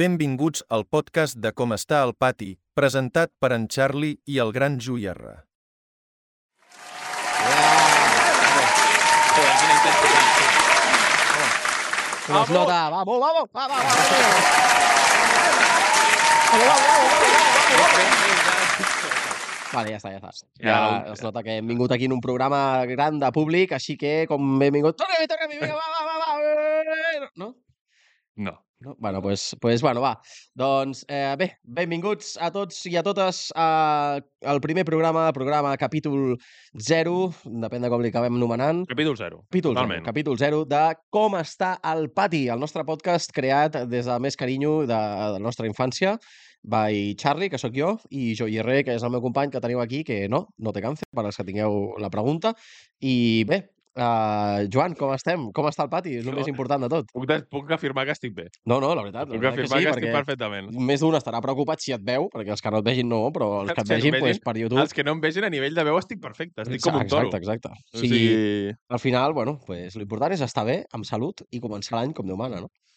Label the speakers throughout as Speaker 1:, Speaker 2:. Speaker 1: Benvinguts al podcast de Com està el pati, presentat per en Charlie i el gran Juierra.
Speaker 2: Joder, quina intensitat.
Speaker 3: Se nos
Speaker 2: Vamos.
Speaker 3: nota. Vamos, vamos, vamos, vamos. Vamos, vamos, vamos, vamos, vamos, vamos. Vale, ja està, ja està. Ja,
Speaker 2: Ja,
Speaker 3: es nota que hem vingut aquí en un programa gran de públic, així que com hem vingut... Tornem-hi, tornem-hi, vinga, va, va, va, va. eh, No?
Speaker 2: No.
Speaker 3: No? Bueno, pues, pues, bueno, va. Doncs eh, bé, benvinguts a tots i a totes a, al primer programa, programa capítol 0, depèn de com li acabem nomenant.
Speaker 2: Capítol 0.
Speaker 3: Capítol
Speaker 2: Totalment.
Speaker 3: 0, capítol 0 de Com està el pati, el nostre podcast creat des de més carinyo de, de la nostra infància by Charlie, que sóc jo, i jo Irre, que és el meu company que teniu aquí, que no, no té càncer, per als que tingueu la pregunta. I bé, uh, Joan, com estem? Com està el pati? És el
Speaker 2: Jo-
Speaker 3: més important de tot.
Speaker 2: Puc, de, puc afirmar que estic bé.
Speaker 3: No, no, la veritat.
Speaker 2: Puc
Speaker 3: La veritat que
Speaker 2: afirmar
Speaker 3: sí,
Speaker 2: que, estic
Speaker 3: perquè
Speaker 2: perfectament.
Speaker 3: més d'un estarà preocupat si et veu, perquè els que no et vegin no, però els que et
Speaker 2: Si em
Speaker 3: vegin,
Speaker 2: vegin,
Speaker 3: pues, per YouTube...
Speaker 2: Els Ah, que no em vegin a nivell de veu estic perfecte, estic com un
Speaker 3: Exacte,
Speaker 2: toro.
Speaker 3: Exacte, exacte.
Speaker 2: O
Speaker 3: O sigui, al final, bueno, pues, l'important és estar bé, amb salut, i començar l'any com Déu mana, no?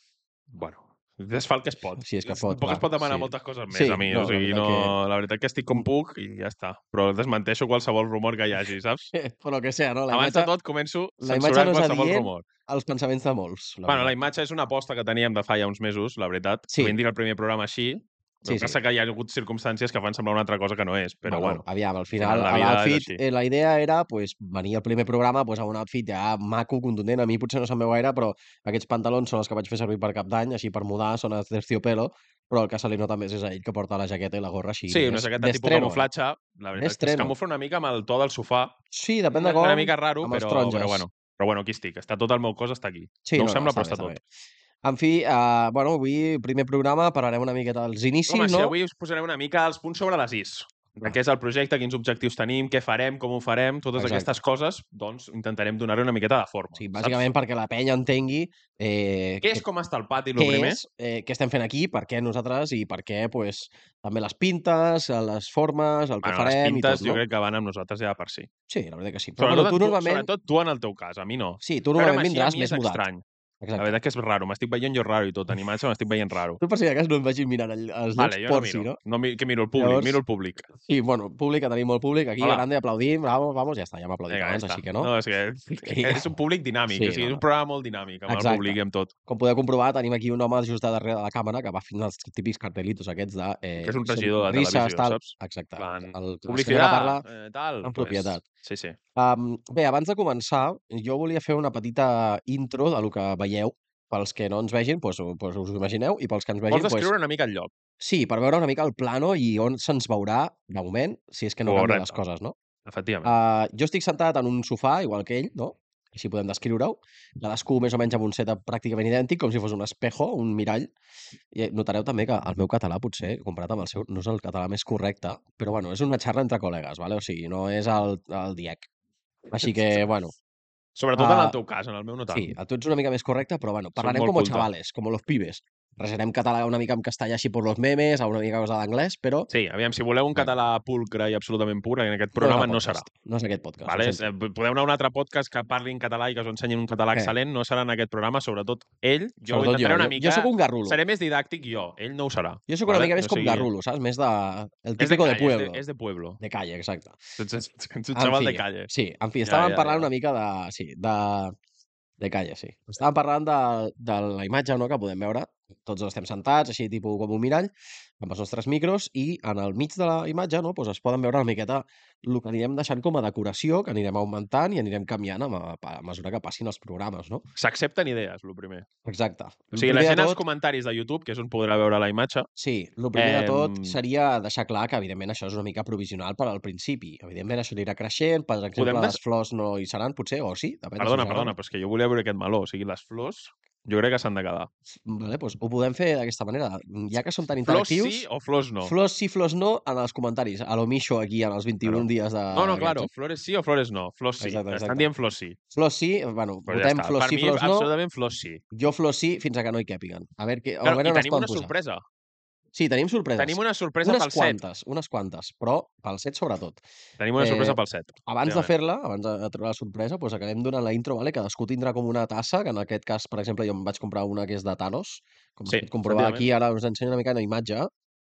Speaker 2: bueno, és fa el que es pot.
Speaker 3: Sí, és que es pot,
Speaker 2: Tampoc
Speaker 3: va,
Speaker 2: es pot demanar
Speaker 3: sí.
Speaker 2: moltes coses més
Speaker 3: Sí,
Speaker 2: a mi.
Speaker 3: no,
Speaker 2: o
Speaker 3: la
Speaker 2: sigui,
Speaker 3: veritat
Speaker 2: no, la veritat que estic com puc i ja està. Però desmenteixo qualsevol rumor que hi hagi, saps?
Speaker 3: Però que sea, no? La
Speaker 2: Abans
Speaker 3: imatge,
Speaker 2: de tot començo
Speaker 3: la imatge
Speaker 2: censurant
Speaker 3: no és
Speaker 2: qualsevol
Speaker 3: adient,
Speaker 2: rumor.
Speaker 3: els pensaments de molts. La
Speaker 2: bueno, la
Speaker 3: veritat.
Speaker 2: imatge és una aposta que teníem de fa ja uns mesos, la veritat.
Speaker 3: Sí.
Speaker 2: Ho vam dir al primer programa així.
Speaker 3: Sí,
Speaker 2: Sí,
Speaker 3: sí.
Speaker 2: passa que hi ha hagut circumstàncies que fan semblar una altra cosa que no és, però bueno.
Speaker 3: Aviam, al
Speaker 2: final
Speaker 3: final,
Speaker 2: la
Speaker 3: a
Speaker 2: vida és
Speaker 3: l'outfit,
Speaker 2: així.
Speaker 3: eh, la idea era pues, venir al primer programa pues, amb un outfit ja maco, contundent. A mi potser no se'n veu gaire, però aquests pantalons són els que vaig fer servir per cap d'any, així per mudar, són els terciopelo, però el que se li nota més és a ell que porta la jaqueta i la gorra així.
Speaker 2: Sí, una
Speaker 3: d'es-
Speaker 2: jaqueta tipus
Speaker 3: d'estreno, eh?
Speaker 2: camuflatge. La veritat és que es
Speaker 3: D'estreno.
Speaker 2: camufla una mica amb el to del sofà.
Speaker 3: Sí, depèn de
Speaker 2: Una-
Speaker 3: com.
Speaker 2: Una mica raro,
Speaker 3: amb els
Speaker 2: però,
Speaker 3: taronges.
Speaker 2: però bueno. Però bueno, aquí estic. Està tot el meu cos, està aquí.
Speaker 3: Sí,
Speaker 2: no ho sembla, però
Speaker 3: bé,
Speaker 2: està tot.
Speaker 3: bé. En fi, uh, bueno, avui, primer programa, parlarem una miqueta dels inicis,
Speaker 2: Home,
Speaker 3: no?
Speaker 2: si avui us posaré una mica els punts sobre les is. De què és el projecte, quins objectius tenim, què farem, com ho farem, totes
Speaker 3: Exacte.
Speaker 2: aquestes coses, doncs intentarem donar-hi una miqueta de forma.
Speaker 3: Sí,
Speaker 2: saps?
Speaker 3: bàsicament perquè la penya entengui eh,
Speaker 2: Què és com està el pati, el
Speaker 3: què
Speaker 2: primer?
Speaker 3: és, eh, què estem fent aquí, per què nosaltres i per què pues, també les pintes, eh, les formes, el que
Speaker 2: Bueno, les
Speaker 3: farem
Speaker 2: pintes
Speaker 3: i tot, no?
Speaker 2: jo crec que van amb nosaltres ja de per si.
Speaker 3: Sí, la veritat que sí. Però
Speaker 2: Sobretot,
Speaker 3: bueno, tu normalment...
Speaker 2: sobretot tu en el teu cas, a mi no.
Speaker 3: Sí, tu
Speaker 2: Veure'm
Speaker 3: normalment
Speaker 2: així a
Speaker 3: vindràs
Speaker 2: mi
Speaker 3: més
Speaker 2: és
Speaker 3: mudat.
Speaker 2: estrany. La
Speaker 3: Exacte.
Speaker 2: veritat que és raro, m'estic veient jo raro i tot. En imatge m'estic veient raro.
Speaker 3: Tu per si de cas no em vagin mirant el- els
Speaker 2: Vale,
Speaker 3: llocs
Speaker 2: jo no
Speaker 3: por si,
Speaker 2: miro.
Speaker 3: no?
Speaker 2: no mi- que miro el públic,
Speaker 3: Llavors-
Speaker 2: miro el públic.
Speaker 3: Sí, bueno, públic, que tenim molt públic aquí,
Speaker 2: Hola.
Speaker 3: grande, aplaudim, vamos, vamos, ja està, ja hem aplaudit
Speaker 2: Vinga, ja
Speaker 3: abans,
Speaker 2: està.
Speaker 3: així que no.
Speaker 2: no és, que,
Speaker 3: Vinga.
Speaker 2: és un públic dinàmic,
Speaker 3: Sí,
Speaker 2: sí, o
Speaker 3: no,
Speaker 2: sigui, és
Speaker 3: no.
Speaker 2: un programa molt dinàmic amb
Speaker 3: Exacte.
Speaker 2: el públic i amb tot.
Speaker 3: Com podeu comprovar, tenim aquí un home just de darrere de la càmera que va fent els típics cartelitos aquests de... Eh,
Speaker 2: Que és un
Speaker 3: sempre
Speaker 2: regidor de
Speaker 3: risses,
Speaker 2: televisió,
Speaker 3: tal.
Speaker 2: saps?
Speaker 3: Exacte.
Speaker 2: Van,
Speaker 3: El, el senyor que
Speaker 2: Publicitat,
Speaker 3: parla
Speaker 2: eh, tal.
Speaker 3: amb propietat.
Speaker 2: Pues, sí, sí.
Speaker 3: Um, bé, abans de començar, jo volia fer una petita intro de lo que veieu pels que no ens vegin, doncs, ho- doncs us ho imagineu, i pels que ens
Speaker 2: Vols
Speaker 3: vegin, doncs,
Speaker 2: descriure una mica el lloc?
Speaker 3: sí, per veure una mica el plano i on se'ns veurà, de moment, si és que no canvien les
Speaker 2: Correcte.
Speaker 3: coses, no?
Speaker 2: Efectivament.
Speaker 3: Uh, jo estic sentat en un sofà, igual que ell, no? Així podem descriure-ho. Cadascú més o menys amb un setup pràcticament idèntic, com si fos un espejo, un mirall. I notareu també que el meu català, potser, comparat amb el seu, no és el català més correcte, però bueno, és una xarra entre col·legues, vale? o sigui, no és el, el diec. Així que, bueno,
Speaker 2: Sobretot en
Speaker 3: ah,
Speaker 2: el teu cas, en el meu no tant.
Speaker 3: Sí, a tu ets una mica més correcte, però bueno, parlarem
Speaker 2: molt
Speaker 3: com
Speaker 2: culta.
Speaker 3: chavales, com los pibes. Resarem català una mica en castellà així per los memes, a una mica cosa d'anglès, però...
Speaker 2: Sí, aviam, si voleu un
Speaker 3: Vinga.
Speaker 2: català pulcre i absolutament pur, en aquest
Speaker 3: és el
Speaker 2: programa no serà.
Speaker 3: podcast, No és aquest podcast.
Speaker 2: Vale?
Speaker 3: ho
Speaker 2: És,
Speaker 3: sento.
Speaker 2: eh, Podeu anar a un altre podcast que parli en català i que us ensenyin un català
Speaker 3: Sí.
Speaker 2: excel·lent, no serà en aquest programa, sobretot ell. Eh,
Speaker 3: Eh.
Speaker 2: Jo
Speaker 3: Sobretot
Speaker 2: ho intentaré una
Speaker 3: jo,
Speaker 2: mica...
Speaker 3: Jo sóc un garrulo.
Speaker 2: Seré més didàctic jo, ell no ho serà.
Speaker 3: Jo sóc una
Speaker 2: vale,
Speaker 3: mica més
Speaker 2: o
Speaker 3: com
Speaker 2: sigui,
Speaker 3: garrulo, saps? Més de... El
Speaker 2: És de,
Speaker 3: típico de,
Speaker 2: calle, és
Speaker 3: pueblo.
Speaker 2: de, és de pueblo.
Speaker 3: de calle, exacte.
Speaker 2: Ets, ets, ets, ets un
Speaker 3: En
Speaker 2: xaval
Speaker 3: fi,
Speaker 2: de calle.
Speaker 3: Sí, en fi,
Speaker 2: Ja,
Speaker 3: estàvem
Speaker 2: ja,
Speaker 3: parlant
Speaker 2: ja.
Speaker 3: una mica de... Sí, de, de calle, sí. Estàvem parlant de, de la imatge no, que podem veure. Tots dos estem sentats, així tipus com un mirall, amb els nostres micros, i en el mig de la imatge no, doncs es poden veure una miqueta el que anirem deixant com a decoració, que anirem augmentant i anirem canviant a, ma- a mesura que passin els programes, no?
Speaker 2: S'accepten idees, el primer.
Speaker 3: Exacte.
Speaker 2: O
Speaker 3: Lo
Speaker 2: sigui, la
Speaker 3: primer de
Speaker 2: gent als
Speaker 3: tot-
Speaker 2: comentaris de YouTube, que és on podrà veure la imatge,
Speaker 3: Sí, el primer de tot
Speaker 2: Em,
Speaker 3: seria deixar clar que, evidentment, això és una mica provisional per al principi. Evidentment, això anirà creixent, per exemple,
Speaker 2: Podem des-
Speaker 3: les flors no hi seran, potser, o sí, depèn de si
Speaker 2: perdona,
Speaker 3: us
Speaker 2: perdona,
Speaker 3: agrada.
Speaker 2: però és que jo volia veure aquest meló. O sigui, les flors, jo crec que s'han de quedar.
Speaker 3: Vale, doncs ho podem fer d'aquesta manera. Ja que som tan
Speaker 2: Flors
Speaker 3: interactius,
Speaker 2: sí o flors no?
Speaker 3: flors sí, flors no, en els comentaris. A lo Misho, aquí, en els 21
Speaker 2: Claro.
Speaker 3: dies de...
Speaker 2: No, no, claro,
Speaker 3: viatge.
Speaker 2: flores sí o flores no. Flors sí.
Speaker 3: Ah, Exacte, exacte.
Speaker 2: Estan dient flors sí.
Speaker 3: Flors sí, bueno,
Speaker 2: Però ja
Speaker 3: votem
Speaker 2: està.
Speaker 3: flors
Speaker 2: per
Speaker 3: sí,
Speaker 2: mi,
Speaker 3: flors no,
Speaker 2: absolutament flors sí.
Speaker 3: jo flors sí, fins a que no hi càpiguen. A veure, què, a
Speaker 2: Claro,
Speaker 3: veure
Speaker 2: I
Speaker 3: on es
Speaker 2: tenim
Speaker 3: poden
Speaker 2: una
Speaker 3: posar.
Speaker 2: sorpresa.
Speaker 3: Sí, tenim sorpreses.
Speaker 2: Tenim una sorpresa
Speaker 3: unes
Speaker 2: pel set.
Speaker 3: quantes, unes quantes, però pel set sobretot.
Speaker 2: Tenim una sorpresa
Speaker 3: Eh,
Speaker 2: pel set.
Speaker 3: Abans de
Speaker 2: Efectivament.
Speaker 3: fer-la, abans de de treure la sorpresa, doncs acabem donant la intro, vale? cadascú tindrà com una tassa, que en aquest cas, per exemple, jo em vaig comprar una que és de Thanos, com
Speaker 2: Sí,
Speaker 3: sí, pot comprovar
Speaker 2: efectivament.
Speaker 3: aquí, ara us ensenyo una mica una imatge,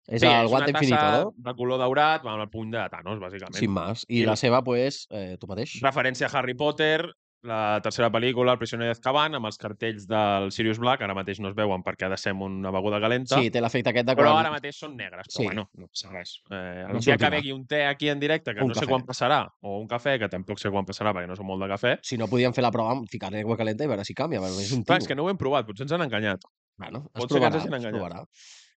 Speaker 3: és sí, el
Speaker 2: una
Speaker 3: guant infinito,
Speaker 2: tassa
Speaker 3: no?
Speaker 2: de color daurat, amb el puny de Thanos, bàsicament.
Speaker 3: Sin más. I,
Speaker 2: I
Speaker 3: la
Speaker 2: la-
Speaker 3: seva, doncs, pues, eh, tu mateix.
Speaker 2: Referència a Harry Potter, la tercera pel·lícula, El prisioner d'Azkaban, amb els cartells del Sirius Black, ara mateix no es veuen perquè ha de ser amb una beguda calenta,
Speaker 3: Sí, té l'efecte aquest de
Speaker 2: però
Speaker 3: quan-
Speaker 2: ara mateix són negres, però
Speaker 3: Sí.
Speaker 2: bueno, no passa res. Eh,
Speaker 3: No
Speaker 2: el dia que
Speaker 3: sortirà.
Speaker 2: begui un te aquí en directe, que
Speaker 3: Doncs Un
Speaker 2: no sé
Speaker 3: cafè.
Speaker 2: quan passarà, o un cafè, que tampoc sé quan passarà perquè no som molt de cafè,
Speaker 3: si no podíem fer la prova, ficar-li aigua calenta i veure si canvia. Bueno, és un tio.
Speaker 2: Clar, és que no ho hem provat, potser ens han enganyat.
Speaker 3: Bueno, es
Speaker 2: pot ser que ens
Speaker 3: provarà,
Speaker 2: hagin
Speaker 3: es
Speaker 2: enganyat.
Speaker 3: provarà.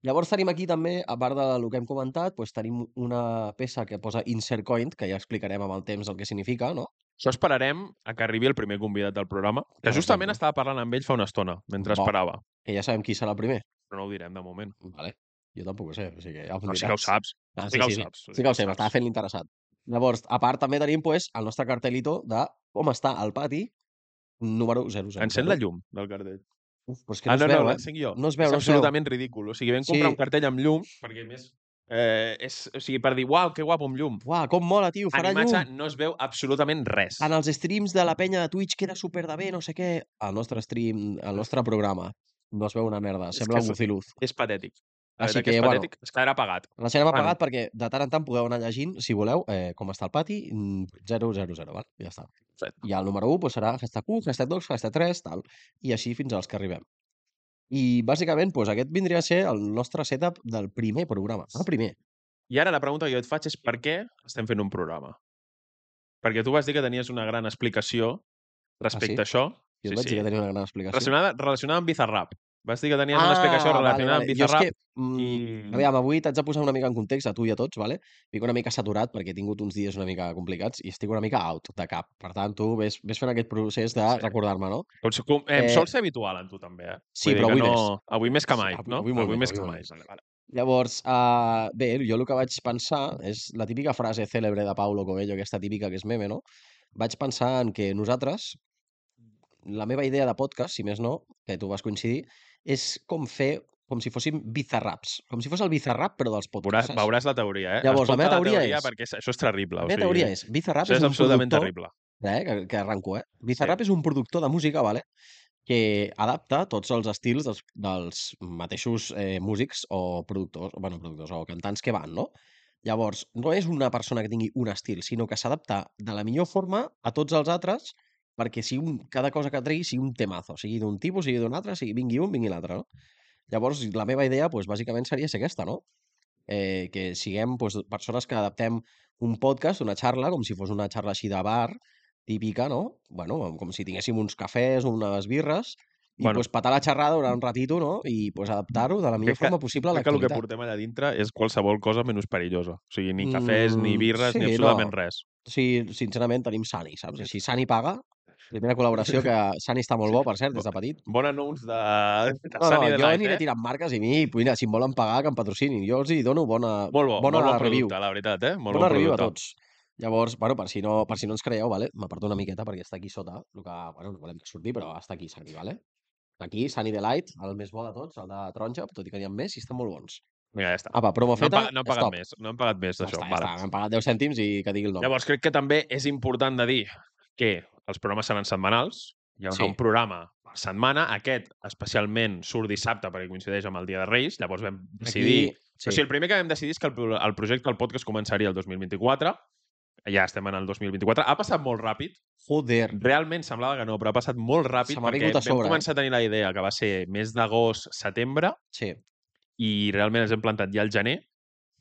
Speaker 3: Llavors tenim aquí també, a part del que hem comentat, doncs tenim una peça que posa Insert Coin, que ja explicarem amb el temps el que significa, no?
Speaker 2: Això esperarem a que arribi el primer convidat del programa,
Speaker 3: Per
Speaker 2: que justament
Speaker 3: exemple.
Speaker 2: estava parlant amb ell fa una estona, mentre
Speaker 3: Bo.
Speaker 2: esperava.
Speaker 3: Que ja sabem qui serà el primer.
Speaker 2: Però no ho direm de moment.
Speaker 3: Vale. Jo tampoc ho sé, o sigui, ja em
Speaker 2: No, sí
Speaker 3: diràs.
Speaker 2: que ho saps.
Speaker 3: Ah,
Speaker 2: sí, que ho saps.
Speaker 3: Sí que ho sé, m'estava fent l'interessat. Llavors, a part també tenim pues, el nostre cartelito de com està el pati número 00.
Speaker 2: Encén la llum del cartell.
Speaker 3: Uf, però és que
Speaker 2: Ah,
Speaker 3: no, es
Speaker 2: no,
Speaker 3: veu,
Speaker 2: no,
Speaker 3: eh?
Speaker 2: l'encenc jo.
Speaker 3: No es veu,
Speaker 2: és
Speaker 3: no es veu.
Speaker 2: absolutament ridícul. O sigui, vam comprar
Speaker 3: Sí.
Speaker 2: un cartell amb llum, perquè a més... Eh, és, o sigui, per dir, uau, que guapo amb llum.
Speaker 3: Uah, com mola, tio,
Speaker 2: En
Speaker 3: farà
Speaker 2: imatge
Speaker 3: llum.
Speaker 2: no es veu absolutament res.
Speaker 3: en els streams de la penya de Twitch queda super de bé, no sé què. El nostre stream, el nostre programa, no es veu una merda,
Speaker 2: És
Speaker 3: sembla
Speaker 2: que
Speaker 3: un
Speaker 2: és-
Speaker 3: bufiluz.
Speaker 2: És patètic. La
Speaker 3: Així
Speaker 2: veritat que,
Speaker 3: que,
Speaker 2: és
Speaker 3: bueno.
Speaker 2: patètic. Estarà apagat.
Speaker 3: L'aixerem
Speaker 2: bueno.
Speaker 3: apagat perquè de tant en tant podeu anar llegint, si voleu, eh, com està el pati, mm, 000, val? ja està.
Speaker 2: Fet.
Speaker 3: I el número 1 doncs, serà hashtag 1, hashtag 2, hashtag 3, tal, i així fins als que arribem. I bàsicament doncs, aquest vindria a ser el nostre setup del primer programa, el primer.
Speaker 2: I ara la pregunta que jo et faig és per què estem fent un programa? Perquè tu vas dir que tenies una gran explicació respecte
Speaker 3: Ah, sí?
Speaker 2: a això.
Speaker 3: Jo sí, vaig sí. dir que tenia una gran explicació. Ah,
Speaker 2: Relacionada, relacionada amb Bizarrap. Vas dir que tenies una explicació relacionada amb
Speaker 3: Jo és
Speaker 2: Bizarrap.
Speaker 3: que, mm,
Speaker 2: i...
Speaker 3: Aviam, avui t'haig de posar una mica en context a tu i a tots, vale? Vinc una mica saturat perquè he tingut uns dies una mica complicats i estic una mica out de cap. Per tant, tu ves, ves fent aquest procés de
Speaker 2: Sí.
Speaker 3: recordar-me, no?
Speaker 2: Com, si- com, eh,
Speaker 3: Eh,
Speaker 2: em sol ser habitual en tu també, eh?
Speaker 3: sí,
Speaker 2: dir
Speaker 3: però
Speaker 2: que
Speaker 3: avui
Speaker 2: no...
Speaker 3: més.
Speaker 2: Avui més
Speaker 3: Sí,
Speaker 2: que mai,
Speaker 3: avui-
Speaker 2: no?
Speaker 3: avui molt més,
Speaker 2: més
Speaker 3: avui
Speaker 2: que
Speaker 3: molt
Speaker 2: mai.
Speaker 3: més.
Speaker 2: Vale, vale.
Speaker 3: Llavors, uh, bé, jo el que vaig pensar és la típica frase cèlebre de Paulo Coelho, aquesta típica que és meme, no? Vaig pensar en que nosaltres, la meva idea de podcast, si més no, que tu vas coincidir, és com fer com si fóssim bizarraps. Com si fos el bizarrap, però dels podcasts.
Speaker 2: Veuràs, veuràs la teoria, eh?
Speaker 3: Llavors, la
Speaker 2: Escolta
Speaker 3: meva teoria
Speaker 2: teoria
Speaker 3: és-
Speaker 2: Perquè és- això és terrible.
Speaker 3: La meva teoria és, Bizarrap
Speaker 2: Això
Speaker 3: és,
Speaker 2: és
Speaker 3: un
Speaker 2: absolutament
Speaker 3: productor
Speaker 2: terrible.
Speaker 3: eh, que, que arranco, eh? Bizarrap és un productor de música, vale? que adapta tots els estils dels, dels mateixos eh, músics o productors, o, bueno, productors o cantants que van, no? Llavors, no és una persona que tingui un estil, sinó que s'adapta de la millor forma a tots els altres perquè sigui un, cada cosa que tregui sigui un temazo, sigui d'un tipus, sigui d'un altre, sigui vingui un, vingui l'altre, no? Llavors, la meva idea, doncs, bàsicament, seria ser aquesta, no? Eh, que siguem doncs, persones que adaptem un podcast, una xarla, com si fos una xarla així de bar, típica, no? Bueno, com si tinguéssim uns cafès o unes birres, i
Speaker 2: Bueno.
Speaker 3: bueno. pues, patar la xerrada durant un ratito, no? I pues, adaptar-ho de la millor
Speaker 2: Crec que-
Speaker 3: forma possible a
Speaker 2: Crec que el que
Speaker 3: l'actualitat.
Speaker 2: portem allà dintre és qualsevol cosa menys perillosa. O sigui, ni cafès, ni
Speaker 3: Mm,
Speaker 2: birres,
Speaker 3: sí,
Speaker 2: ni
Speaker 3: no.
Speaker 2: absolutament res.
Speaker 3: Sí, sincerament, tenim Sani, saps? Així, Sani paga. Primera col·laboració que Sani està molt bo, per cert, des de petit.
Speaker 2: Bon anunç de, de
Speaker 3: No, no,
Speaker 2: Sunny
Speaker 3: jo
Speaker 2: Delight,
Speaker 3: aniré
Speaker 2: eh?
Speaker 3: tirant marques i mi, mira, si em volen pagar, que em patrocinin. Jo els hi dono bona,
Speaker 2: Molt bo,
Speaker 3: bona
Speaker 2: molt bon
Speaker 3: review.
Speaker 2: producte, la veritat, eh? Molt
Speaker 3: bona
Speaker 2: bon
Speaker 3: review a
Speaker 2: producte.
Speaker 3: tots. Llavors, bueno, per si no, per si no ens creieu, vale? m'aparto una miqueta perquè està aquí sota, el que, bueno, no volem que surti, però està aquí, Sani, vale? Aquí, Sani Delight, el més bo de tots, el de taronja, tot i que n'hi ha més i estan molt bons.
Speaker 2: Mira, ja està.
Speaker 3: Apa, promo
Speaker 2: No han,
Speaker 3: feta,
Speaker 2: pagat, no han pagat
Speaker 3: stop.
Speaker 2: més, no han pagat més
Speaker 3: Ja
Speaker 2: d'això.
Speaker 3: està, ja
Speaker 2: vale.
Speaker 3: està, m'han pagat 10 cèntims i que digui el nom.
Speaker 2: Llavors, crec que també és important de dir que els programes seran setmanals. Hi haurà
Speaker 3: Sí.
Speaker 2: un programa per setmana. Aquest, especialment, surt dissabte perquè coincideix amb el Dia de Reis. Llavors vam decidir... Aquí... Sí. O sigui, el primer que vam decidir és que el, pro- el projecte, el podcast, començaria el 2024. Ja estem en el 2024. Ha passat molt ràpid.
Speaker 3: Joder.
Speaker 2: Realment semblava que no, però ha passat molt ràpid
Speaker 3: Se m'ha
Speaker 2: perquè
Speaker 3: vingut a
Speaker 2: vam
Speaker 3: sobre, eh?
Speaker 2: començar a tenir la idea que va ser mes d'agost, setembre,
Speaker 3: Sí.
Speaker 2: i realment ens hem plantat ja al gener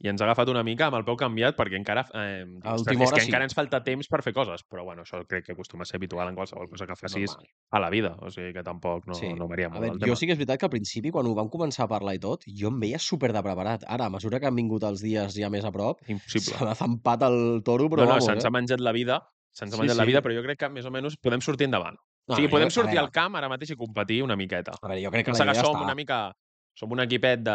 Speaker 2: i ens ha agafat una mica amb el peu canviat perquè encara, eh,
Speaker 3: A
Speaker 2: ostres,
Speaker 3: última
Speaker 2: és
Speaker 3: hora
Speaker 2: que
Speaker 3: sí.
Speaker 2: encara ens falta temps per fer coses, però bueno, això crec que acostuma a ser habitual en qualsevol cosa que facis
Speaker 3: normal.
Speaker 2: a la vida, o sigui que tampoc no,
Speaker 3: Sí.
Speaker 2: no varia
Speaker 3: A
Speaker 2: molt
Speaker 3: veure,
Speaker 2: el
Speaker 3: jo
Speaker 2: tema.
Speaker 3: sí que és veritat que al principi, quan ho vam començar a parlar i tot, jo em veia super de preparat. Ara, a mesura que han vingut els dies ja més a prop,
Speaker 2: Impossible.
Speaker 3: se m'ha zampat el toro, però
Speaker 2: no, no,
Speaker 3: vamos,
Speaker 2: se'ns ha
Speaker 3: eh?
Speaker 2: menjat la vida, se'ns ha
Speaker 3: Sí,
Speaker 2: menjat
Speaker 3: sí.
Speaker 2: la vida, però jo crec que més o menys podem sortir endavant.
Speaker 3: No,
Speaker 2: o sigui,
Speaker 3: jo-
Speaker 2: podem
Speaker 3: a
Speaker 2: sortir
Speaker 3: veure,
Speaker 2: al camp ara mateix i competir una miqueta.
Speaker 3: A veure, jo crec que
Speaker 2: Pensa
Speaker 3: la
Speaker 2: que
Speaker 3: idea
Speaker 2: som
Speaker 3: està...
Speaker 2: una mica... Som un equipet de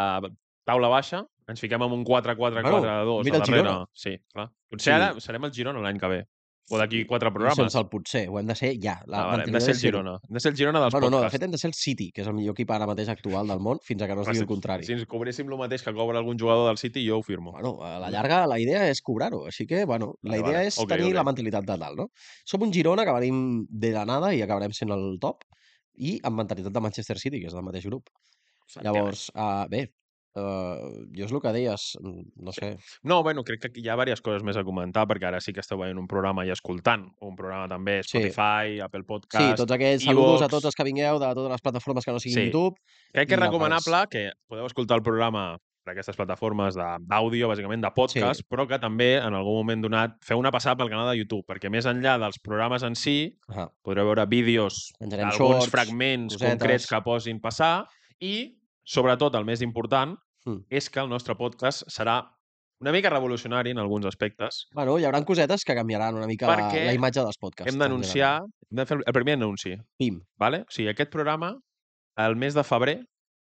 Speaker 2: taula baixa, ens fiquem amb un 4-4-4-2
Speaker 3: Bueno, mira
Speaker 2: al
Speaker 3: el
Speaker 2: darrere.
Speaker 3: Girona.
Speaker 2: Sí, clar. Potser
Speaker 3: Sí.
Speaker 2: ara serem el Girona l'any que ve. O d'aquí quatre
Speaker 3: No
Speaker 2: programes.
Speaker 3: sense el potser, ho hem de ser ja.
Speaker 2: Ah, vale. Hem de
Speaker 3: l'anterior
Speaker 2: ser el
Speaker 3: era Girona.
Speaker 2: Girona. Hem de ser el Girona dels
Speaker 3: Bueno, no, de
Speaker 2: podcasts.
Speaker 3: fet hem de ser el City, que és el millor equip ara mateix actual del món, fins a que no es
Speaker 2: Però
Speaker 3: digui el
Speaker 2: si-
Speaker 3: contrari.
Speaker 2: Si ens cobréssim el mateix que cobra algun jugador del City, jo ho firmo.
Speaker 3: Bueno, a la llarga la idea és cobrar-ho, així que, bueno, la
Speaker 2: Mm. Vale,
Speaker 3: idea
Speaker 2: vale.
Speaker 3: és
Speaker 2: Ok,
Speaker 3: tenir la
Speaker 2: ok.
Speaker 3: mentalitat de dalt, no? Som un Girona que venim de la nada i acabarem sent el top, i amb mentalitat de Manchester City, que és del mateix grup. Llavors, uh, bé, uh, jo és el que deies, mm, no sé,
Speaker 2: No, bueno, crec que aquí hi ha diverses coses més a comentar, perquè ara sí que esteu veient un programa i escoltant un programa també
Speaker 3: Sí.
Speaker 2: Spotify, Apple
Speaker 3: sí,
Speaker 2: Podcast...
Speaker 3: tots aquells saludos a
Speaker 2: iVox.
Speaker 3: tots els que vingueu de totes les plataformes que no siguin
Speaker 2: Sí.
Speaker 3: YouTube.
Speaker 2: Crec que
Speaker 3: i
Speaker 2: és
Speaker 3: la
Speaker 2: recomanable que podeu escoltar el programa per aquestes plataformes de- d'àudio, bàsicament de podcast, sí. però que també en algun moment donat feu una passada pel canal de YouTube, perquè més enllà dels programes en si
Speaker 3: Ah,
Speaker 2: podreu veure vídeos
Speaker 3: menjarem
Speaker 2: alguns
Speaker 3: shorts.
Speaker 2: fragments
Speaker 3: cosetes.
Speaker 2: concrets que posin passar i, sobretot, el més important,
Speaker 3: Mm.
Speaker 2: és que el nostre podcast serà una mica revolucionari en alguns aspectes.
Speaker 3: Bueno, hi haurà cosetes que canviaran una mica la,
Speaker 2: Perquè
Speaker 3: la imatge dels podcasts.
Speaker 2: hem
Speaker 3: en
Speaker 2: d'anunciar, hem de fer el primer anunci,
Speaker 3: general. Pim.
Speaker 2: vale? O sigui, aquest programa, el mes de febrer,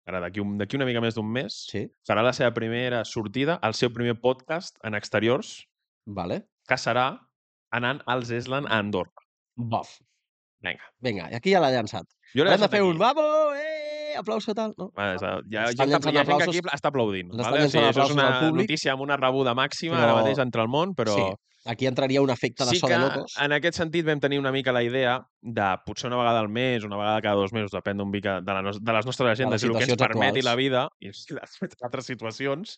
Speaker 2: ara d'aquí un, d'aquí una mica més d'un mes,
Speaker 3: Sí,
Speaker 2: farà la seva primera sortida, el seu primer podcast en exteriors,
Speaker 3: vale.
Speaker 2: que serà anant als Eslan a Andorra.
Speaker 3: Bof.
Speaker 2: Vinga.
Speaker 3: Vinga, i aquí ja l'ha llançat.
Speaker 2: Jo l'he
Speaker 3: Hem de
Speaker 2: deixat
Speaker 3: fer
Speaker 2: aquí.
Speaker 3: un vamos, eh, aplauso tal. No?
Speaker 2: Vale, és, a- hi ha,
Speaker 3: Ens estan
Speaker 2: hi ha, gent que- hi ha gent que
Speaker 3: llançant
Speaker 2: aquí
Speaker 3: aplausos.
Speaker 2: està aplaudint.
Speaker 3: Ens estan
Speaker 2: Vale? O sigui,
Speaker 3: llançant
Speaker 2: això és
Speaker 3: aplausos
Speaker 2: una
Speaker 3: al públic.
Speaker 2: notícia amb una rebuda màxima
Speaker 3: Però-
Speaker 2: ara mateix entre el món, però
Speaker 3: Sí, aquí entraria un efecte de
Speaker 2: sí
Speaker 3: so
Speaker 2: que
Speaker 3: de locos.
Speaker 2: en aquest sentit vam tenir una mica la idea de potser una vegada al mes, una vegada cada dos mesos, depèn un mica de, la nos de les nostres agendes i el que ens
Speaker 3: situacions
Speaker 2: permeti
Speaker 3: actuals.
Speaker 2: la vida i les altres situacions,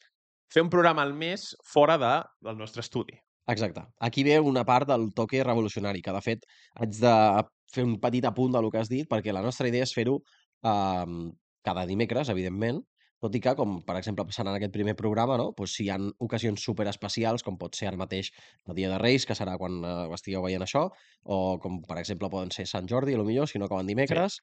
Speaker 2: fer un programa al mes fora de, del nostre estudi.
Speaker 3: Exacte. Aquí ve una part del toque revolucionari, que de fet haig de fer un petit apunt del que has dit, perquè la nostra idea és fer-ho eh, cada dimecres, evidentment, tot i que, com per exemple passant en aquest primer programa, no? pues, si hi ha ocasions super especials, com pot ser ara mateix el Dia de Reis, que serà quan eh, ho estigueu veient això, o com per exemple poden ser Sant Jordi, a lo millor, si no acaben dimecres,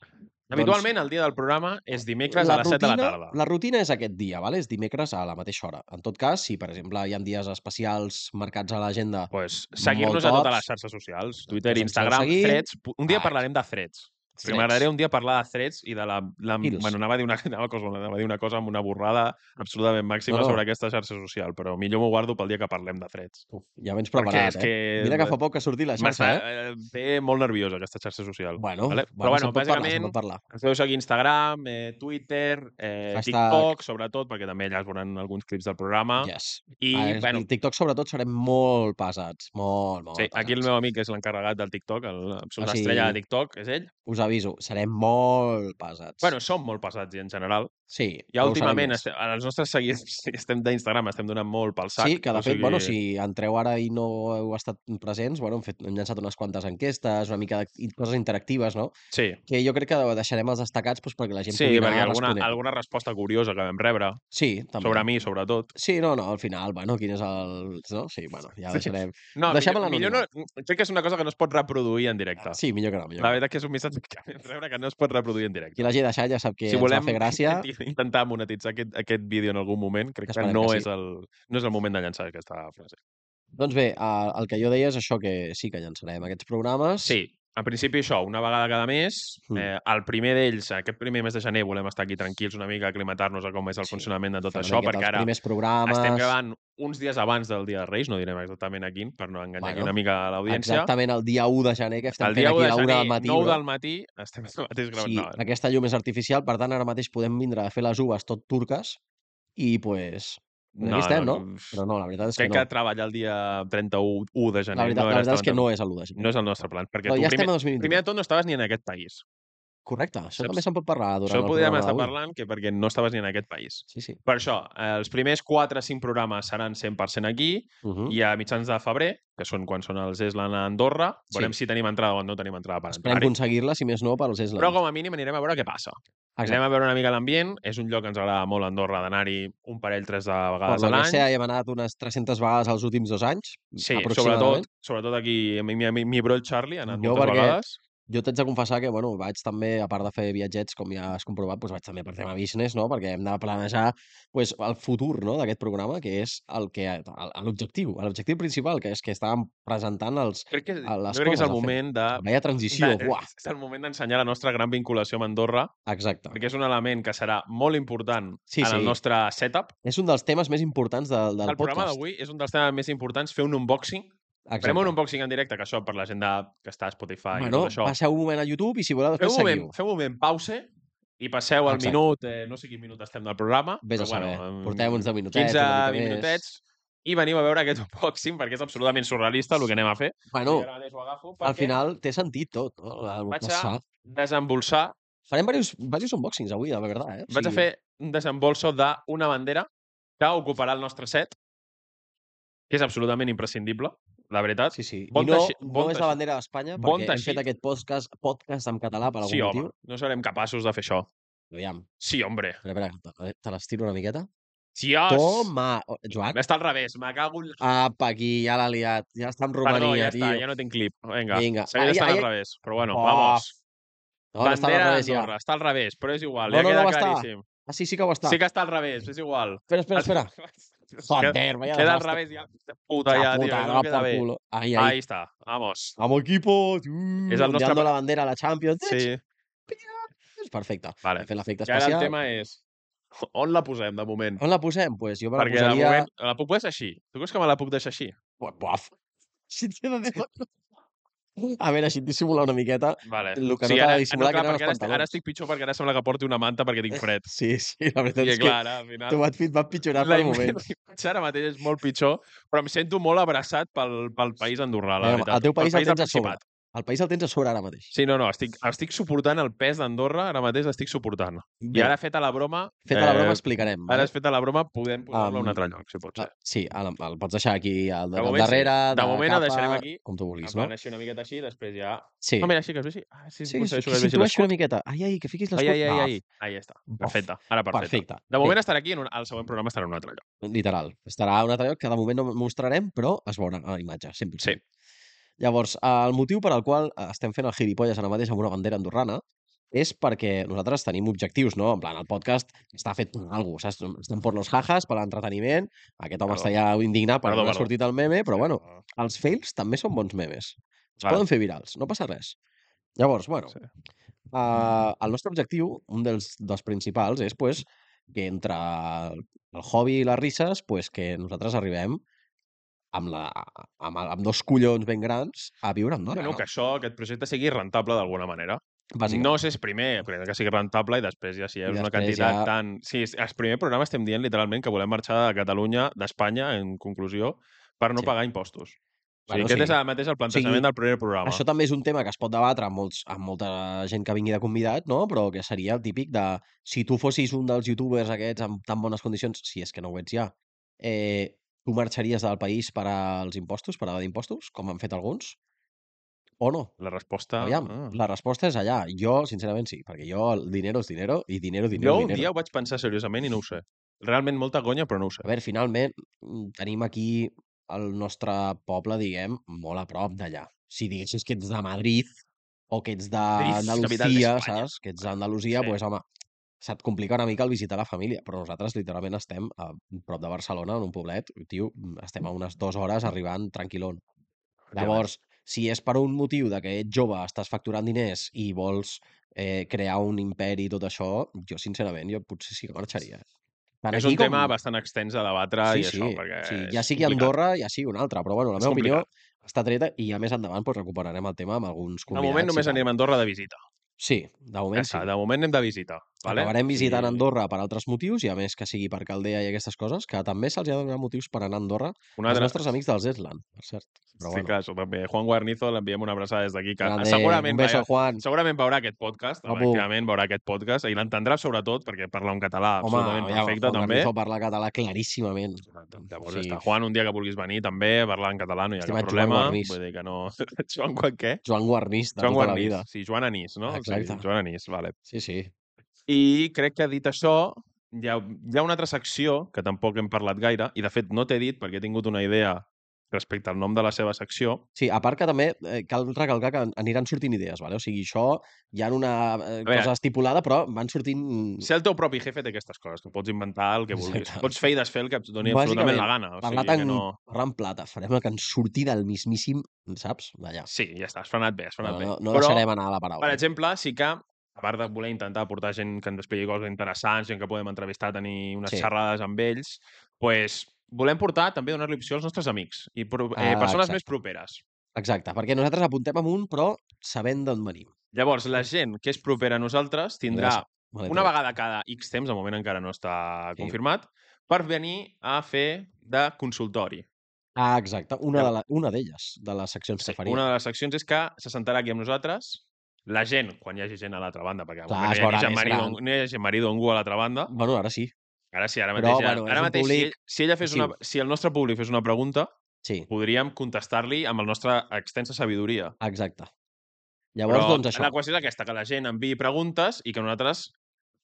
Speaker 2: Habitualment, el dia del programa és dimecres a les 7 de la tarda.
Speaker 3: Doncs la rutina és aquest dia, vale? és dimecres a la mateixa hora. En tot cas, si per exemple hi ha dies especials marcats a l'agenda
Speaker 2: Pues, Seguir-nos a
Speaker 3: Molts
Speaker 2: totes
Speaker 3: cops.
Speaker 2: les xarxes socials, Twitter,
Speaker 3: Doncs Ens podeu
Speaker 2: Instagram,
Speaker 3: seguir.
Speaker 2: Threads... Pu- Un dia
Speaker 3: Ah,
Speaker 2: parlarem de Threads. Perquè
Speaker 3: Threads.
Speaker 2: M'agradaria un dia parlar de Threads i de la... la
Speaker 3: Reels.
Speaker 2: bueno, anava a, dir una, anava, a cosa, anava a dir una cosa amb una borrada absolutament màxima
Speaker 3: No,
Speaker 2: no,
Speaker 3: no.
Speaker 2: no. sobre aquesta xarxa social, però millor m'ho guardo pel dia que parlem de Threads.
Speaker 3: Uf, ja vens
Speaker 2: Perquè
Speaker 3: preparat,
Speaker 2: és
Speaker 3: eh?
Speaker 2: que...
Speaker 3: Mira que fa poc que ha sortit la xarxa,
Speaker 2: M'està
Speaker 3: eh?
Speaker 2: eh, té molt nerviosa aquesta xarxa social.
Speaker 3: Bueno,
Speaker 2: vale?
Speaker 3: bueno,
Speaker 2: Però bueno,
Speaker 3: se'n pot parlar, se'n
Speaker 2: bàsicament
Speaker 3: pot parlar.
Speaker 2: ens podeu seguir a Instagram, eh, Twitter, eh,
Speaker 3: Hashtag.
Speaker 2: TikTok, sobretot, perquè també allà es veuran alguns clips del programa.
Speaker 3: Yes.
Speaker 2: I,
Speaker 3: I, ah,
Speaker 2: bueno,
Speaker 3: bueno. TikTok, sobretot, serem molt pesats. Molt, molt
Speaker 2: Sí,
Speaker 3: pesats.
Speaker 2: aquí el meu amic és l'encarregat del TikTok, el,
Speaker 3: O
Speaker 2: absolut o estrella
Speaker 3: sigui-
Speaker 2: de TikTok, és ell.
Speaker 3: Us aviso, serem molt pesats.
Speaker 2: Bueno, som molt pesats i en general.
Speaker 3: sí,
Speaker 2: Ja
Speaker 3: però ho serem
Speaker 2: últimament,
Speaker 3: més.
Speaker 2: estem, als nostres seguidors que estem d'Instagram, estem donant molt pel sac.
Speaker 3: Sí, que de fet, bueno, si entreu ara i no heu estat presents, bueno, hem, fet, hem llançat unes quantes enquestes, una mica de i coses interactives, no?
Speaker 2: Sí,
Speaker 3: Que jo crec que deixarem els destacats doncs, perquè la gent
Speaker 2: sí
Speaker 3: pugui
Speaker 2: perquè
Speaker 3: anar
Speaker 2: alguna,
Speaker 3: responent.
Speaker 2: alguna resposta curiosa que vam rebre,
Speaker 3: Sí, també.
Speaker 2: sobre mi, sobretot.
Speaker 3: Sí, no, no, al final, bueno, quin és el... No? Sí, bueno, ja
Speaker 2: Sí.
Speaker 3: deixarem...
Speaker 2: No,
Speaker 3: Deixem
Speaker 2: millor, millor no, mm,
Speaker 3: l'anonimat.
Speaker 2: crec que és una cosa que no es pot reproduir en directe.
Speaker 3: Sí, millor que no, millor
Speaker 2: La
Speaker 3: que no.
Speaker 2: veritat que és un missatge que vam rebre que no es pot reproduir en directe.
Speaker 3: Qui l'hagi deixat ja sap que
Speaker 2: si
Speaker 3: ens
Speaker 2: volem
Speaker 3: va fer gràcia.
Speaker 2: intentar monetitzar aquest, aquest vídeo en algun moment, crec que
Speaker 3: Esperem
Speaker 2: no,
Speaker 3: que sí.
Speaker 2: és el, no és el moment de llançar aquesta frase.
Speaker 3: Doncs bé, eh, el que jo deia és això, que sí que llançarem aquests programes.
Speaker 2: Sí, en principi això, una vegada cada mes.
Speaker 3: Mm.
Speaker 2: Mm. Eh, el primer d'ells, aquest primer mes de gener, volem estar aquí tranquils una mica, aclimatar-nos a com és el
Speaker 3: Sí,
Speaker 2: sí, funcionament de tot
Speaker 3: fer una
Speaker 2: això,
Speaker 3: miqueta
Speaker 2: perquè
Speaker 3: els
Speaker 2: ara
Speaker 3: primers programes...
Speaker 2: estem gravant uns dies abans del Dia de Reis, no direm exactament a quin, per no enganyar bueno,
Speaker 3: Bueno,
Speaker 2: aquí una mica a l'audiència.
Speaker 3: Exactament el dia 1 de gener, que estem
Speaker 2: El
Speaker 3: fent
Speaker 2: dia 1
Speaker 3: aquí
Speaker 2: de
Speaker 3: la 1
Speaker 2: gener,
Speaker 3: del matí.
Speaker 2: 9
Speaker 3: bro.
Speaker 2: del matí, estem ara mateix
Speaker 3: O
Speaker 2: gravant.
Speaker 3: sigui,
Speaker 2: no,
Speaker 3: aquesta llum és artificial, per tant, ara mateix podem vindre a fer les uves tot turques i, pues, aquí estem, no? Però no, la veritat és que
Speaker 2: Crec
Speaker 3: no.
Speaker 2: que treballar el dia 31 1 de gener
Speaker 3: La veritat,
Speaker 2: no,
Speaker 3: la
Speaker 2: era
Speaker 3: veritat és que
Speaker 2: tan-
Speaker 3: no és el 1 de gener.
Speaker 2: no és el nostre plan. Perquè
Speaker 3: Però
Speaker 2: tu
Speaker 3: ja
Speaker 2: primer,
Speaker 3: estem a 2020.
Speaker 2: primer de tot no estaves ni en aquest país.
Speaker 3: Correcte, això
Speaker 2: Saps?
Speaker 3: també se'n pot parlar durant
Speaker 2: Això
Speaker 3: el
Speaker 2: podríem
Speaker 3: programa
Speaker 2: estar
Speaker 3: d'avui.
Speaker 2: parlant que perquè no estaves ni en aquest país.
Speaker 3: Sí, sí.
Speaker 2: Per això, eh, els primers 4-5 programes seran 100% aquí
Speaker 3: Uh -huh.
Speaker 2: i a mitjans de febrer, que són quan són els Eslan a Andorra,
Speaker 3: Sí.
Speaker 2: veurem si tenim entrada o no tenim entrada per
Speaker 3: Esperem
Speaker 2: entrar-hi.
Speaker 3: aconseguir-la, si més no, per als Eslands.
Speaker 2: Però com a mínim anirem a veure què passa. Anem a veure una mica l'ambient, és un lloc que ens agrada molt Andorra d'anar-hi un parell, tres de
Speaker 3: Per
Speaker 2: vegades
Speaker 3: lo
Speaker 2: a
Speaker 3: que
Speaker 2: l'any.
Speaker 3: sea, hem anat unes 300 vegades els últims dos anys,
Speaker 2: Sí,
Speaker 3: aproximadament.
Speaker 2: sobretot, sobretot aquí, mi, mi, mi, mi bro el Charlie ha anat
Speaker 3: Jo
Speaker 2: moltes
Speaker 3: perquè-
Speaker 2: vegades.
Speaker 3: Jo t'haig de confessar que, bueno, vaig també, a part de fer viatgets, com ja has comprovat, doncs vaig també per tema business, no? Perquè hem de planejar doncs, el futur no? d'aquest programa, que és el que el- l'objectiu, l'objectiu principal, que és que estàvem presentant els,
Speaker 2: Crec que,
Speaker 3: a les
Speaker 2: jo crec que
Speaker 3: coses
Speaker 2: és el
Speaker 3: a fer.
Speaker 2: moment de...
Speaker 3: la veia transició,
Speaker 2: de-
Speaker 3: buah,
Speaker 2: és el moment d'ensenyar la nostra gran vinculació amb Andorra,
Speaker 3: exacte.
Speaker 2: perquè és un element que serà molt important
Speaker 3: Sí,
Speaker 2: en
Speaker 3: sí.
Speaker 2: el nostre setup,
Speaker 3: És un dels temes més importants del, del
Speaker 2: El programa
Speaker 3: podcast.
Speaker 2: d'avui és un dels temes més importants, fer un unboxing Farem un unboxing en directe, que això per la gent de, que està a Spotify
Speaker 3: Bueno,
Speaker 2: i tot això.
Speaker 3: passeu un moment a YouTube i si voleu
Speaker 2: Feu
Speaker 3: després
Speaker 2: un, moment,
Speaker 3: seguiu.
Speaker 2: feu un moment pause i passeu al
Speaker 3: Exacte.
Speaker 2: minut, eh, no sé quin minut estem del programa.
Speaker 3: Vés a
Speaker 2: però,
Speaker 3: saber.
Speaker 2: em-
Speaker 3: Portem uns 10 minutets.
Speaker 2: 15,
Speaker 3: una mica
Speaker 2: 20
Speaker 3: més.
Speaker 2: minutets. I venim a veure aquest unboxing perquè és absolutament surrealista el que anem a fer.
Speaker 3: Bueno,
Speaker 2: I ara mateix ho agafo
Speaker 3: al
Speaker 2: perquè
Speaker 3: final té sentit tot. No? El
Speaker 2: Vaig a-
Speaker 3: passar.
Speaker 2: desembolsar
Speaker 3: Farem diversos, diversos unboxings avui, de veritat, eh? O
Speaker 2: Vaig a
Speaker 3: sigui,
Speaker 2: fer un desembolso d'una bandera que ocuparà el nostre set, que és absolutament imprescindible, la veritat.
Speaker 3: Sí, sí.
Speaker 2: Bon
Speaker 3: I no,
Speaker 2: teixi-
Speaker 3: no
Speaker 2: bon
Speaker 3: és
Speaker 2: teixi-
Speaker 3: la bandera d'Espanya, perquè
Speaker 2: bon
Speaker 3: hem
Speaker 2: teixit.
Speaker 3: fet aquest podcast, podcast en català per algun
Speaker 2: sí home,
Speaker 3: motiu.
Speaker 2: no serem capaços de fer això.
Speaker 3: Aviam,
Speaker 2: Sí, hombre.
Speaker 3: espera, espera, te- te l'estiro una miqueta.
Speaker 2: Dios!
Speaker 3: Toma! Oh, Joan,
Speaker 2: Està al revés, me cago en... la-
Speaker 3: apa, aquí, ja l'ha liat. Ja està en Romania,
Speaker 2: Perdó, ja
Speaker 3: Ah, tio.
Speaker 2: està, ja no tinc clip. Vinga,
Speaker 3: Vinga.
Speaker 2: segueix
Speaker 3: Ai,
Speaker 2: estant
Speaker 3: ai,
Speaker 2: al
Speaker 3: ai.
Speaker 2: revés, però bueno,
Speaker 3: Oh,
Speaker 2: vamos.
Speaker 3: no, no està al
Speaker 2: bandera
Speaker 3: revés, ja.
Speaker 2: d'Andorra, està al revés, però és igual,
Speaker 3: No,
Speaker 2: ja
Speaker 3: no, no
Speaker 2: queda
Speaker 3: ho està.
Speaker 2: claríssim.
Speaker 3: Ah, sí, sí que ho està.
Speaker 2: Sí que està al revés, és igual.
Speaker 3: Espera, espera, espera.
Speaker 2: Queda,
Speaker 3: Joder, vaya
Speaker 2: queda al
Speaker 3: desastre.
Speaker 2: revés, ja. Puta, ja, tio,
Speaker 3: puta,
Speaker 2: no
Speaker 3: no,
Speaker 2: queda
Speaker 3: por
Speaker 2: bé.
Speaker 3: culo. Ahí, ahí.
Speaker 2: Ahí està, vamos.
Speaker 3: Vamos, equipo. Mm,
Speaker 2: el nostre
Speaker 3: ondeando
Speaker 2: pa-
Speaker 3: la bandera a la Champions.
Speaker 2: Sí,
Speaker 3: Perfecte.
Speaker 2: vale.
Speaker 3: Hem fet l'efecte
Speaker 2: I ara
Speaker 3: especial.
Speaker 2: el tema és... On la posem, de moment?
Speaker 3: On la posem? Pues jo me la
Speaker 2: Perquè
Speaker 3: posaria...
Speaker 2: de moment... La puc deixar així? Tu creus que me la puc deixar així?
Speaker 3: Buah, buaf. Si t'he de dir... A veure, així et dissimular una miqueta.
Speaker 2: Vale.
Speaker 3: El que no t'ha de dissimular, que eren els
Speaker 2: perquè ara, estic, ara
Speaker 3: pantalons. Eh.
Speaker 2: estic pitjor perquè ara sembla que porti una manta perquè tinc fred.
Speaker 3: Sí, sí, la veritat
Speaker 2: I
Speaker 3: és
Speaker 2: clar, ara, al
Speaker 3: que
Speaker 2: final...
Speaker 3: t'ho outfit va pitjorar
Speaker 2: La
Speaker 3: per
Speaker 2: im-
Speaker 3: moment.
Speaker 2: la imatge ara mateix és molt pitjor, però em sento molt abraçat pel, pel país andorrà, la
Speaker 3: Veiem,
Speaker 2: veritat.
Speaker 3: eh, el teu país el
Speaker 2: del
Speaker 3: tens a sobre.
Speaker 2: Principat.
Speaker 3: El país el tens a sobre ara mateix.
Speaker 2: Sí, no, no, estic, estic suportant el pes d'Andorra, ara mateix l'estic suportant. I
Speaker 3: Bé,
Speaker 2: ara, feta la broma...
Speaker 3: feta la broma, explicarem.
Speaker 2: Eh, Ara
Speaker 3: vale?
Speaker 2: has feta la broma, podem posar-la a
Speaker 3: Am,
Speaker 2: un altre lloc, si eh, pot ser.
Speaker 3: Ah, Sí, ara el pots deixar aquí al,
Speaker 2: De
Speaker 3: de, al
Speaker 2: moment sí.
Speaker 3: darrere,
Speaker 2: De moment el deixarem aquí,
Speaker 3: Com tu
Speaker 2: En
Speaker 3: vulguis, no?
Speaker 2: plan, així una miqueta així, després ja...
Speaker 3: Sí.
Speaker 2: Ah, mira, així que es vegi. Ah, sí,
Speaker 3: Sí, que
Speaker 2: aconsegueixo que es vegi
Speaker 3: s'intueixi
Speaker 2: l'escut.
Speaker 3: una miqueta. Ai, ai, que fiquis l'escut.
Speaker 2: Ai, ai, ai,
Speaker 3: Va,
Speaker 2: ai. Ahí està.
Speaker 3: Bof.
Speaker 2: Perfecte. Ara perfecte.
Speaker 3: Perfecte.
Speaker 2: De moment estarà aquí, en un, el següent programa estarà en un altre lloc.
Speaker 3: Bé, literal. Estarà a un altre lloc que de moment no mostrarem, però es veurà a la imatge, 100%.
Speaker 2: Sí.
Speaker 3: Llavors, el motiu per al qual eh, estem fent el gilipolles ara mateix amb una bandera andorrana és perquè nosaltres tenim objectius, no? En plan, el podcast està fet per algú, saps? Estem per los jajas, per l'entreteniment, aquest home
Speaker 2: Perdó.
Speaker 3: està ja indignat per
Speaker 2: Perdó,
Speaker 3: no ha
Speaker 2: perdó.
Speaker 3: sortit el meme, però bueno, els fails també són bons memes. Es
Speaker 2: Eh, Vale.
Speaker 3: poden fer virals, no passa res. Llavors, bueno,
Speaker 2: Sí.
Speaker 3: eh, el nostre objectiu, un dels, dels principals, és pues, que entre el, el hobby i les risses, pues, que nosaltres arribem amb, la, amb, el- amb dos collons ben grans a viure a Andorra.
Speaker 2: Bueno, que això, aquest projecte sigui rentable d'alguna manera.
Speaker 3: Bàsicament.
Speaker 2: No sé si és primer, crec que sigui rentable i després ja si és una
Speaker 3: després
Speaker 2: quantitat
Speaker 3: ja-
Speaker 2: tan... Sí, és- el primer programa estem dient literalment que volem marxar de Catalunya, d'Espanya, en conclusió, per no
Speaker 3: Sí.
Speaker 2: pagar impostos. O sigui,
Speaker 3: Bueno,
Speaker 2: aquest
Speaker 3: sí.
Speaker 2: és el mateix el plantejament del primer programa.
Speaker 3: Això també és un tema que es pot debatre amb, molts, amb molta gent que vingui de convidat, no? però que seria el típic de si tu fossis un dels youtubers aquests amb tan bones condicions, si és que no ho ets ja, eh, tu marxaries del país per als impostos, per a d'impostos, com han fet alguns? O no?
Speaker 2: La resposta...
Speaker 3: Aviam,
Speaker 2: Ah.
Speaker 3: la resposta és allà. Jo, sincerament, sí, perquè jo el dinero és dinero i dinero,
Speaker 2: Jo
Speaker 3: dinero,
Speaker 2: un dia
Speaker 3: dinero.
Speaker 2: ho vaig pensar seriosament i no ho sé. Realment molta conya, però no ho sé.
Speaker 3: A veure, finalment, mm, tenim aquí el nostre poble, diguem, molt a prop d'allà. Si diguessis que ets de Madrid o que ets
Speaker 2: Madrid, capital
Speaker 3: d'Andalusia,
Speaker 2: d'Espanya.
Speaker 3: saps? Que ets d'Andalusia,
Speaker 2: Sí.
Speaker 3: doncs, home, se't complica una mica el visitar la família, però nosaltres literalment estem a prop de Barcelona, en un poblet, tio, estem a unes dues hores arribant tranquil·lon. Llavors, si és per un motiu de que ets jove, estàs facturant diners i vols eh, crear un imperi i tot això, jo sincerament, jo potser sí que marxaria. eh. Tant
Speaker 2: és
Speaker 3: aquí
Speaker 2: un
Speaker 3: com-
Speaker 2: tema bastant extens a debatre
Speaker 3: sí,
Speaker 2: i
Speaker 3: sí.
Speaker 2: això, perquè
Speaker 3: sí.
Speaker 2: és
Speaker 3: Ja sigui
Speaker 2: complicat.
Speaker 3: Andorra, ja sigui una altra, però bueno, la
Speaker 2: És
Speaker 3: meva opinió
Speaker 2: complicat.
Speaker 3: està treta i ja més endavant doncs, recuperarem el tema amb alguns
Speaker 2: De
Speaker 3: convidats.
Speaker 2: moment
Speaker 3: i
Speaker 2: només
Speaker 3: tal.
Speaker 2: anem a Andorra de visita.
Speaker 3: Sí, de
Speaker 2: Ja
Speaker 3: moment sí.
Speaker 2: està, de moment anem de visita. Vale?
Speaker 3: Acabarem visitant
Speaker 2: I-
Speaker 3: Andorra per altres motius i a més que sigui per Caldea i aquestes coses, que també se'ls ha de donar motius per anar a Andorra
Speaker 2: Una
Speaker 3: als
Speaker 2: altra...
Speaker 3: nostres amics dels Esland, per cert. Però
Speaker 2: sí,
Speaker 3: bueno,
Speaker 2: clar, això també. Juan Guarnizo l'enviem una abraçada des d'aquí. Que...
Speaker 3: Grande,
Speaker 2: Segurament,
Speaker 3: un beso,
Speaker 2: veia-
Speaker 3: Juan.
Speaker 2: segurament veurà aquest podcast,
Speaker 3: Guapo.
Speaker 2: efectivament veurà aquest podcast i l'entendrà sobretot perquè parla un català
Speaker 3: Home,
Speaker 2: absolutament
Speaker 3: ja,
Speaker 2: perfecte
Speaker 3: Juan
Speaker 2: també.
Speaker 3: Garrizo parla català claríssimament.
Speaker 2: Llavors,
Speaker 3: Sí.
Speaker 2: sí. està. Juan, un dia que vulguis venir també, parlar en català, no hi ha
Speaker 3: Estimat
Speaker 2: cap
Speaker 3: Joan
Speaker 2: problema.
Speaker 3: Guarnís.
Speaker 2: Vull dir que no... Joan quan què?
Speaker 3: Joan Guarnís, de
Speaker 2: Joan
Speaker 3: tota
Speaker 2: Guarnís.
Speaker 3: la vida.
Speaker 2: Sí, Joan Anís, no? Sí,
Speaker 3: Exacte.
Speaker 2: Joan Anís, vale.
Speaker 3: Sí, sí.
Speaker 2: I crec que dit això, hi ha, hi ha una altra secció que tampoc hem parlat gaire, i de fet no t'he dit perquè he tingut una idea respecte al nom de la seva secció.
Speaker 3: Sí, a part que també eh, cal recalcar que an- aniran sortint idees, vale? o sigui, això hi ha una eh,
Speaker 2: veure.
Speaker 3: cosa estipulada, però van sortint...
Speaker 2: Ser el teu propi jefe té aquestes coses, que pots inventar el que vulguis.
Speaker 3: Exacte.
Speaker 2: Pots fer i desfer el que et doni absolutament la gana. O
Speaker 3: Parlar
Speaker 2: sigui que
Speaker 3: tan,
Speaker 2: no...
Speaker 3: parlar en plata, farem que ens surti del mismíssim, saps? D'allà.
Speaker 2: Sí, ja està, has frenat bé, has
Speaker 3: No,
Speaker 2: frenat
Speaker 3: no,
Speaker 2: bé.
Speaker 3: no deixarem anar la paraula.
Speaker 2: per exemple, sí que, a part de voler intentar portar gent que ens expliqui coses interessants, gent que podem entrevistar, tenir unes
Speaker 3: Sí.
Speaker 2: sí. xerrades amb ells, pues, volem portar també a donar-li opció als nostres amics i pro... eh,
Speaker 3: Ah,
Speaker 2: persones
Speaker 3: exacte.
Speaker 2: més properes.
Speaker 3: Exacte, perquè nosaltres apuntem amunt, però sabent d'on venim.
Speaker 2: Llavors, la gent que és propera a nosaltres tindrà
Speaker 3: Gràcies. Me l'he
Speaker 2: una
Speaker 3: tret.
Speaker 2: vegada cada X temps, de moment encara no està
Speaker 3: Sí.
Speaker 2: confirmat, per venir a fer de consultori.
Speaker 3: Ah, exacte, una de la- una d'elles, de, les seccions que faria.
Speaker 2: Una de les seccions és que se sentarà aquí amb nosaltres, la gent, quan hi hagi gent a l'altra banda, perquè de
Speaker 3: Clar,
Speaker 2: moment
Speaker 3: es
Speaker 2: no hi ha
Speaker 3: veurà
Speaker 2: ni gent
Speaker 3: més
Speaker 2: marido,
Speaker 3: gran.
Speaker 2: no hi ha gent marido ningú a l'altra banda.
Speaker 3: Bueno, ara sí,
Speaker 2: Ara sí, ara
Speaker 3: Però,
Speaker 2: mateix,
Speaker 3: bueno, és
Speaker 2: ara
Speaker 3: un
Speaker 2: mateix si,
Speaker 3: públic
Speaker 2: ell- si, ella fes una,
Speaker 3: passiu.
Speaker 2: si el nostre públic fes una pregunta,
Speaker 3: sí,
Speaker 2: podríem contestar-li amb la nostra extensa sabidoria.
Speaker 3: exacte. Llavors,
Speaker 2: Però
Speaker 3: doncs, això.
Speaker 2: la qüestió és aquesta, que la gent enviï preguntes i que nosaltres,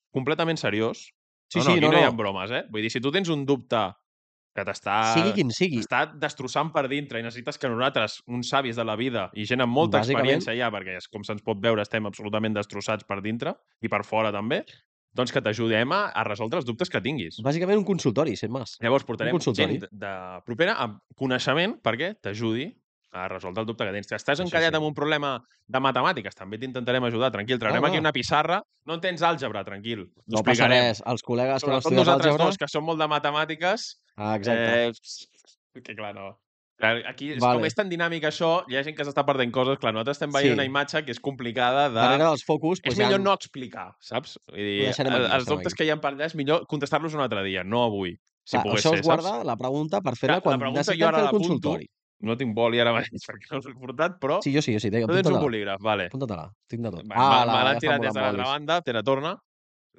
Speaker 2: completament seriós,
Speaker 3: Sí,
Speaker 2: no,
Speaker 3: sí,
Speaker 2: no, aquí
Speaker 3: no,
Speaker 2: no, hi ha
Speaker 3: no.
Speaker 2: bromes, eh? Vull dir, si tu tens un dubte que t'està
Speaker 3: Sigui quin sigui.
Speaker 2: t'està destrossant per dintre i necessites que nosaltres, uns savis de la vida i gent amb molta
Speaker 3: Bàsicament.
Speaker 2: experiència ja, perquè és- com se'ns pot veure estem absolutament destrossats per dintre i per fora també, doncs que t'ajudem a, a resoldre els dubtes que tinguis.
Speaker 3: Bàsicament un consultori, sent més.
Speaker 2: Llavors portarem
Speaker 3: consultori.
Speaker 2: gent de, de propera amb coneixement perquè t'ajudi a resoldre el dubte que tens. Si estàs
Speaker 3: Això
Speaker 2: encallat
Speaker 3: sí.
Speaker 2: amb un problema de matemàtiques, també t'intentarem ajudar, tranquil. Traurem
Speaker 3: Ah,
Speaker 2: aquí
Speaker 3: va.
Speaker 2: una pissarra. No entens àlgebra, tranquil. T'ho
Speaker 3: No passa
Speaker 2: explicarem.
Speaker 3: res, els col·legues que no
Speaker 2: Sobretot
Speaker 3: estudien
Speaker 2: nosaltres
Speaker 3: àlgebra...
Speaker 2: dos, que som molt de matemàtiques.
Speaker 3: Ah, exacte.
Speaker 2: Eh, que clar, no. Clar, Aquí, és,
Speaker 3: Vale.
Speaker 2: com és tan dinàmic això, hi ha gent que s'està perdent coses. Clar, nosaltres estem veient
Speaker 3: Sí.
Speaker 2: una imatge que és complicada de...
Speaker 3: Darrere dels focus...
Speaker 2: És
Speaker 3: doncs,
Speaker 2: millor
Speaker 3: hi ha-
Speaker 2: no explicar, saps? Vull dir,
Speaker 3: deixarem
Speaker 2: el-
Speaker 3: aquí, ho
Speaker 2: els
Speaker 3: deixarem
Speaker 2: dubtes
Speaker 3: aquí.
Speaker 2: que hi ha per allà és millor contestar-los un altre dia, no avui. Si
Speaker 3: Clar,
Speaker 2: pogués
Speaker 3: això
Speaker 2: ser,
Speaker 3: us guarda
Speaker 2: saps?
Speaker 3: la pregunta per
Speaker 2: Clar,
Speaker 3: fer-la
Speaker 2: la
Speaker 3: quan
Speaker 2: pregunta jo
Speaker 3: necessitem
Speaker 2: ara
Speaker 3: fer el
Speaker 2: l'apunto.
Speaker 3: consultori.
Speaker 2: No tinc boli ara mateix perquè no us l'he portat, però...
Speaker 3: Sí, jo sí, jo sí.
Speaker 2: no tens un
Speaker 3: Apunta-te-la.
Speaker 2: bolígraf, vale.
Speaker 3: Apunta-te-la. Tinc de tot.
Speaker 2: Va, ah, me
Speaker 3: la- ja estan
Speaker 2: l'han tirat des de
Speaker 3: volant
Speaker 2: l'altra
Speaker 3: bolis.
Speaker 2: banda, te la torna.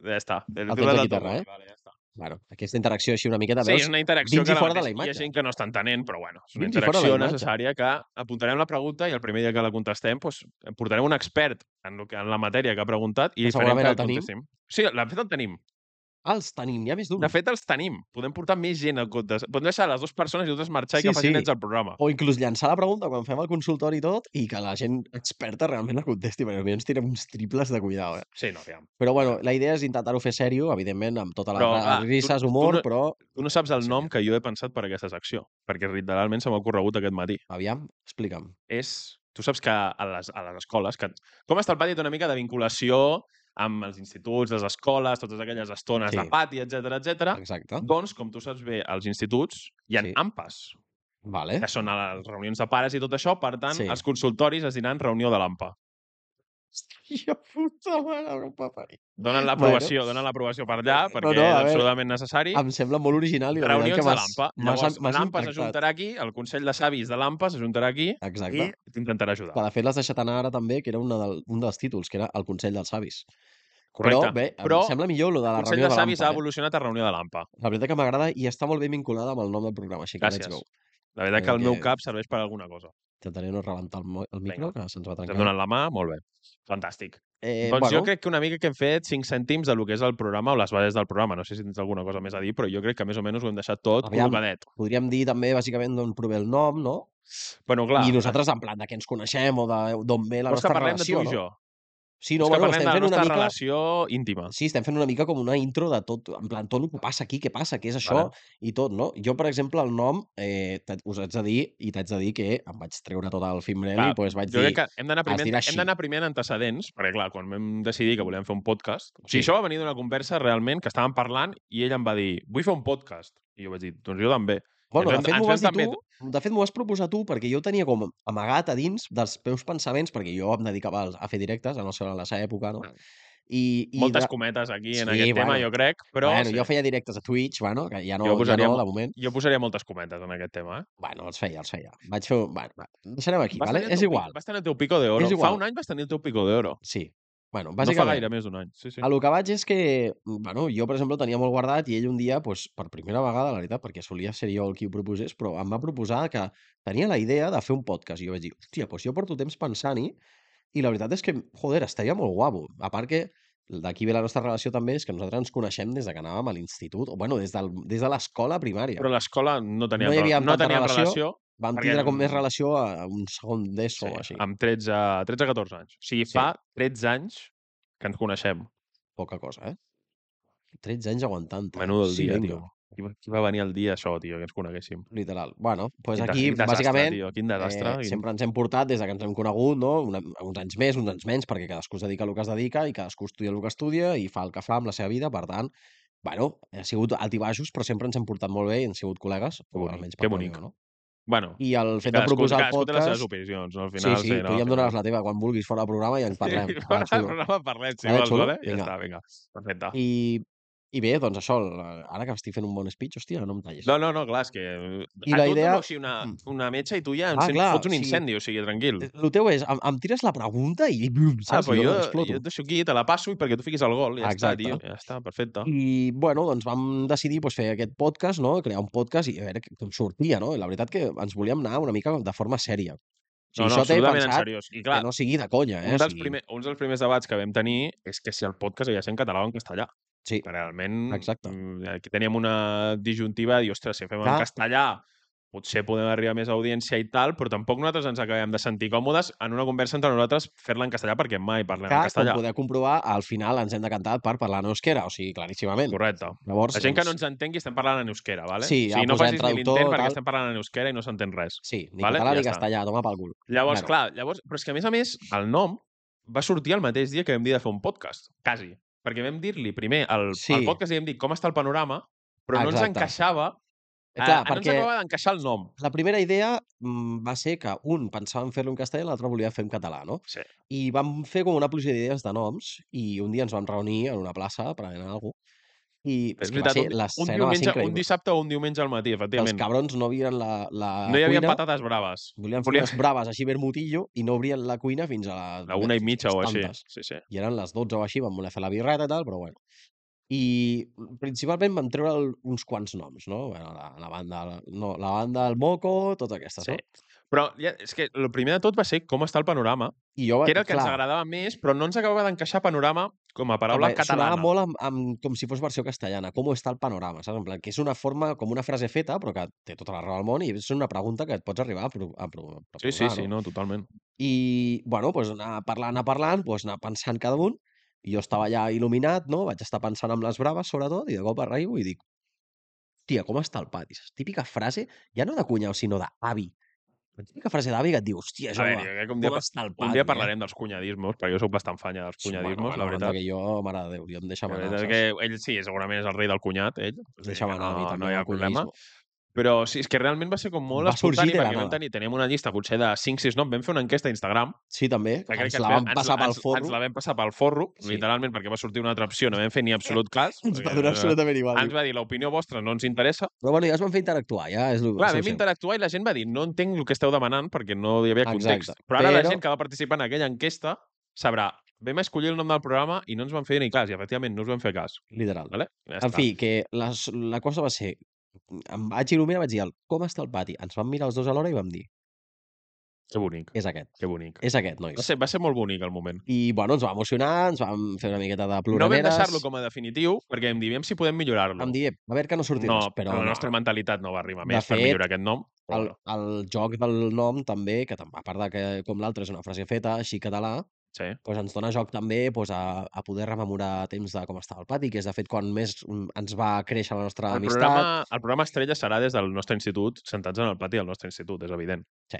Speaker 2: Ja està. Te la
Speaker 3: El
Speaker 2: torna
Speaker 3: tens
Speaker 2: de
Speaker 3: aquí
Speaker 2: tot
Speaker 3: terra,
Speaker 2: boli,
Speaker 3: eh?
Speaker 2: Vale, ja està.
Speaker 3: Bueno, aquesta interacció així una miqueta,
Speaker 2: Sí,
Speaker 3: veus?
Speaker 2: és una interacció
Speaker 3: Vins i
Speaker 2: que ara
Speaker 3: fora de la
Speaker 2: mateix hi ha
Speaker 3: imatge.
Speaker 2: gent que no està entenent, però bueno, és una
Speaker 3: Vins i fora de la
Speaker 2: interacció
Speaker 3: imatge.
Speaker 2: necessària que apuntarem la pregunta i el primer dia que la contestem doncs, portarem un expert en, lo que, en la matèria que ha preguntat i
Speaker 3: Que
Speaker 2: li farem
Speaker 3: segurament
Speaker 2: que
Speaker 3: el tenim.
Speaker 2: contestem. Sí, la fet el tenim.
Speaker 3: Els tenim, n'hi ha més d'un.
Speaker 2: De fet, els tenim. Podem portar més gent al comptes. Podem deixar les dues persones i nosaltres marxar
Speaker 3: Sí,
Speaker 2: i que facin
Speaker 3: sí.
Speaker 2: ells el programa.
Speaker 3: O inclús llançar la pregunta quan fem el consultori i tot i que la gent experta realment la contesti, perquè potser ens tirem uns triples de cuidado, eh?
Speaker 2: Sí, no, aviam.
Speaker 3: Però bueno, la idea és intentar-ho fer sèrio, evidentment, amb totes les
Speaker 2: Però,
Speaker 3: ra-
Speaker 2: clar, tu-
Speaker 3: risses,
Speaker 2: tu
Speaker 3: humor,
Speaker 2: no-
Speaker 3: però
Speaker 2: Tu no saps el
Speaker 3: Sí.
Speaker 2: nom que jo he pensat per aquesta secció, perquè literalment se m'ha ocorregut aquest matí.
Speaker 3: aviam, explica'm.
Speaker 2: És... Tu saps que a les, a les escoles... Que... Com està el pati té una mica de vinculació amb els instituts, les escoles, totes aquelles estones
Speaker 3: Sí.
Speaker 2: de pati, etc etc.
Speaker 3: Exacte.
Speaker 2: Doncs, com tu saps bé, als instituts hi ha
Speaker 3: Sí.
Speaker 2: sí. AMPAs,
Speaker 3: Vale.
Speaker 2: que són a les reunions de pares i tot això. Per tant,
Speaker 3: Sí.
Speaker 2: sí. els consultoris es diran reunió de l'AMPA.
Speaker 3: Hòstia puta mare, que em va parir. Bueno.
Speaker 2: Donen
Speaker 3: Eh,
Speaker 2: l'aprovació, bueno. donen l'aprovació per allà,
Speaker 3: No,
Speaker 2: perquè
Speaker 3: no,
Speaker 2: no,
Speaker 3: a
Speaker 2: és
Speaker 3: veure,
Speaker 2: absolutament necessari.
Speaker 3: Em sembla molt original i la veritat
Speaker 2: Reunions
Speaker 3: que
Speaker 2: de
Speaker 3: m'has...
Speaker 2: l'AMPA.
Speaker 3: m'has-
Speaker 2: Llavors,
Speaker 3: m'has
Speaker 2: l'AMPA
Speaker 3: impactat.
Speaker 2: s'ajuntarà aquí, el Consell de Savis de l'AMPA s'ajuntarà aquí
Speaker 3: Exacte. I...
Speaker 2: i t'intentarà ajudar.
Speaker 3: Que de fet l'has deixat anar ara també, que era una del, un dels títols, que era el Consell dels Savis.
Speaker 2: Correcte.
Speaker 3: Però bé, em
Speaker 2: Però
Speaker 3: sembla millor lo de
Speaker 2: el
Speaker 3: la
Speaker 2: Consell
Speaker 3: reunió
Speaker 2: de
Speaker 3: de
Speaker 2: Savis ha
Speaker 3: l'AMPA. Eh?
Speaker 2: evolucionat a reunió de l'AMPA.
Speaker 3: La veritat que m'agrada i està molt ben vinculada amb el nom del programa, així que
Speaker 2: Gràcies.
Speaker 3: let's go.
Speaker 2: La
Speaker 3: Vull
Speaker 2: veritat que
Speaker 3: dir
Speaker 2: el meu
Speaker 3: que-
Speaker 2: cap serveix per alguna cosa.
Speaker 3: Intentaré no rebentar el, mo- el micro, que se'ns va
Speaker 2: Ens
Speaker 3: trencar.
Speaker 2: hem donat la mà, molt bé. Fantàstic.
Speaker 3: Eh,
Speaker 2: Eh, doncs jo crec que una mica que hem fet 5 cèntims de lo que és el programa o les bases del programa. No sé si tens alguna cosa més a dir, però jo crec que més o menys ho hem deixat tot
Speaker 3: Aviam.
Speaker 2: col·locadet.
Speaker 3: Podríem dir també, bàsicament, d'on prové el nom, no?
Speaker 2: Bueno, clar,
Speaker 3: I nosaltres, en plan, de què ens coneixem o de- d'on ve la
Speaker 2: vols que
Speaker 3: nostra
Speaker 2: parlem
Speaker 3: relació,
Speaker 2: de tu i
Speaker 3: no?
Speaker 2: jo?
Speaker 3: Sí,
Speaker 2: No,
Speaker 3: no,
Speaker 2: vols que
Speaker 3: bueno,
Speaker 2: parlem
Speaker 3: estem
Speaker 2: de la
Speaker 3: fent una
Speaker 2: nostra
Speaker 3: mica...
Speaker 2: relació íntima?
Speaker 3: Sí, estem fent una mica com una intro de tot, en plan, tot el que passa aquí, què passa, què és això
Speaker 2: Vale.
Speaker 3: i tot, no? Jo, per exemple, el nom, eh, t'haig- us haig de dir, i t'haig de dir que em vaig treure tot el Fimbrelli,
Speaker 2: Clar,
Speaker 3: doncs vaig
Speaker 2: Jo
Speaker 3: dir...
Speaker 2: crec que hem d'anar
Speaker 3: es
Speaker 2: primer, en-
Speaker 3: dirà
Speaker 2: hem
Speaker 3: així.
Speaker 2: d'anar primer en antecedents, perquè clar, quan vam decidir que volíem fer un podcast... O sigui,
Speaker 3: Sí.
Speaker 2: això va venir d'una conversa realment que estàvem parlant i ell em va dir, vull fer un podcast. I jo vaig dir, doncs jo també.
Speaker 3: Bueno, de
Speaker 2: ens vam-
Speaker 3: fet, m'ho vas
Speaker 2: ens
Speaker 3: dir
Speaker 2: vam també-
Speaker 3: tu, de fet, m'ho vas proposar tu, perquè jo ho tenia com amagat a dins dels meus pensaments, perquè jo em dedicava als- a fer directes, a no ser en la seva època, no?
Speaker 2: Ah.
Speaker 3: I, i
Speaker 2: Moltes cometes aquí en
Speaker 3: Sí,
Speaker 2: aquest tema,
Speaker 3: bueno.
Speaker 2: jo crec, però
Speaker 3: bueno,
Speaker 2: sí,
Speaker 3: jo feia directes a Twitch, bueno, que ja no,
Speaker 2: Jo
Speaker 3: ja
Speaker 2: posaria
Speaker 3: no
Speaker 2: mo-
Speaker 3: de moment.
Speaker 2: jo posaria moltes cometes en aquest tema. Eh?
Speaker 3: Bueno, els feia, els feia. Vaig fer... un- Bueno, va, deixarem aquí,
Speaker 2: Vas
Speaker 3: vale?
Speaker 2: tenir el
Speaker 3: És
Speaker 2: teu pic-
Speaker 3: igual.
Speaker 2: Vas tenir el teu pico d'oro.
Speaker 3: És
Speaker 2: Fa
Speaker 3: igual.
Speaker 2: un any vas tenir el teu pico d'oro.
Speaker 3: Sí. Bueno,
Speaker 2: No fa
Speaker 3: bàsicament...
Speaker 2: gaire més d'un any. Sí, sí.
Speaker 3: A lo que vaig és que, bueno, jo, per exemple, ho tenia molt guardat i ell un dia, doncs, per primera vegada, la veritat, perquè solia ser jo el qui ho proposés, però em va proposar que tenia la idea de fer un podcast. I jo vaig dir, hòstia, doncs jo porto temps pensant-hi i la veritat és que, joder, estaria molt guapo. A part que d'aquí ve la nostra relació també, és que nosaltres ens coneixem des de que anàvem a l'institut, o bueno, des, del, des de l'escola primària.
Speaker 2: Però l'escola no teníem,
Speaker 3: No hi
Speaker 2: rela-
Speaker 3: havíem
Speaker 2: no
Speaker 3: tanta
Speaker 2: teníem
Speaker 3: relació,
Speaker 2: relació.
Speaker 3: Vam
Speaker 2: perquè- mm.
Speaker 3: tindre com més relació a un segon d'ESO
Speaker 2: Sí,
Speaker 3: o així.
Speaker 2: amb 13, 13 14 anys. O sigui,
Speaker 3: Sí.
Speaker 2: fa 13 anys que ens coneixem.
Speaker 3: Poca cosa, eh? 13 anys aguantant-te.
Speaker 2: Menudo el
Speaker 3: sí,
Speaker 2: dia, tio. Qui va, qui va venir el dia, això, tio, que ens coneguéssim?
Speaker 3: Literal. Bueno, doncs
Speaker 2: Quin des-
Speaker 3: aquí,
Speaker 2: quin desastre,
Speaker 3: bàsicament,
Speaker 2: Tio, quin desastre.
Speaker 3: Eh,
Speaker 2: quin-
Speaker 3: sempre ens hem portat des de que ens hem conegut, no? Una, uns anys més, uns anys menys, perquè cadascú es dedica al que es dedica i cadascú estudia el que estudia i fa el que fa amb la seva vida, per tant, bueno, ha sigut altibaixos, però sempre ens hem portat molt bé i hem sigut col·legues.
Speaker 2: Que
Speaker 3: o
Speaker 2: bonic,
Speaker 3: almenys
Speaker 2: que
Speaker 3: part
Speaker 2: bonic.
Speaker 3: meva, no?
Speaker 2: Bueno,
Speaker 3: I el fet de
Speaker 2: cadascú,
Speaker 3: proposar el
Speaker 2: cadascú té les
Speaker 3: podcast...
Speaker 2: seves opinions, no? Al
Speaker 3: Sí,
Speaker 2: final,
Speaker 3: sí, tu
Speaker 2: no,
Speaker 3: ja
Speaker 2: al
Speaker 3: em
Speaker 2: final.
Speaker 3: dones la teva quan vulguis fora del programa i en parlem.
Speaker 2: Sí,
Speaker 3: Ah,
Speaker 2: fora del
Speaker 3: xulo.
Speaker 2: programa parlem, si
Speaker 3: Vale,
Speaker 2: vols,
Speaker 3: xulo?
Speaker 2: vale? Ja
Speaker 3: Vinga.
Speaker 2: està, vinga. Perfecte.
Speaker 3: I, I bé, doncs això, el- ara que estic fent un bon speech, hòstia, no em tallis.
Speaker 2: No, no, no, clar, és que... eh,
Speaker 3: I
Speaker 2: a
Speaker 3: la
Speaker 2: tu et
Speaker 3: idea-
Speaker 2: dona així una, una metxa i tu ja
Speaker 3: Ah,
Speaker 2: encens,
Speaker 3: clar,
Speaker 2: fots un
Speaker 3: sí.
Speaker 2: incendi, o sigui, tranquil.
Speaker 3: Eh, Lo teu és, em, em tires la pregunta i blum,
Speaker 2: Ah,
Speaker 3: saps?
Speaker 2: però
Speaker 3: I
Speaker 2: jo,
Speaker 3: exploto.
Speaker 2: jo et deixo aquí, te la passo i perquè tu fiquis el gol, ja
Speaker 3: Exacte.
Speaker 2: està, tio. Ja està, perfecte.
Speaker 3: I, bueno, doncs vam decidir doncs, fer aquest podcast, no? crear un podcast i a veure com sortia, no? I la veritat que ens volíem anar una mica de forma sèria. O sigui,
Speaker 2: no, no,
Speaker 3: això t'he
Speaker 2: absolutament en
Speaker 3: pensat
Speaker 2: seriós. I
Speaker 3: que
Speaker 2: clar,
Speaker 3: no sigui de conya, eh?
Speaker 2: un, dels
Speaker 3: o sigui,
Speaker 2: primer, un dels primers debats que vam tenir és que si el podcast havia de ser en català o en castellà.
Speaker 3: Sí,
Speaker 2: Realment,
Speaker 3: Exacte.
Speaker 2: mm, aquí teníem una disjuntiva de dir, ostres, si fem
Speaker 3: Clar.
Speaker 2: en castellà, potser podem arribar a més audiència i tal, però tampoc nosaltres ens acabem de sentir còmodes en una conversa entre nosaltres fer-la en castellà perquè mai parlem
Speaker 3: que,
Speaker 2: en
Speaker 3: com
Speaker 2: castellà.
Speaker 3: podeu comprovar, al final ens hem decantat per parlar en euskera, o sigui, claríssimament.
Speaker 2: Correcte.
Speaker 3: Llavors, doncs,
Speaker 2: La gent que no ens entengui estem parlant en euskera, vale?
Speaker 3: Sí,
Speaker 2: o
Speaker 3: ha
Speaker 2: sigui, no
Speaker 3: posat
Speaker 2: facis ni
Speaker 3: traductor,
Speaker 2: l'intent perquè
Speaker 3: tal.
Speaker 2: estem parlant en euskera i no s'entén res.
Speaker 3: Sí, ni
Speaker 2: Vale,
Speaker 3: català
Speaker 2: ja
Speaker 3: ni
Speaker 2: està.
Speaker 3: castellà, toma pel cul.
Speaker 2: Llavors,
Speaker 3: Claro.
Speaker 2: clar, llavors, però és que a més a més, el nom va sortir el mateix dia que vam dir de fer un podcast, quasi. Perquè vam dir-li primer, al
Speaker 3: Sí.
Speaker 2: sí. podcast li vam dir com està el panorama, però Exacte. no ens
Speaker 3: Exacte.
Speaker 2: encaixava,
Speaker 3: Eh, clar,
Speaker 2: eh, no ens
Speaker 3: perquè
Speaker 2: acabava d'encaixar el nom.
Speaker 3: la primera idea mm, va ser que un pensava en fer-lo en castellà i l'altre volia fer en català, no?
Speaker 2: Sí.
Speaker 3: I vam fer com una pluja d'idees de noms i un dia ens vam reunir en una plaça prenent alguna cosa i és,
Speaker 2: És
Speaker 3: que va
Speaker 2: veritat,
Speaker 3: ser
Speaker 2: un, di- un,
Speaker 3: l'escena va ser
Speaker 2: diumenge, un
Speaker 3: increïble.
Speaker 2: dissabte o un diumenge al matí,
Speaker 3: Que els
Speaker 2: efectivament.
Speaker 3: cabrons no obrien la, la
Speaker 2: No hi havia
Speaker 3: cuina,
Speaker 2: patates braves.
Speaker 3: volien fer
Speaker 2: Volien-
Speaker 3: unes braves així vermutillo i no obrien la cuina fins a la,
Speaker 2: La una i mitja o així. Sí, sí.
Speaker 3: i eren les 12 o així, vam voler fer la birreta i tal, però bueno. I principalment van treure el- uns quants noms, no? Bueno, la, la banda, no, la banda del Moco, totes aquestes,
Speaker 2: sí.
Speaker 3: no?
Speaker 2: Però ja, és que el primer de tot va ser com està el panorama,
Speaker 3: I jo,
Speaker 2: que era el que
Speaker 3: clar,
Speaker 2: ens agradava més, però no ens acabava d'encaixar panorama com a paraula
Speaker 3: em va-
Speaker 2: catalana.
Speaker 3: Sonava molt amb, amb, com si fos versió castellana, com està el panorama, saps? En plan, que és una forma, com una frase feta, però que té tota la raó del món i és una pregunta que et pots arribar a, pro, a, pro, a
Speaker 2: Sí, sí,
Speaker 3: proposar,
Speaker 2: sí, no, totalment.
Speaker 3: I, bueno, doncs anar parlant, anar parlant, doncs anar pensant cada un. I jo estava allà il·luminat, no? Vaig estar pensant amb les braves, sobretot, i de cop arribo i dic tia, com està el pati? Saps? Típica frase, ja no de cunyau, sinó d'avi. Típica frase d'avi que et diu, hòstia,
Speaker 2: a
Speaker 3: Jaume,
Speaker 2: veure, jo crec que un dia,
Speaker 3: com està el pati?
Speaker 2: un dia parlarem dels cunyadismos, perquè jo sóc bastant fanya dels
Speaker 3: eh?
Speaker 2: cunyadismos, la
Speaker 3: anda,
Speaker 2: veritat.
Speaker 3: Que jo, mare de Déu, jo em deixava
Speaker 2: La
Speaker 3: anar,
Speaker 2: veritat és
Speaker 3: saps?
Speaker 2: que ell sí, segurament és el rei del cunyat, ell. O
Speaker 3: Em
Speaker 2: sigui
Speaker 3: deixava
Speaker 2: que
Speaker 3: anar a mi
Speaker 2: no,
Speaker 3: també.
Speaker 2: no hi
Speaker 3: amb
Speaker 2: ha
Speaker 3: el
Speaker 2: problema.
Speaker 3: cunyadisme.
Speaker 2: Però sí, és que realment va ser com molt
Speaker 3: Va sorgir
Speaker 2: espontani,
Speaker 3: de la
Speaker 2: perquè vam
Speaker 3: nada.
Speaker 2: tenir, teníem una llista potser de 5-6 noms, vam fer una enquesta a Instagram,
Speaker 3: Sí, també.
Speaker 2: que crec
Speaker 3: ens
Speaker 2: que
Speaker 3: la
Speaker 2: vam-
Speaker 3: vam passar
Speaker 2: ens,
Speaker 3: pel
Speaker 2: ens,
Speaker 3: forro.
Speaker 2: ens la vam passar pel forro,
Speaker 3: Sí.
Speaker 2: literalment, perquè va sortir una altra opció, no vam fer ni absolut cas.
Speaker 3: Ens va
Speaker 2: perquè,
Speaker 3: donar
Speaker 2: eh,
Speaker 3: absolutament igual.
Speaker 2: Ens va dir, l'opinió vostra no ens interessa.
Speaker 3: Però bueno, ja es van fer interactuar, ja és el
Speaker 2: Clar, vam interactuar i la gent va dir, no entenc el que esteu demanant perquè no hi havia context.
Speaker 3: Exacte.
Speaker 2: Però ara la
Speaker 3: Però-
Speaker 2: gent que va participar en aquella enquesta sabrà, vam escollir el nom del programa i no ens van fer ni cas, i efectivament no us vam fer cas.
Speaker 3: Literal.
Speaker 2: Vale? Ja
Speaker 3: en fi, que les, la cosa va ser... Em vaig il·luminar, vaig dir, el, com està el pati? Ens vam mirar els dos alhora i vam dir,
Speaker 2: Que bonic,
Speaker 3: és aquest,
Speaker 2: que bonic.
Speaker 3: és aquest, nois.
Speaker 2: Va ser, va ser molt bonic el moment.
Speaker 3: I, bueno, ens va emocionar, ens vam fer una miqueta de
Speaker 2: No vam
Speaker 3: ploraderes.
Speaker 2: deixar-lo com a definitiu perquè em divíem si podem millorar-lo.
Speaker 3: Em diré, a veure que no sortirà,
Speaker 2: No,
Speaker 3: però
Speaker 2: la
Speaker 3: no.
Speaker 2: nostra mentalitat no va arribar
Speaker 3: De
Speaker 2: més per
Speaker 3: fet,
Speaker 2: millorar aquest nom. però
Speaker 3: el,
Speaker 2: bueno,
Speaker 3: el joc del nom també, que tam- a part de que com l'altre és una frase feta, així català,
Speaker 2: Sí.
Speaker 3: doncs ens dona joc també doncs, a, a poder rememorar temps de com estava el pati, que és de fet quan més mm, ens va créixer la nostra
Speaker 2: El
Speaker 3: amistat.
Speaker 2: programa, el programa estrella serà des del nostre institut, sentats en el pati del nostre institut, és evident.
Speaker 3: Sí.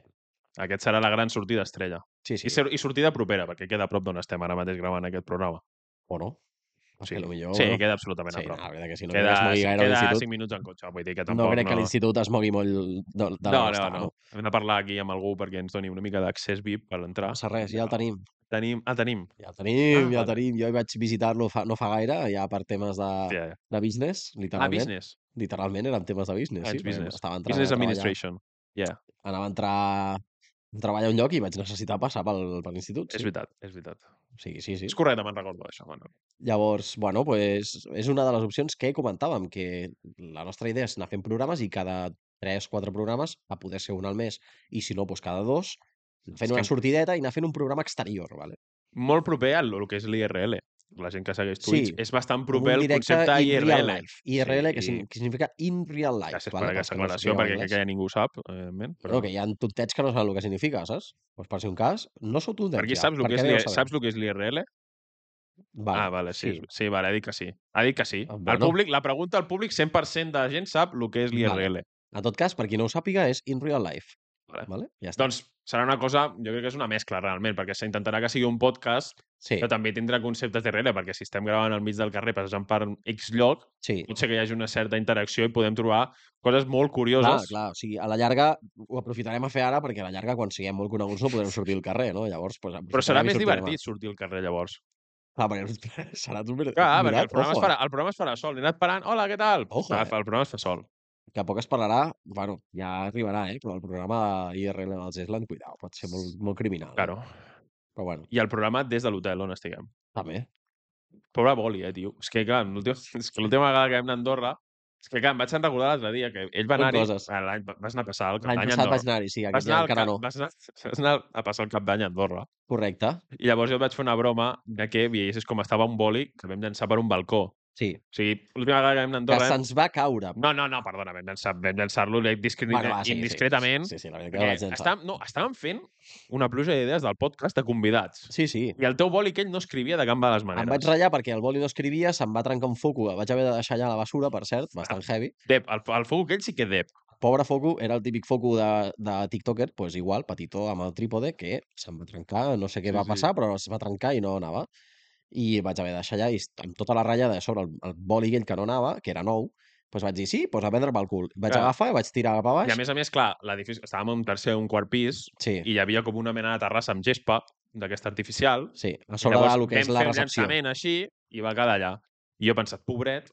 Speaker 2: Aquest serà la gran sortida estrella.
Speaker 3: Sí,
Speaker 2: I,
Speaker 3: sí.
Speaker 2: ser, I sortida propera, perquè queda a prop d'on estem ara mateix gravant aquest programa.
Speaker 3: O no?
Speaker 2: Sí,
Speaker 3: Perquè potser,
Speaker 2: sí,
Speaker 3: bueno,
Speaker 2: queda absolutament
Speaker 3: sí,
Speaker 2: a prop.
Speaker 3: la veritat que si no
Speaker 2: queda
Speaker 3: es mogui gaire
Speaker 2: queda
Speaker 3: l'institut,
Speaker 2: 5 minuts en cotxe, vull dir que
Speaker 3: no
Speaker 2: tampoc...
Speaker 3: crec que l'institut es mogui molt de, de
Speaker 2: No,
Speaker 3: la
Speaker 2: no,
Speaker 3: nostra,
Speaker 2: no. Hem de parlar aquí amb algú perquè ens doni una mica d'accés VIP per entrar.
Speaker 3: No passa res, ja el tenim.
Speaker 2: tenim. Ah, tenim.
Speaker 3: Ja el tenim,
Speaker 2: Ah,
Speaker 3: ja el
Speaker 2: vale.
Speaker 3: tenim. Jo hi vaig visitar-lo fa, no fa gaire, ja per temes de,
Speaker 2: Hòstia, ja.
Speaker 3: de business,
Speaker 2: Ah,
Speaker 3: literalment.
Speaker 2: business.
Speaker 3: Literalment eren temes de business,
Speaker 2: Ah,
Speaker 3: sí.
Speaker 2: ets
Speaker 3: perquè
Speaker 2: business.
Speaker 3: Estava entrant
Speaker 2: Business
Speaker 3: a treballar,
Speaker 2: administration. Yeah,
Speaker 3: anava a entrar a treballar a un lloc i vaig necessitar passar pel, per l'institut.
Speaker 2: és
Speaker 3: Sí.
Speaker 2: veritat, és veritat.
Speaker 3: sí, sí, sí.
Speaker 2: És correcte, me'n recordo d'això. Bueno.
Speaker 3: Llavors, bueno, pues, és una de les opcions que comentàvem, que la nostra idea és anar fent programes i cada 3-4 programes, a poder ser un al mes, i si no, pues, cada dos,
Speaker 2: És
Speaker 3: fent una
Speaker 2: que-
Speaker 3: sortideta i anar fent un programa exterior, vale?
Speaker 2: Molt proper al el que és l'IRL. La gent que segueix
Speaker 3: Sí,
Speaker 2: Twitch és bastant
Speaker 3: Com un
Speaker 2: proper al
Speaker 3: directe
Speaker 2: concepte
Speaker 3: in real
Speaker 2: IRL.
Speaker 3: life. IRL, que,
Speaker 2: i-
Speaker 3: signi- que significa in real life.
Speaker 2: Gràcies per
Speaker 3: pels
Speaker 2: aquesta
Speaker 3: que no
Speaker 2: aclaració,
Speaker 3: sapigueu
Speaker 2: perquè crec
Speaker 3: anglès.
Speaker 2: que ja ningú ho sap, evidentment.
Speaker 3: Bueno, que hi ha tontets que no saben el que significa, saps? Doncs per si un cas, no sou tontets
Speaker 2: Perquè
Speaker 3: doncs ja.
Speaker 2: saps el
Speaker 3: per
Speaker 2: que, és,
Speaker 3: què
Speaker 2: l'I-
Speaker 3: deu saber?
Speaker 2: saps el que és l'IRL?
Speaker 3: Vale.
Speaker 2: Ah, vale, sí. Sí, vale, ha dit que sí. Ha dit que sí.
Speaker 3: Ah,
Speaker 2: El
Speaker 3: bueno.
Speaker 2: públic, la pregunta al públic, 100% de la gent sap el que és l'IRL.
Speaker 3: En tot cas, per qui no ho sàpiga, és in real life.
Speaker 2: Vale.
Speaker 3: Vale? Ja està.
Speaker 2: Doncs serà una cosa, jo crec que és una mescla realment, perquè s'intentarà que sigui un podcast,
Speaker 3: sí,
Speaker 2: però també tindrà conceptes darrere, perquè si estem gravant al mig del carrer passant per X lloc,
Speaker 3: sí.
Speaker 2: potser que hi hagi una certa interacció i podem trobar coses molt
Speaker 3: Clar,
Speaker 2: curioses.
Speaker 3: clar, o sigui, a la llarga ho aprofitarem a fer ara perquè a la llarga quan siguem molt coneguts no podrem sortir al carrer, no? Llavors, pues,
Speaker 2: Però
Speaker 3: aprofitarem
Speaker 2: serà
Speaker 3: i
Speaker 2: més
Speaker 3: sortirem a-
Speaker 2: divertit sortir al carrer, llavors.
Speaker 3: Clar, perquè serà tu mirat, eh?
Speaker 2: Clar, perquè el programa, es farà, el programa es farà sol. He anat parant, hola, què tal?
Speaker 3: Ojo,
Speaker 2: Clar,
Speaker 3: eh.
Speaker 2: el programa es fa sol.
Speaker 3: que a poc es parlarà, bueno, ja arribarà, eh? Però el programa d'IRL del Zesland, cuidao, pot ser molt, molt criminal. eh?
Speaker 2: Claro.
Speaker 3: Però bueno,
Speaker 2: I el programa des de l'hotel on estiguem.
Speaker 3: també.
Speaker 2: Pobre boli, eh, tio. És que, clar, l'última és que l'última vegada que vam anar a Andorra... És que, clar, em vaig recordar l'altre dia que ell va
Speaker 3: Són
Speaker 2: anar-hi...
Speaker 3: coses.
Speaker 2: Ah, l'any- Vas anar a passar el cap
Speaker 3: L'any
Speaker 2: d'any a
Speaker 3: passat
Speaker 2: Andorra.
Speaker 3: vaig anar-hi, sí,
Speaker 2: Vas
Speaker 3: aquest
Speaker 2: anar,
Speaker 3: any
Speaker 2: al
Speaker 3: encara
Speaker 2: cap-
Speaker 3: no.
Speaker 2: vas, anar, vas anar a passar el cap d'any a Andorra.
Speaker 3: Correcte,
Speaker 2: I llavors jo et vaig fer una broma de que veiessis com estava un boli que vam llançar per un balcó.
Speaker 3: sí.
Speaker 2: O sigui, l'última vegada que vam anar a
Speaker 3: Que
Speaker 2: Andorra... vam-
Speaker 3: se'ns va caure.
Speaker 2: No, no, no, perdona, vam llançar- vam llançar-lo llançar
Speaker 3: Bueno, va, sí, sí,
Speaker 2: indiscretament.
Speaker 3: Sí, sí, la veritat que
Speaker 2: perquè
Speaker 3: vaig llançar.
Speaker 2: estàvem, no, estàvem fent una pluja d'idees del podcast de convidats.
Speaker 3: Sí, sí.
Speaker 2: I el teu boli aquell no escrivia de cap de les
Speaker 3: Em
Speaker 2: maneres.
Speaker 3: vaig ratllar perquè el boli no escrivia, se'm va trencar un foco, vaig haver de deixar allà a la bessura, per cert,
Speaker 2: Ah.
Speaker 3: bastant heavy.
Speaker 2: Dep, el, el foc aquell sí que dep.
Speaker 3: Pobre foco, era el típic foco de, de TikToker, doncs igual, petitó, amb el trípode, que se'm va trencar, no sé què
Speaker 2: Sí,
Speaker 3: va
Speaker 2: sí.
Speaker 3: passar, però es va trencar i no anava. I vaig haver de deixar allà, i est- amb tota la ratllada de sobre el, el boli aquell que no anava, que era nou, doncs vaig dir, sí, doncs a vendre pel cul. Vaig
Speaker 2: Clar.
Speaker 3: agafar i vaig tirar cap a
Speaker 2: I
Speaker 3: baix.
Speaker 2: a més a més, clar, l'edifici... Estàvem en un tercer o un quart pis
Speaker 3: Sí,
Speaker 2: i hi havia com una mena de terrassa amb gespa d'aquesta artificial.
Speaker 3: sí, a
Speaker 2: I
Speaker 3: sobre
Speaker 2: llavors
Speaker 3: del que és
Speaker 2: vam
Speaker 3: la
Speaker 2: fer un
Speaker 3: recepció.
Speaker 2: llançament així i va quedar allà. I jo he pensat, pobret,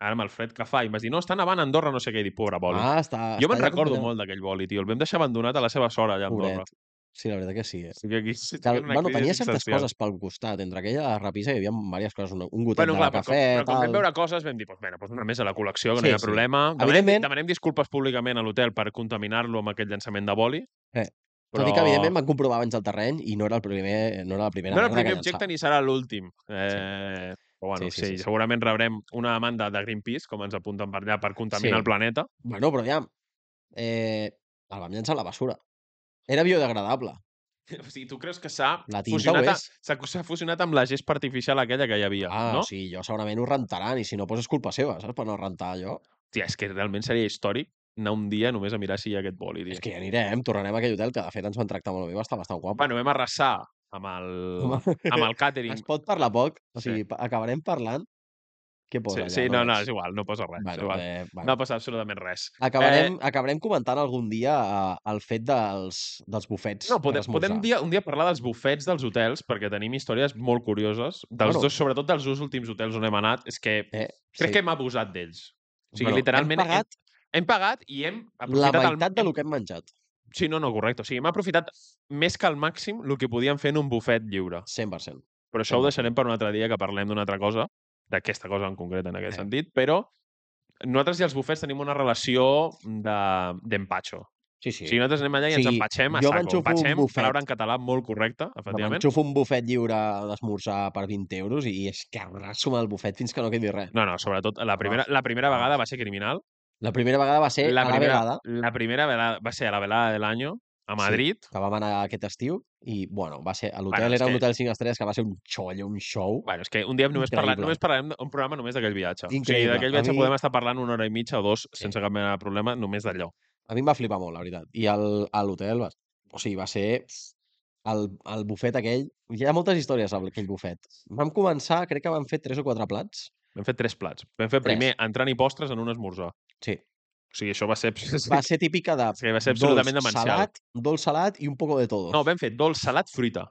Speaker 2: ara amb el fred que fa. I em vas dir, no, està nevant a Andorra, no sé què. I dic, pobre boli.
Speaker 3: Ah, està,
Speaker 2: jo
Speaker 3: està
Speaker 2: me'n
Speaker 3: allà
Speaker 2: recordo
Speaker 3: completament-
Speaker 2: molt d'aquell boli, tio. El vam deixar abandonat a la seva sort allà a Andorra.
Speaker 3: Pobret. Sí, la veritat que sí. Eh?
Speaker 2: O sigui, aquí sí,
Speaker 3: Tal,
Speaker 2: una
Speaker 3: bueno,
Speaker 2: crisi
Speaker 3: tenia certes
Speaker 2: existencial.
Speaker 3: coses pel costat. Entre aquella i la rapissa hi havia diverses coses. Un, un gotet
Speaker 2: Bueno,
Speaker 3: de
Speaker 2: clar, però,
Speaker 3: cafè,
Speaker 2: com, però com
Speaker 3: tal...
Speaker 2: vam veure coses vam dir, doncs, bueno, doncs una més a la col·lecció, que no
Speaker 3: Sí,
Speaker 2: hi ha
Speaker 3: sí.
Speaker 2: problema. Demanem,
Speaker 3: Evidentment-
Speaker 2: demanem disculpes públicament a l'hotel per contaminar-lo amb aquest llançament de boli.
Speaker 3: Eh, Però... Tot i que, evidentment, van comprovar abans el terreny i no era, el primer, no era la primera
Speaker 2: no era el
Speaker 3: merda
Speaker 2: primer
Speaker 3: que
Speaker 2: objecte
Speaker 3: llançava.
Speaker 2: ni serà l'últim. Eh, Però bueno, sí, sí, sí,
Speaker 3: sí.
Speaker 2: segurament rebrem una demanda de Greenpeace, com ens apunten per allà, per
Speaker 3: Sí.
Speaker 2: contaminar sí. el planeta.
Speaker 3: Bueno, però ja... Eh, el vam llançar a la basura. Era biodegradable.
Speaker 2: O sigui, tu creus que s'ha
Speaker 3: La tinta ho
Speaker 2: fusionat, a-
Speaker 3: és.
Speaker 2: s'ha s'ha fusionat amb la gespa artificial aquella que hi havia,
Speaker 3: Ah,
Speaker 2: no?
Speaker 3: o sigui, jo segurament ho rentaran i si no, doncs és culpa seva, saps? Per no rentar allò.
Speaker 2: Tia, és que realment seria històric anar un dia només a mirar si hi ha aquest boli.
Speaker 3: És
Speaker 2: Tia.
Speaker 3: que ja anirem, tornarem a aquell hotel que de fet ens van tractar molt bé, va estar bastant guapo.
Speaker 2: Bueno, vam arrasar amb el,
Speaker 3: Home,
Speaker 2: amb el càtering.
Speaker 3: es pot parlar poc, o
Speaker 2: Sí.
Speaker 3: sigui, pa- acabarem parlant. Què
Speaker 2: Sí,
Speaker 3: posa allà?
Speaker 2: sí, no, no,
Speaker 3: veig.
Speaker 2: és igual, no posa res. és
Speaker 3: Bueno,
Speaker 2: igual.
Speaker 3: eh, bueno.
Speaker 2: No passa absolutament res.
Speaker 3: Acabarem, eh... acabarem comentant algun dia eh, el fet dels, dels bufets
Speaker 2: No,
Speaker 3: per
Speaker 2: podem,
Speaker 3: esmorzar.
Speaker 2: podem un, dia, un dia parlar dels bufets dels hotels, perquè tenim històries molt curioses, dels
Speaker 3: Bueno.
Speaker 2: dos, sobretot dels dos últims hotels on hem anat, és que
Speaker 3: Eh,
Speaker 2: crec que hem abusat d'ells. O sigui,
Speaker 3: Bueno,
Speaker 2: literalment
Speaker 3: Hem pagat
Speaker 2: hem, hem pagat i hem
Speaker 3: la
Speaker 2: aprofitat...
Speaker 3: meitat
Speaker 2: el,
Speaker 3: del que hem menjat,
Speaker 2: hem, Sí, no, no, correcte. O sigui, hem aprofitat més que al màxim el que podíem fer en un bufet lliure.
Speaker 3: 100%.
Speaker 2: Però això ho
Speaker 3: Correcte.
Speaker 2: deixarem per un altre dia, que parlem d'una altra cosa, d'aquesta cosa en concret, en aquest
Speaker 3: Eh.
Speaker 2: sentit, però nosaltres i els bufets tenim una relació de- d'empatxo. De,
Speaker 3: Sí,
Speaker 2: o
Speaker 3: sí.
Speaker 2: sigui, nosaltres anem allà i
Speaker 3: O
Speaker 2: ens
Speaker 3: sigui,
Speaker 2: empatxem a
Speaker 3: jo
Speaker 2: saco.
Speaker 3: m'enxufo un
Speaker 2: Empatxem,
Speaker 3: bufet.
Speaker 2: paraula en català molt correcta, efectivament.
Speaker 3: M'enxufo un bufet lliure d'esmorzar per 20 euros i és que arraso amb el bufet fins que no quedi res.
Speaker 2: No, no, sobretot la primera, la primera
Speaker 3: Vamos.
Speaker 2: vegada va ser criminal.
Speaker 3: La primera vegada va ser
Speaker 2: la,
Speaker 3: a la
Speaker 2: primera,
Speaker 3: vegada,
Speaker 2: la primera vegada va ser a la velada de l'any a
Speaker 3: Sí.
Speaker 2: Madrid. Sí.
Speaker 3: que vam anar aquest estiu, i, bueno, va ser... a L'hotel
Speaker 2: Bueno, és
Speaker 3: era un
Speaker 2: que-
Speaker 3: hotel 5 estrelles que va ser un xollo, un show.
Speaker 2: Bueno, és que un dia només, parla,
Speaker 3: Increïble.
Speaker 2: només parlarem d'un programa només d'aquell viatge. O sigui,
Speaker 3: Increïble.
Speaker 2: d'aquell
Speaker 3: A
Speaker 2: viatge
Speaker 3: mi-
Speaker 2: podem estar parlant una hora i mitja o dos sense cap mena de problema, només d'allò.
Speaker 3: A mi em va flipar molt, la veritat. I el- a l'hotel, va- o sigui, va ser pf, el, el bufet aquell. Hi ha moltes històries amb aquell bufet. Vam començar, crec que vam fer tres o quatre plats.
Speaker 2: Vam fer tres plats. Vam fer
Speaker 3: Tres.
Speaker 2: primer entrant i postres en un esmorzar.
Speaker 3: Sí.
Speaker 2: O sigui, això va ser...
Speaker 3: Va ser típica de
Speaker 2: és que va ser absolutament
Speaker 3: dolç,
Speaker 2: demencial.
Speaker 3: salat, dolç salat i un poco de todo.
Speaker 2: No, vam fer dolç, salat, fruita.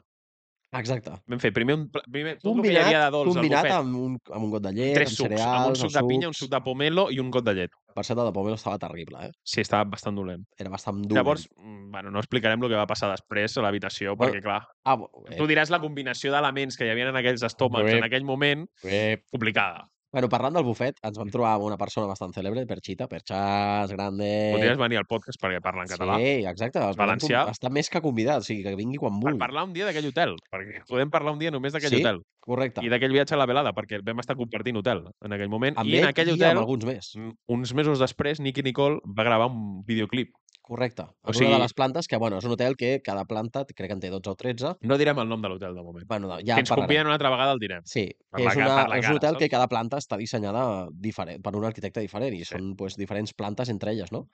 Speaker 3: Exacte.
Speaker 2: Vam fer primer un... pla- Primer, tot el que hi havia de
Speaker 3: Combinat,
Speaker 2: dolç al
Speaker 3: combinat
Speaker 2: bufet.
Speaker 3: amb un, amb un got de llet,
Speaker 2: Tres
Speaker 3: amb
Speaker 2: sucs,
Speaker 3: cereals,
Speaker 2: amb un suc de pinya, un suc de pomelo i un got de llet.
Speaker 3: Per cert, el de pomelo estava terrible, eh?
Speaker 2: Sí, estava bastant dolent.
Speaker 3: Era bastant dur.
Speaker 2: Llavors, mm, bueno, no explicarem el que va passar després a l'habitació,
Speaker 3: Bueno,
Speaker 2: perquè, clar,
Speaker 3: Ah, bo- eh,
Speaker 2: tu diràs la combinació d'elements que hi havia en aquells estómacs
Speaker 3: Bé.
Speaker 2: en aquell moment,
Speaker 3: eh.
Speaker 2: complicada.
Speaker 3: Bueno, parlant del bufet, ens vam trobar amb una persona bastant cèlebre, Perxita, Perxas, grande...
Speaker 2: Podries venir al podcast perquè parla en català.
Speaker 3: Eh. Sí, exacte. els podem con-
Speaker 2: Valencià.
Speaker 3: Està més que convidat, o sigui, que vingui quan
Speaker 2: Per
Speaker 3: vulgui.
Speaker 2: parlar un dia d'aquell hotel, perquè podem parlar un dia només d'aquell
Speaker 3: Sí,
Speaker 2: hotel.
Speaker 3: Correcte.
Speaker 2: I d'aquell viatge a la velada, perquè vam estar compartint hotel en aquell moment.
Speaker 3: Amb
Speaker 2: I en
Speaker 3: ell
Speaker 2: aquell
Speaker 3: i
Speaker 2: hotel,
Speaker 3: amb alguns més.
Speaker 2: mm, uns mesos després, Nicky Nicole va gravar un videoclip.
Speaker 3: Correcte. En
Speaker 2: O
Speaker 3: una
Speaker 2: sigui-
Speaker 3: de les plantes, que bueno, és un hotel que cada planta t- crec que en té 12 o 13.
Speaker 2: No direm el nom de l'hotel, de moment.
Speaker 3: Bueno, de-
Speaker 2: Ja
Speaker 3: ja
Speaker 2: que
Speaker 3: en
Speaker 2: ens
Speaker 3: parlarem.
Speaker 2: conviden una altra vegada el direm.
Speaker 3: Sí,
Speaker 2: Per la
Speaker 3: és,
Speaker 2: ca-
Speaker 3: una,
Speaker 2: per la
Speaker 3: és
Speaker 2: cara,
Speaker 3: un hotel que
Speaker 2: saps?
Speaker 3: cada planta està dissenyada diferent, per un arquitecte diferent i
Speaker 2: Sí.
Speaker 3: són pues, diferents plantes entre elles, no?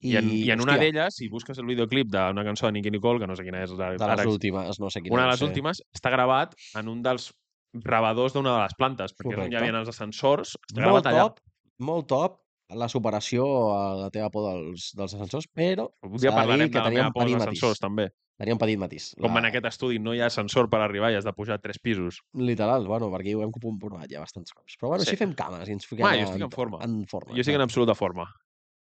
Speaker 2: I, I en, i en una d'elles, si busques el videoclip d'una cançó de Nicky Nicole, que no sé quina és...
Speaker 3: De les últimes, no sé quina.
Speaker 2: una de
Speaker 3: no
Speaker 2: les
Speaker 3: sé.
Speaker 2: últimes, està gravat en un dels rebadors d'una de les plantes, perquè Correcte.
Speaker 3: Correcte.
Speaker 2: hi havia els ascensors, està
Speaker 3: Molt
Speaker 2: gravat allà.
Speaker 3: top, molt top la superació a la teva por dels, dels ascensors, però
Speaker 2: Un
Speaker 3: S'ha
Speaker 2: dia
Speaker 3: de
Speaker 2: parlarem
Speaker 3: dir que
Speaker 2: de la
Speaker 3: teníem
Speaker 2: meva por als
Speaker 3: petit
Speaker 2: ascensors,
Speaker 3: matís.
Speaker 2: també.
Speaker 3: teníem petit matís.
Speaker 2: Com en aquest estudi no hi ha ascensor per arribar i has de pujar tres pisos.
Speaker 3: Literal, bueno, perquè ho hem comprovat ja bastants cops. Però bueno,
Speaker 2: Sí.
Speaker 3: així fem cames i ens fiquem
Speaker 2: Ma, jo estic en forma.
Speaker 3: en forma.
Speaker 2: Jo estic en
Speaker 3: exacte.
Speaker 2: absoluta forma.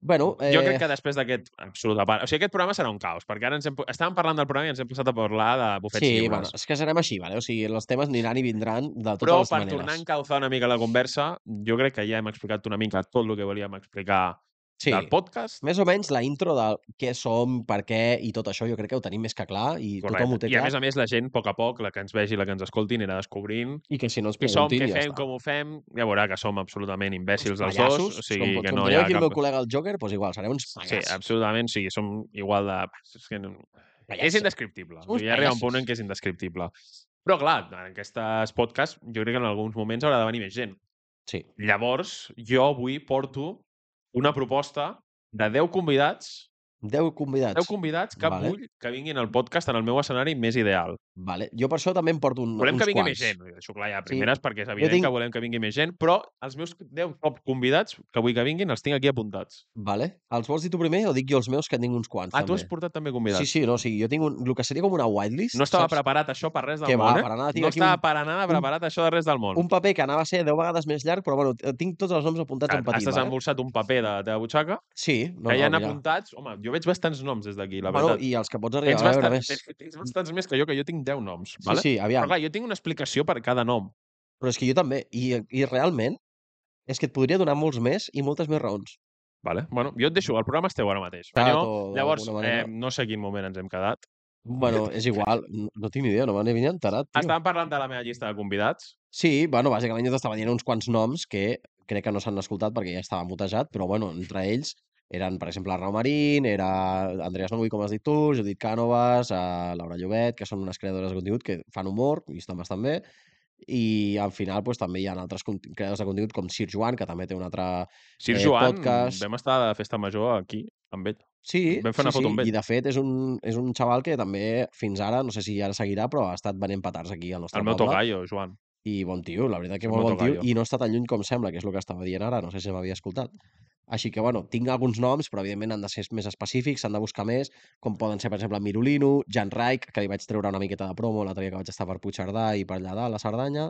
Speaker 3: Bueno, eh,
Speaker 2: Jo crec que després d'aquest absoluta part... O sigui, aquest programa serà un caos, perquè ara ens hem... estàvem parlant del programa i ens hem passat a parlar de bufets
Speaker 3: Sí,
Speaker 2: lliures.
Speaker 3: bueno, és que serem així, vale? o sigui, els temes aniran i vindran de totes
Speaker 2: Però
Speaker 3: les
Speaker 2: per
Speaker 3: maneres.
Speaker 2: tornar a encalzar una mica la conversa, jo crec que ja hem explicat una mica tot el que volíem explicar
Speaker 3: sí.
Speaker 2: del podcast.
Speaker 3: Més o menys la intro de què som, per què i tot això, jo crec que ho tenim més que clar i tothom ho té
Speaker 2: I a
Speaker 3: clar.
Speaker 2: més a més, la gent, a poc a poc, la que ens vegi, la que ens escolti, anirà descobrint
Speaker 3: I que si no ens
Speaker 2: qui som,
Speaker 3: preguntin,
Speaker 2: què
Speaker 3: ja
Speaker 2: fem,
Speaker 3: està.
Speaker 2: com ho fem. Ja veurà que som absolutament imbècils els
Speaker 3: Pallassos,
Speaker 2: dos. O sigui,
Speaker 3: com,
Speaker 2: que
Speaker 3: com
Speaker 2: no hi
Speaker 3: teniu
Speaker 2: ha
Speaker 3: aquí el meu
Speaker 2: cap...
Speaker 3: col·lega el Joker, doncs igual, serem uns
Speaker 2: Sí,
Speaker 3: pagassos.
Speaker 2: absolutament, sí, som igual de... És, que no... és
Speaker 3: Pallassos.
Speaker 2: indescriptible.
Speaker 3: Som
Speaker 2: O
Speaker 3: uns
Speaker 2: sigui, arriba un
Speaker 3: pallassos.
Speaker 2: punt en què és indescriptible. Però, clar, en aquestes podcasts, jo crec que en alguns moments haurà de venir més gent.
Speaker 3: Sí.
Speaker 2: Llavors, jo avui porto una proposta de 10 convidats,
Speaker 3: 10 convidats.
Speaker 2: 10 convidats que
Speaker 3: Vale.
Speaker 2: vale. vull que vinguin al podcast en el meu escenari més ideal.
Speaker 3: Vale. Jo per això també en porto un,
Speaker 2: Volem
Speaker 3: uns
Speaker 2: que vingui
Speaker 3: quants.
Speaker 2: més gent, ho deixo clar ja, a
Speaker 3: Sí.
Speaker 2: primeres, sí. perquè és evident
Speaker 3: tinc-
Speaker 2: tinc... que volem que vingui més gent, però els meus 10 top convidats que vull que vinguin els tinc aquí apuntats.
Speaker 3: Vale. Els vols dir tu primer o dic jo els meus, que en tinc uns quants,
Speaker 2: Ah, tu
Speaker 3: també?
Speaker 2: has portat també convidats.
Speaker 3: Sí, sí, no, o sigui, jo tinc un, el que seria com una whitelist,
Speaker 2: No estava
Speaker 3: saps?
Speaker 2: preparat això per res del
Speaker 3: Que va,
Speaker 2: món, eh?
Speaker 3: per anar, tinc
Speaker 2: no
Speaker 3: aquí
Speaker 2: estava
Speaker 3: un-
Speaker 2: per anar preparat això de res del món.
Speaker 3: Un paper que anava a ser 10 vegades més llarg, però bueno, t- tinc tots els noms apuntats
Speaker 2: Clar,
Speaker 3: en petit,
Speaker 2: Has
Speaker 3: vale?
Speaker 2: desembolsat un paper de la teva butxaca,
Speaker 3: Sí, no,
Speaker 2: no, que hi ha
Speaker 3: no, mira.
Speaker 2: apuntats... Home, jo veig bastants noms des d'aquí, la
Speaker 3: bueno,
Speaker 2: veritat.
Speaker 3: i els que pots
Speaker 2: Tens,
Speaker 3: arribar a veure
Speaker 2: bastant,
Speaker 3: més.
Speaker 2: tens, tens bastants més que jo, que jo tinc 10 noms.
Speaker 3: Sí,
Speaker 2: vale?
Speaker 3: sí, aviam.
Speaker 2: Però clar, jo tinc una explicació per cada nom.
Speaker 3: Però és que jo també. I, I realment, és que et podria donar molts més i moltes més raons.
Speaker 2: Vale? Bueno, jo et deixo, el programa esteu ara mateix.
Speaker 3: Clar,
Speaker 2: Banyó,
Speaker 3: tot, d'alguna
Speaker 2: llavors,
Speaker 3: manera.
Speaker 2: eh, no sé a quin moment ens hem quedat.
Speaker 3: Bueno, és igual. No, no tinc ni idea, no me n'he enterat, tio.
Speaker 2: Estàvem parlant de la meva llista de convidats.
Speaker 3: Sí, bueno, bàsicament jo t'estava dient uns quants noms que crec que no s'han escoltat perquè ja estava mutejat, però bueno, entre ells eren, per exemple, Arnau Marín, era Andreas Nogui, com has dit tu, Judit Cànovas, eh, Laura Llobet, que són unes creadores de contingut que fan humor i estan bastant bé, i al final pues, també hi ha altres conti- creadors de contingut com Sir Joan, que també té un altre...
Speaker 2: Sir
Speaker 3: Eh,
Speaker 2: Joan,
Speaker 3: podcast.
Speaker 2: vam estar de festa major aquí, amb ell.
Speaker 3: Sí,
Speaker 2: Vam fer una
Speaker 3: sí,
Speaker 2: foto
Speaker 3: sí,
Speaker 2: amb ell.
Speaker 3: i de fet és un, és un xaval que també fins ara, no sé si ara seguirà, però ha estat venent petards aquí al nostre
Speaker 2: El meu
Speaker 3: poble.
Speaker 2: tocayo, Joan.
Speaker 3: I bon tio, la veritat que
Speaker 2: Un
Speaker 3: molt bon tio,
Speaker 2: tocayo.
Speaker 3: i no està tan lluny com sembla, que és el que estava dient ara, no sé si m'havia escoltat. Així que, bueno, tinc alguns noms, però evidentment han de ser més específics, s'han de buscar més, com poden ser, per exemple, Mirulino, Jan Raik, que li vaig treure una miqueta de promo l'altre dia que vaig estar per Puigcerdà i per allà dalt, a Cerdanya.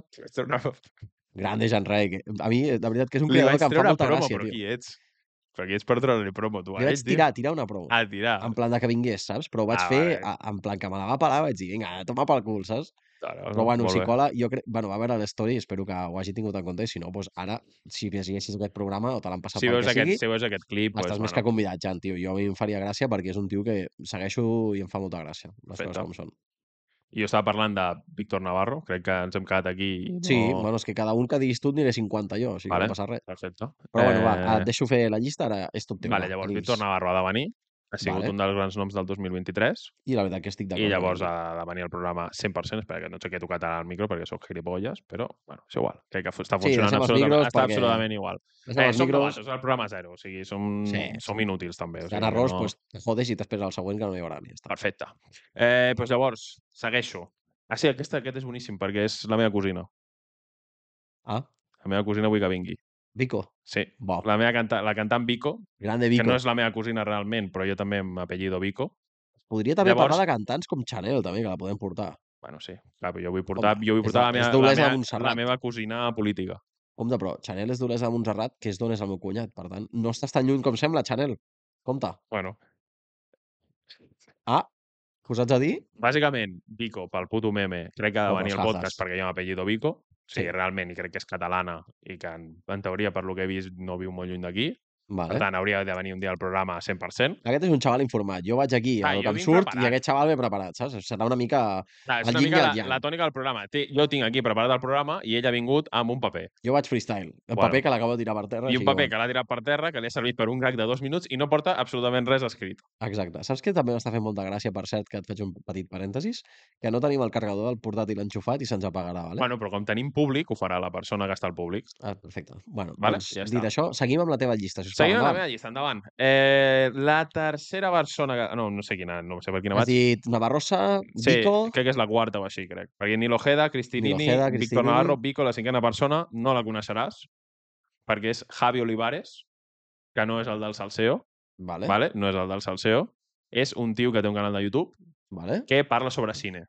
Speaker 3: Grande Jan Raik. eh? A mi, eh, de veritat, que és un
Speaker 2: Li
Speaker 3: creador
Speaker 2: vaig
Speaker 3: que em fa
Speaker 2: treure
Speaker 3: molta
Speaker 2: promo,
Speaker 3: gràcia,
Speaker 2: però
Speaker 3: tio.
Speaker 2: qui ets? Però qui ets per treure-li promo, tu?
Speaker 3: Li
Speaker 2: a
Speaker 3: vaig
Speaker 2: ell, tio?
Speaker 3: tirar, tirar una promo.
Speaker 2: Ah, tirar.
Speaker 3: En plan de que vingués, saps? Però ho vaig
Speaker 2: Ah,
Speaker 3: fer
Speaker 2: vale.
Speaker 3: a- en plan que me la va pelar, vaig dir, vinga, toma pel cul, saps?
Speaker 2: Claro,
Speaker 3: Però bueno,
Speaker 2: doncs, molt
Speaker 3: si
Speaker 2: bé.
Speaker 3: cola, jo crec... Bueno, va veure l'story, espero que ho hagi tingut en compte, i si no, doncs ara, si llegeixis aquest programa o te l'han passat
Speaker 2: Si
Speaker 3: pel
Speaker 2: veus,
Speaker 3: que
Speaker 2: aquest,
Speaker 3: sigui,
Speaker 2: si veus aquest clip,
Speaker 3: estàs
Speaker 2: pues,
Speaker 3: més
Speaker 2: bueno,
Speaker 3: que convidat, Jan, tio. Jo a mi em faria gràcia perquè és un tio que segueixo i em fa molta gràcia, les
Speaker 2: Perfecte.
Speaker 3: coses com són.
Speaker 2: jo estava parlant de Víctor Navarro, crec que ens hem quedat aquí. i No...
Speaker 3: Sí, bueno, és que cada un que diguis tu et diré 50 jo, o sigui,
Speaker 2: Vale.
Speaker 3: no passa res.
Speaker 2: Perfecte.
Speaker 3: Però bueno, va, et deixo fer la llista, ara és tot teu.
Speaker 2: Vale,
Speaker 3: va,
Speaker 2: Eh, llavors
Speaker 3: tenis.
Speaker 2: Víctor Navarro ha de venir, ha sigut
Speaker 3: Vale.
Speaker 2: vale. un dels grans noms del 2023,
Speaker 3: I la veritat que estic d'acord. eh.
Speaker 2: i llavors
Speaker 3: amb
Speaker 2: ha de venir al programa 100%, espera que no sé què he tocat ara al micro perquè sóc gilipolles, però bueno, és igual, crec que fu- està
Speaker 3: Sí,
Speaker 2: funcionant
Speaker 3: deixem els
Speaker 2: absolutament,
Speaker 3: micros
Speaker 2: està
Speaker 3: perquè-
Speaker 2: absolutament igual.
Speaker 3: tu. Deixa'm
Speaker 2: Eh,
Speaker 3: els
Speaker 2: som
Speaker 3: micros,
Speaker 2: novatos, és el programa zero, o sigui, som,
Speaker 3: Sí,
Speaker 2: sí, som inútils també. O sigui,
Speaker 3: gana
Speaker 2: que
Speaker 3: arròs,
Speaker 2: no...
Speaker 3: doncs te jodes i t'esperes al següent que no hi haurà. Ja està.
Speaker 2: Perfecte. Eh, doncs llavors, segueixo. Ah, sí, aquesta, aquest és boníssim perquè és la meva cosina.
Speaker 3: Ah,
Speaker 2: La meva cosina vull que vingui.
Speaker 3: Vico.
Speaker 2: Sí,
Speaker 3: Bo,
Speaker 2: la meva canta, la cantant Vico,
Speaker 3: grande
Speaker 2: Vico,
Speaker 3: Vico.
Speaker 2: que no és la meva cosina realment, però jo també m'apellido Vico.
Speaker 3: Podria també
Speaker 2: Llavors-
Speaker 3: parlar de cantants com Chanel, també, que la podem portar.
Speaker 2: Bueno, sí, clar, però jo vull portar, jo vull
Speaker 3: és de-
Speaker 2: portar la, meva,
Speaker 3: és
Speaker 2: la,
Speaker 3: doblesa de
Speaker 2: meva, la
Speaker 3: Montserrat.
Speaker 2: meva cosina política.
Speaker 3: Compte, però Chanel és d'Olesa de Montserrat, que és d'on és el meu cunyat. Per tant, no estàs tan lluny com sembla, Chanel. Compte,
Speaker 2: Bueno,
Speaker 3: que us haig de dir?
Speaker 2: bàsicament, Vico, pel puto meme, crec que ha de
Speaker 3: Com
Speaker 2: venir
Speaker 3: les
Speaker 2: al podcast
Speaker 3: gafes.
Speaker 2: perquè jo m'apellido Vico.
Speaker 3: Sí.
Speaker 2: Sí, sí, realment, i crec que és catalana i que, en, en teoria, per lo que he vist, no viu molt lluny d'aquí. Per
Speaker 3: Vale.
Speaker 2: tant, hauria de venir un dia al programa 100%.
Speaker 3: Aquest és un xaval informat. Jo vaig aquí,
Speaker 2: Ah,
Speaker 3: ah,
Speaker 2: jo
Speaker 3: que em
Speaker 2: vinc
Speaker 3: surt,
Speaker 2: preparat.
Speaker 3: i aquest xaval ve preparat, saps? Serà una mica...
Speaker 2: Clar, és
Speaker 3: El
Speaker 2: una
Speaker 3: yin i
Speaker 2: mica
Speaker 3: el
Speaker 2: la,
Speaker 3: yang.
Speaker 2: la tònica del programa. Té, jo tinc aquí preparat el programa i ell ha vingut amb un paper.
Speaker 3: Jo vaig freestyle. El
Speaker 2: Bueno.
Speaker 3: paper que l'acabo de tirar per terra.
Speaker 2: I
Speaker 3: així
Speaker 2: un paper que l'ha tirat per terra, que li ha servit per un gag de dos minuts i no porta absolutament res escrit.
Speaker 3: bueno. Exacte. Saps que també m'està fent molta gràcia, per cert, que et faig un petit parèntesis? Que no tenim el carregador del portàtil enxufat i se'ns apagarà, vale?
Speaker 2: Bueno, però com tenim públic, ho farà la persona que està al públic.
Speaker 3: Ah, perfecte. Bueno,
Speaker 2: Vale,
Speaker 3: doncs,
Speaker 2: ja
Speaker 3: dit
Speaker 2: està.
Speaker 3: això, seguim amb la teva llista, si
Speaker 2: Seguim amb la
Speaker 3: endavant.
Speaker 2: meva llista, endavant. Eh, la tercera persona... Que... No, no sé quina, no sé per quina
Speaker 3: Has
Speaker 2: vaig.
Speaker 3: dit Navarrosa,
Speaker 2: Sí,
Speaker 3: Vico...
Speaker 2: crec que és la quarta o així, crec. Perquè ni l'Ojeda, Cristinini,
Speaker 3: Ojeda,
Speaker 2: Víctor
Speaker 3: Cristinini.
Speaker 2: Navarro, Vico, la cinquena persona, no la coneixeràs, perquè és Javi Olivares, que no és el del Salseo,
Speaker 3: Vale,
Speaker 2: eh? vale? no és el del Salseo, és un tio que té un canal de YouTube
Speaker 3: vale.
Speaker 2: que parla sobre cine.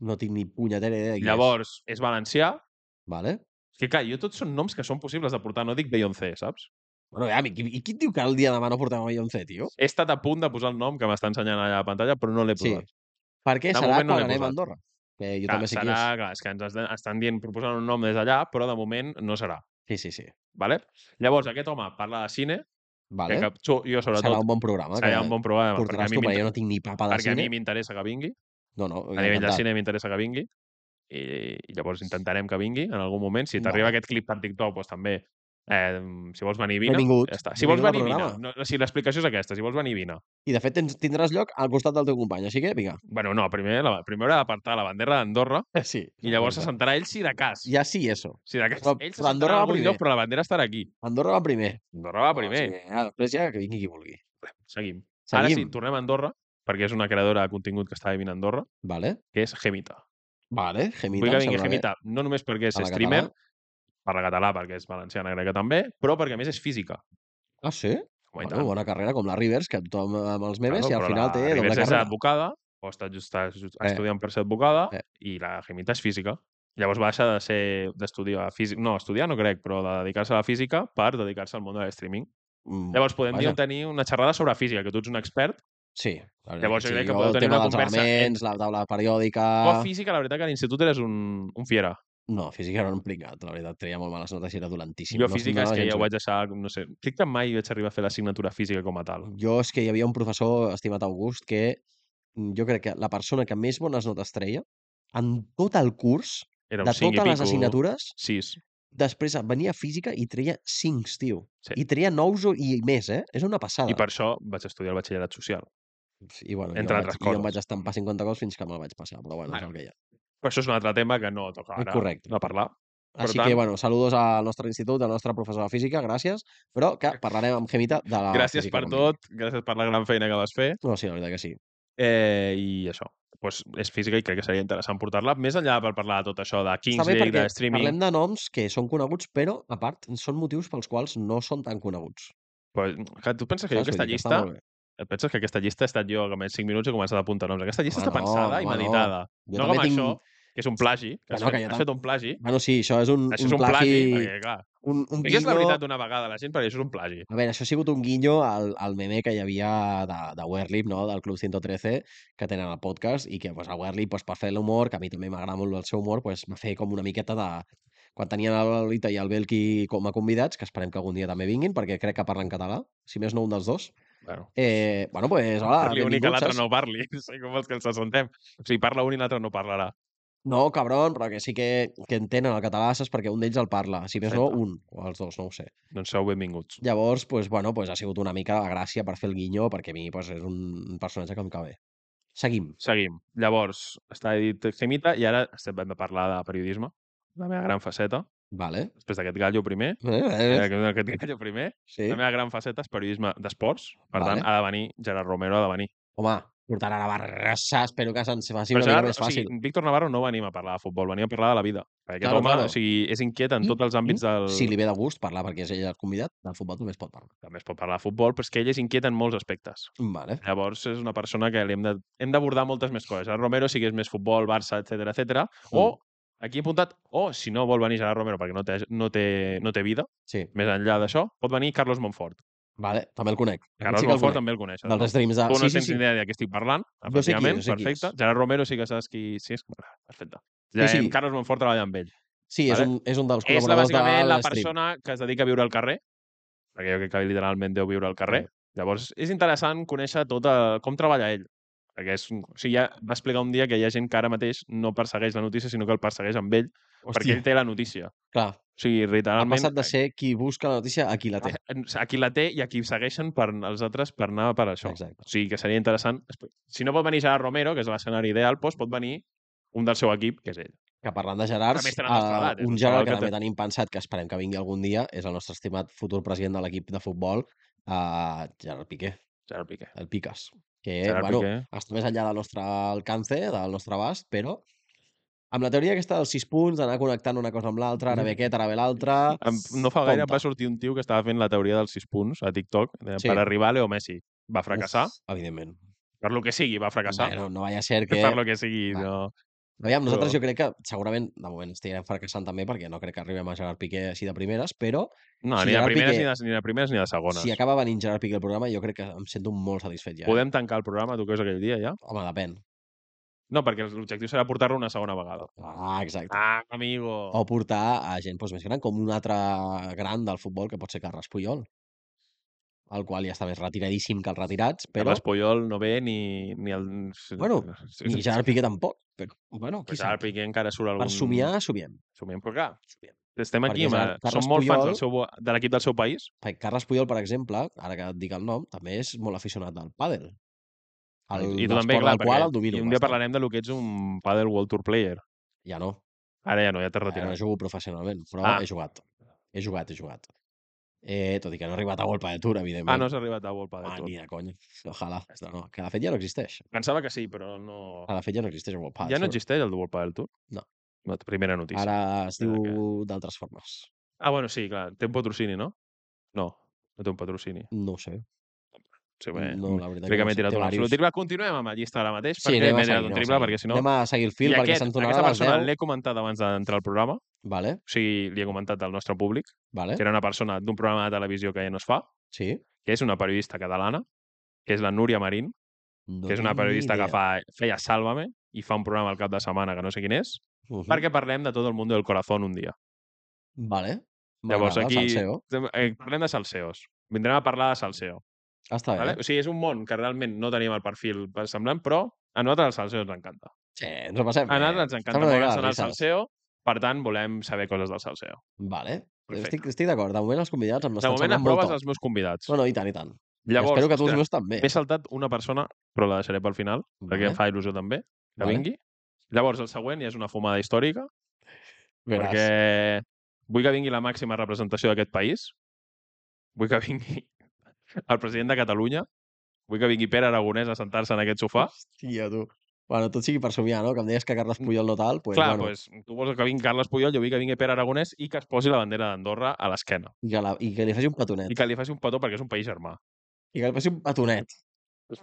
Speaker 3: No tinc ni punyetera idea de qui
Speaker 2: Llavors, és valencià,
Speaker 3: és. Vale.
Speaker 2: és que clar, jo tots són noms que són possibles de portar, no dic Beyoncé, saps?
Speaker 3: Bueno, ja, i, qui- i qui et diu que el dia de demà no portem a Beyoncé, tio?
Speaker 2: He estat a punt de posar el nom que m'està ensenyant allà a la pantalla, però no l'he
Speaker 3: Sí,
Speaker 2: posat.
Speaker 3: Per què
Speaker 2: De
Speaker 3: serà
Speaker 2: moment no
Speaker 3: quan
Speaker 2: l'he
Speaker 3: anem
Speaker 2: posat.
Speaker 3: a Andorra? Que jo
Speaker 2: Clar,
Speaker 3: també sé
Speaker 2: serà,
Speaker 3: qui és.
Speaker 2: clar, és que ens es- estan dient, proposant un nom des d'allà, però de moment no serà.
Speaker 3: Sí, sí, sí.
Speaker 2: Vale? Llavors, aquest home parla de cine,
Speaker 3: Vale.
Speaker 2: vale. que jo, jo sobretot
Speaker 3: serà un bon programa.
Speaker 2: serà un bon programa, perquè a
Speaker 3: Portaràs
Speaker 2: mi
Speaker 3: tu, perquè
Speaker 2: m'inter-
Speaker 3: jo no tinc ni papa de
Speaker 2: perquè a mi
Speaker 3: cine.
Speaker 2: m'interessa que vingui,
Speaker 3: No, no,
Speaker 2: a nivell de
Speaker 3: encantat.
Speaker 2: cine m'interessa que vingui, i, i llavors intentarem que vingui en algun moment. Si t'arriba
Speaker 3: Vale.
Speaker 2: aquest clip per TikTok, doncs també, eh, si vols venir, vine.
Speaker 3: Benvingut.
Speaker 2: Ja està. Si vols venir,
Speaker 3: Benvingut al
Speaker 2: vine. No, o sigui, L'explicació és aquesta, si vols venir, vine.
Speaker 3: I de fet tens, tindràs lloc al costat del teu company, així que vinga.
Speaker 2: Bueno, no, primer, la, primer haurà d'apartar la bandera d'Andorra
Speaker 3: Sí.
Speaker 2: i llavors se sentarà ell si de cas.
Speaker 3: Ja sí, eso.
Speaker 2: Si de cas,
Speaker 3: Però-
Speaker 2: ell se
Speaker 3: però Andorra
Speaker 2: sentarà
Speaker 3: va
Speaker 2: en algun
Speaker 3: primer.
Speaker 2: lloc, però la bandera estarà aquí.
Speaker 3: Andorra va primer.
Speaker 2: Andorra va
Speaker 3: O
Speaker 2: primer.
Speaker 3: sigui, ja, després ja que vingui qui vulgui.
Speaker 2: Seguim. Seguim. Ara
Speaker 3: Seguim.
Speaker 2: sí, tornem a Andorra, perquè és una creadora de contingut que està vivint a Andorra,
Speaker 3: Vale.
Speaker 2: que és Gemita.
Speaker 3: Vale, Gemita.
Speaker 2: Vull que
Speaker 3: em
Speaker 2: vingui
Speaker 3: sembla bé.
Speaker 2: Gemita, no només perquè és
Speaker 3: A la
Speaker 2: streamer,
Speaker 3: català.
Speaker 2: parla català perquè és valenciana, crec que també, però perquè a més és física.
Speaker 3: Ah, sí?
Speaker 2: Home, i
Speaker 3: Bueno, bona carrera, com la Rivers, que tothom amb els memes
Speaker 2: Claro,
Speaker 3: i al
Speaker 2: però
Speaker 3: final
Speaker 2: la
Speaker 3: té doble
Speaker 2: Ribes
Speaker 3: carrera.
Speaker 2: és advocada, o està, just, està just
Speaker 3: Eh.
Speaker 2: estudiant per ser advocada,
Speaker 3: Eh.
Speaker 2: i la Gemita és física. Llavors va deixar de ser d'estudiar física, no, estudiar no crec, però de dedicar-se a la física per dedicar-se al món de l'streaming.
Speaker 3: Mm,
Speaker 2: Llavors podem dir
Speaker 3: vaja.
Speaker 2: on tenir una xerrada sobre física, que tu ets un expert.
Speaker 3: Sí. la veritat
Speaker 2: Llavors jo
Speaker 3: sí.
Speaker 2: crec que
Speaker 3: Jo
Speaker 2: podeu
Speaker 3: el
Speaker 2: tenir
Speaker 3: tema
Speaker 2: una
Speaker 3: dels
Speaker 2: conversa
Speaker 3: elements, la taula periòdica...
Speaker 2: Ah. Tu a física, la veritat que a l'institut eres un, un fiera.
Speaker 3: No, física era un pringat, la veritat, treia molt males notes i era dolentíssim. no,
Speaker 2: jo a física és
Speaker 3: no anava
Speaker 2: que ja
Speaker 3: gens
Speaker 2: ho
Speaker 3: bé.
Speaker 2: vaig deixar, no sé, crec que mai vaig arribar a fer l'assignatura física com a tal.
Speaker 3: Jo és que hi havia un professor, estimat August, que mm, jo crec que la persona que més bones notes treia en tot el curs,
Speaker 2: Era un
Speaker 3: de
Speaker 2: cinc i
Speaker 3: totes les
Speaker 2: pico,
Speaker 3: assignatures,
Speaker 2: Sis.
Speaker 3: després venia física i treia 5, tio.
Speaker 2: Sí.
Speaker 3: I treia 9 i més, eh? És una passada.
Speaker 2: I per això vaig estudiar el batxillerat social.
Speaker 3: I, bueno, jo
Speaker 2: entre
Speaker 3: em
Speaker 2: altres
Speaker 3: vaig, jo
Speaker 2: coses.
Speaker 3: em vaig estampar 50 gols fins que me'l vaig passar, però bueno,
Speaker 2: Bueno,
Speaker 3: és el que hi ha.
Speaker 2: Però això és un altre tema que no toca ara
Speaker 3: Correcte.
Speaker 2: de parlar. per
Speaker 3: Així
Speaker 2: tant-
Speaker 3: que, bueno, saludos al nostre institut, al nostre professor de física, gràcies, però que parlarem amb Gemita de la
Speaker 2: gràcies
Speaker 3: física
Speaker 2: per
Speaker 3: quan vingui.
Speaker 2: tot, gràcies per la gran feina que vas fer.
Speaker 3: No, sí, la veritat que sí.
Speaker 2: Eh, I això, doncs és física i crec que seria interessant portar-la. Més enllà per parlar de tot això de Kings
Speaker 3: Està bé
Speaker 2: League,
Speaker 3: perquè
Speaker 2: de streaming...
Speaker 3: parlem de noms que són coneguts, però, a part, són motius pels quals no són tan coneguts.
Speaker 2: Però, clar, tu penses que jo
Speaker 3: Saps?
Speaker 2: aquesta
Speaker 3: Vull dir que
Speaker 2: llista...
Speaker 3: Està molt bé.
Speaker 2: Et penses que aquesta llista he estat jo, que més 5 minuts he començat a apuntar noms. Aquesta llista
Speaker 3: Home, no,
Speaker 2: està pensada i
Speaker 3: home, no.
Speaker 2: meditada.
Speaker 3: Jo
Speaker 2: no
Speaker 3: també
Speaker 2: com
Speaker 3: tinc...
Speaker 2: això, que és un plagi. Que has,
Speaker 3: Bueno,
Speaker 2: fet,
Speaker 3: que jo
Speaker 2: has
Speaker 3: tam-
Speaker 2: fet un plagi.
Speaker 3: Bueno, sí, això és un,
Speaker 2: Això
Speaker 3: un
Speaker 2: és un plagi, perquè, clar,
Speaker 3: un, un
Speaker 2: digues la
Speaker 3: guinyo-
Speaker 2: veritat una vegada a la gent, perquè això és un plagi.
Speaker 3: A veure, això ha sigut un guinyo al, al meme que hi havia de, de Werlip, no? del Club 113, que tenen el podcast, i que pues, a Werlip, pues, per fer l'humor, que a mi també m'agrada molt el seu humor, pues, va fer com una miqueta de... Quan tenien el Lolita i el Belki com a convidats, que esperem que algun dia també vinguin, perquè crec que parlen català, si més no un dels dos.
Speaker 2: Bueno.
Speaker 3: Eh, bueno, pues, hola,
Speaker 2: Parli un i que
Speaker 3: benvinguts,
Speaker 2: l'altre
Speaker 3: saps?
Speaker 2: no parli. No sé com els que ens assentem. O sigui, parla un i l'altre no parlarà.
Speaker 3: No, cabron, però que sí que, que entenen el català, saps? Perquè un d'ells el parla. Si més no,
Speaker 2: Exacte.
Speaker 3: un, o els dos, no ho sé.
Speaker 2: Doncs sou benvinguts.
Speaker 3: Llavors, pues, bueno, pues, ha sigut una mica la gràcia per fer el guinyo, perquè a mi pues, és un personatge que em cau bé. Seguim.
Speaker 2: Seguim. Llavors, està dit Gemita i ara estem hem de parlar de periodisme. La meva gran faceta,
Speaker 3: Vale.
Speaker 2: després d'aquest gallo primer,
Speaker 3: Eh,
Speaker 2: eh,
Speaker 3: eh,
Speaker 2: aquest gallo primer,
Speaker 3: sí.
Speaker 2: la meva gran faceta és periodisme d'esports. Per
Speaker 3: Vale.
Speaker 2: tant, ha de venir Gerard Romero, ha de venir.
Speaker 3: Home, portar a la Barrassa, espero que se'ns faci una
Speaker 2: Però
Speaker 3: mica
Speaker 2: Gerard,
Speaker 3: més fàcil.
Speaker 2: O sigui, Víctor Navarro no venim a parlar de futbol, venia a parlar de la vida. Perquè aquest
Speaker 3: Claro,
Speaker 2: home
Speaker 3: claro.
Speaker 2: O sigui, és inquiet en
Speaker 3: I-
Speaker 2: tots els àmbits del...
Speaker 3: Si li ve de gust parlar, perquè és ell el convidat, del futbol també es pot parlar.
Speaker 2: També es pot parlar de futbol, però és que ell és inquiet en molts aspectes.
Speaker 3: Vale.
Speaker 2: Llavors, és una persona que li hem de- hem d'abordar moltes més coses. Gerard Romero, si és més futbol, Barça, etc etc. O,
Speaker 3: Mm.
Speaker 2: aquí he apuntat, o si no vol venir Gerard Romero perquè no té, no té, no té vida,
Speaker 3: Sí.
Speaker 2: més enllà d'això, pot venir Carlos Monfort.
Speaker 3: Vale, també el conec. Aquest
Speaker 2: Carlos
Speaker 3: sí que el
Speaker 2: Monfort
Speaker 3: conec.
Speaker 2: també el coneixes.
Speaker 3: Dels streams de...
Speaker 2: Tu no
Speaker 3: sí, sí,
Speaker 2: tens
Speaker 3: sí.
Speaker 2: ni idea de què estic parlant,
Speaker 3: Jo sé qui
Speaker 2: efectivament,
Speaker 3: és, jo sé qui
Speaker 2: perfecte.
Speaker 3: és.
Speaker 2: Gerard Romero sí que saps qui... Sí, és... perfecte. Ja,
Speaker 3: Sí,
Speaker 2: sí,
Speaker 3: sí.
Speaker 2: Carlos Monfort treballa amb ell.
Speaker 3: Sí, és,
Speaker 2: Vale.
Speaker 3: un, és un dels
Speaker 2: És la,
Speaker 3: col·laboradors de
Speaker 2: bàsicament la
Speaker 3: l'estream.
Speaker 2: persona que es dedica a viure al carrer, perquè jo crec que literalment deu viure al carrer. Llavors, és interessant conèixer tot eh, com treballa ell. Perquè és, un- o sigui, ja va explicar un dia que hi ha gent que ara mateix no persegueix la notícia, sinó que el persegueix amb ell, Hòstia. perquè ell té la notícia.
Speaker 3: Clar,
Speaker 2: O sigui,
Speaker 3: ha
Speaker 2: literalment...
Speaker 3: passat de ser qui busca la notícia a qui la té.
Speaker 2: a qui la té i a qui segueixen per els altres per anar per això.
Speaker 3: Exacte.
Speaker 2: O sigui, que seria interessant... Espe- Si no pot venir Gerard Romero, que és l'escenari ideal, doncs pot venir un del seu equip, que és ell.
Speaker 3: Que parlant de Gerards, eh,
Speaker 2: També tenen la nostra edat, és
Speaker 3: un
Speaker 2: un
Speaker 3: Gerard
Speaker 2: xaval
Speaker 3: que,
Speaker 2: que
Speaker 3: també
Speaker 2: té-
Speaker 3: tenim pensat que esperem que vingui algun dia és el nostre estimat futur president de l'equip de futbol, uh, Gerard Piqué,
Speaker 2: Gerard Piqué.
Speaker 3: el Picas. Que,
Speaker 2: Gerard
Speaker 3: Eh, bueno,
Speaker 2: Piqué.
Speaker 3: està més enllà del nostre alcance, del nostre abast, però amb la teoria aquesta dels sis punts, d'anar connectant una cosa amb l'altra, ara ve aquest, ara ve l'altra...
Speaker 2: Em- No fa gaire em
Speaker 3: compte.
Speaker 2: va sortir un tio que estava fent la teoria dels sis punts a TikTok eh,
Speaker 3: Sí.
Speaker 2: per arribar a Leo Messi. Va fracassar,
Speaker 3: Uf, evidentment.
Speaker 2: per lo que sigui, va fracassar.
Speaker 3: Bueno, no vaya a ser que...
Speaker 2: Per lo que sigui,
Speaker 3: Va.
Speaker 2: no.
Speaker 3: Aviam, nosaltres
Speaker 2: Però-
Speaker 3: jo crec que segurament de moment estiguem fracassant també perquè no crec que arribem a Gerard Piqué així de primeres, però
Speaker 2: No,
Speaker 3: Si
Speaker 2: ni, de
Speaker 3: Gerard
Speaker 2: primeres,
Speaker 3: Piqué-
Speaker 2: ni, de, ni de primeres ni de segones.
Speaker 3: si acaba venint Gerard Piqué al programa jo crec que em sento molt satisfet ja. eh?
Speaker 2: Podem tancar el programa, tu creus, aquell dia, ja?
Speaker 3: Home, depèn.
Speaker 2: No, perquè l'objectiu serà portar-lo una segona vegada.
Speaker 3: Ah, exacte.
Speaker 2: Ah, amigo!
Speaker 3: O portar a gent doncs, més gran, com un altre gran del futbol, que pot ser Carles Puyol, el qual ja està més retiradíssim que els retirats, però...
Speaker 2: Carles Puyol no ve ni, ni el...
Speaker 3: Bueno,
Speaker 2: sí,
Speaker 3: Ni Gerard Piqué tampoc. Però, bueno, qui
Speaker 2: Gerard
Speaker 3: sap?
Speaker 2: Piqué encara surt algun...
Speaker 3: Per somiar, somiem.
Speaker 2: Somiem, però clar, estem
Speaker 3: Perquè
Speaker 2: aquí,
Speaker 3: Gerard-
Speaker 2: ma,
Speaker 3: Carles
Speaker 2: som molt fans
Speaker 3: Puyol-
Speaker 2: del seu, de l'equip del seu país.
Speaker 3: Perquè Carles Puyol, per exemple, ara que et dic el nom, també és molt aficionat al pàdel. El,
Speaker 2: I tu
Speaker 3: l'esport
Speaker 2: també, clar,
Speaker 3: del qual el
Speaker 2: I
Speaker 3: domino.
Speaker 2: un dia
Speaker 3: bastant.
Speaker 2: parlarem de lo que ets un Padel World Tour player.
Speaker 3: Ja no,
Speaker 2: Ara ja no, ja
Speaker 3: ja
Speaker 2: t'has
Speaker 3: no
Speaker 2: retirat.
Speaker 3: jugo professionalment, però
Speaker 2: Ah.
Speaker 3: he jugat. He jugat, he jugat. Eh, tot i que no he arribat a Golpa de Tour, evidentment.
Speaker 2: ah, no has arribat a World Padel
Speaker 3: ah,
Speaker 2: Tour.
Speaker 3: ni de conya. Ojalà. No, que de fet ja no existeix.
Speaker 2: Pensava que sí, però no...
Speaker 3: A la fet ja no existeix el World Padel
Speaker 2: ja no
Speaker 3: Tour.
Speaker 2: existeix el World Padel Tour?
Speaker 3: Ah, No.
Speaker 2: La primera notícia.
Speaker 3: Ara es
Speaker 2: Ah, que-
Speaker 3: diu d'altres formes.
Speaker 2: Ah, bueno, sí, clar. Té un patrocini, no? No, no té un patrocini.
Speaker 3: No ho sé.
Speaker 2: Sí, bé, mm,
Speaker 3: No, la veritat
Speaker 2: crec que
Speaker 3: no
Speaker 2: m'he
Speaker 3: sé.
Speaker 2: tirat
Speaker 3: Té
Speaker 2: un
Speaker 3: varios.
Speaker 2: absolut triple. Continuem amb la llista ara mateix,
Speaker 3: Sí,
Speaker 2: perquè
Speaker 3: anem a
Speaker 2: m'he
Speaker 3: seguir,
Speaker 2: tirat
Speaker 3: anem
Speaker 2: un
Speaker 3: a
Speaker 2: triple,
Speaker 3: seguir.
Speaker 2: perquè si no...
Speaker 3: Anem a seguir el fil
Speaker 2: I
Speaker 3: perquè
Speaker 2: aquest,
Speaker 3: se'n
Speaker 2: aquesta
Speaker 3: tornarà a les
Speaker 2: persona
Speaker 3: 10.
Speaker 2: l'he comentat abans d'entrar al programa,
Speaker 3: Vale,
Speaker 2: o sigui, li he comentat al nostre públic,
Speaker 3: vale.
Speaker 2: que era una persona d'un programa de televisió que ja no es fa,
Speaker 3: Sí.
Speaker 2: que és una periodista catalana, que és la Núria Marín,
Speaker 3: No
Speaker 2: que és una
Speaker 3: tinc ni
Speaker 2: periodista que
Speaker 3: idea.
Speaker 2: fa, feia Sálvame i fa un programa al cap de setmana que no sé quin és,
Speaker 3: Ujú.
Speaker 2: perquè parlem de tot el món del corazón un dia.
Speaker 3: Vale.
Speaker 2: Llavors,
Speaker 3: M'agrada,
Speaker 2: pues aquí-
Speaker 3: salseo.
Speaker 2: Eh, Parlem de salseos. Vindrem a parlar de salseo.
Speaker 3: Està bé.
Speaker 2: Vale? O sigui, és un món que realment no tenim el perfil semblant, però a nosaltres el salseo ens encanta.
Speaker 3: Sí, ens ho passem
Speaker 2: A
Speaker 3: bé.
Speaker 2: nosaltres ens encanta
Speaker 3: Sembla que
Speaker 2: molt
Speaker 3: agrada,
Speaker 2: sonar el
Speaker 3: risades.
Speaker 2: salseo, per tant, volem saber coses del salseo.
Speaker 3: Vale.
Speaker 2: Perfecte.
Speaker 3: Estic, estic d'acord. De moment els convidats em
Speaker 2: De
Speaker 3: estan
Speaker 2: moment
Speaker 3: sonant molt
Speaker 2: aproves
Speaker 3: top.
Speaker 2: els meus convidats.
Speaker 3: No, no, i tant, i tant.
Speaker 2: Llavors, eh,
Speaker 3: Espero que tu els
Speaker 2: ostres,
Speaker 3: meus també. eh?
Speaker 2: m'he saltat una persona, però la deixaré pel final, perquè em fa il·lusió també, que
Speaker 3: Vale.
Speaker 2: vingui. Llavors, el següent ja és una fumada històrica,
Speaker 3: Veràs.
Speaker 2: perquè vull que vingui la màxima representació d'aquest país, vull que vingui el president de Catalunya, vull que vingui Pere Aragonès a sentar-se en aquest sofà.
Speaker 3: Hòstia, tu. Bueno, tot sigui per somiar, no? Que em deies que Carles Puyol no tal, doncs,
Speaker 2: Pues, Mm. Clar,
Speaker 3: bueno,
Speaker 2: pues, tu vols que vingui Carles Puyol, jo vull que vingui Pere Aragonès i que es posi la bandera d'Andorra a l'esquena.
Speaker 3: i, que la, i que li faci un petonet.
Speaker 2: I que li faci un petó perquè és un país germà.
Speaker 3: I que li faci un petonet.
Speaker 2: Un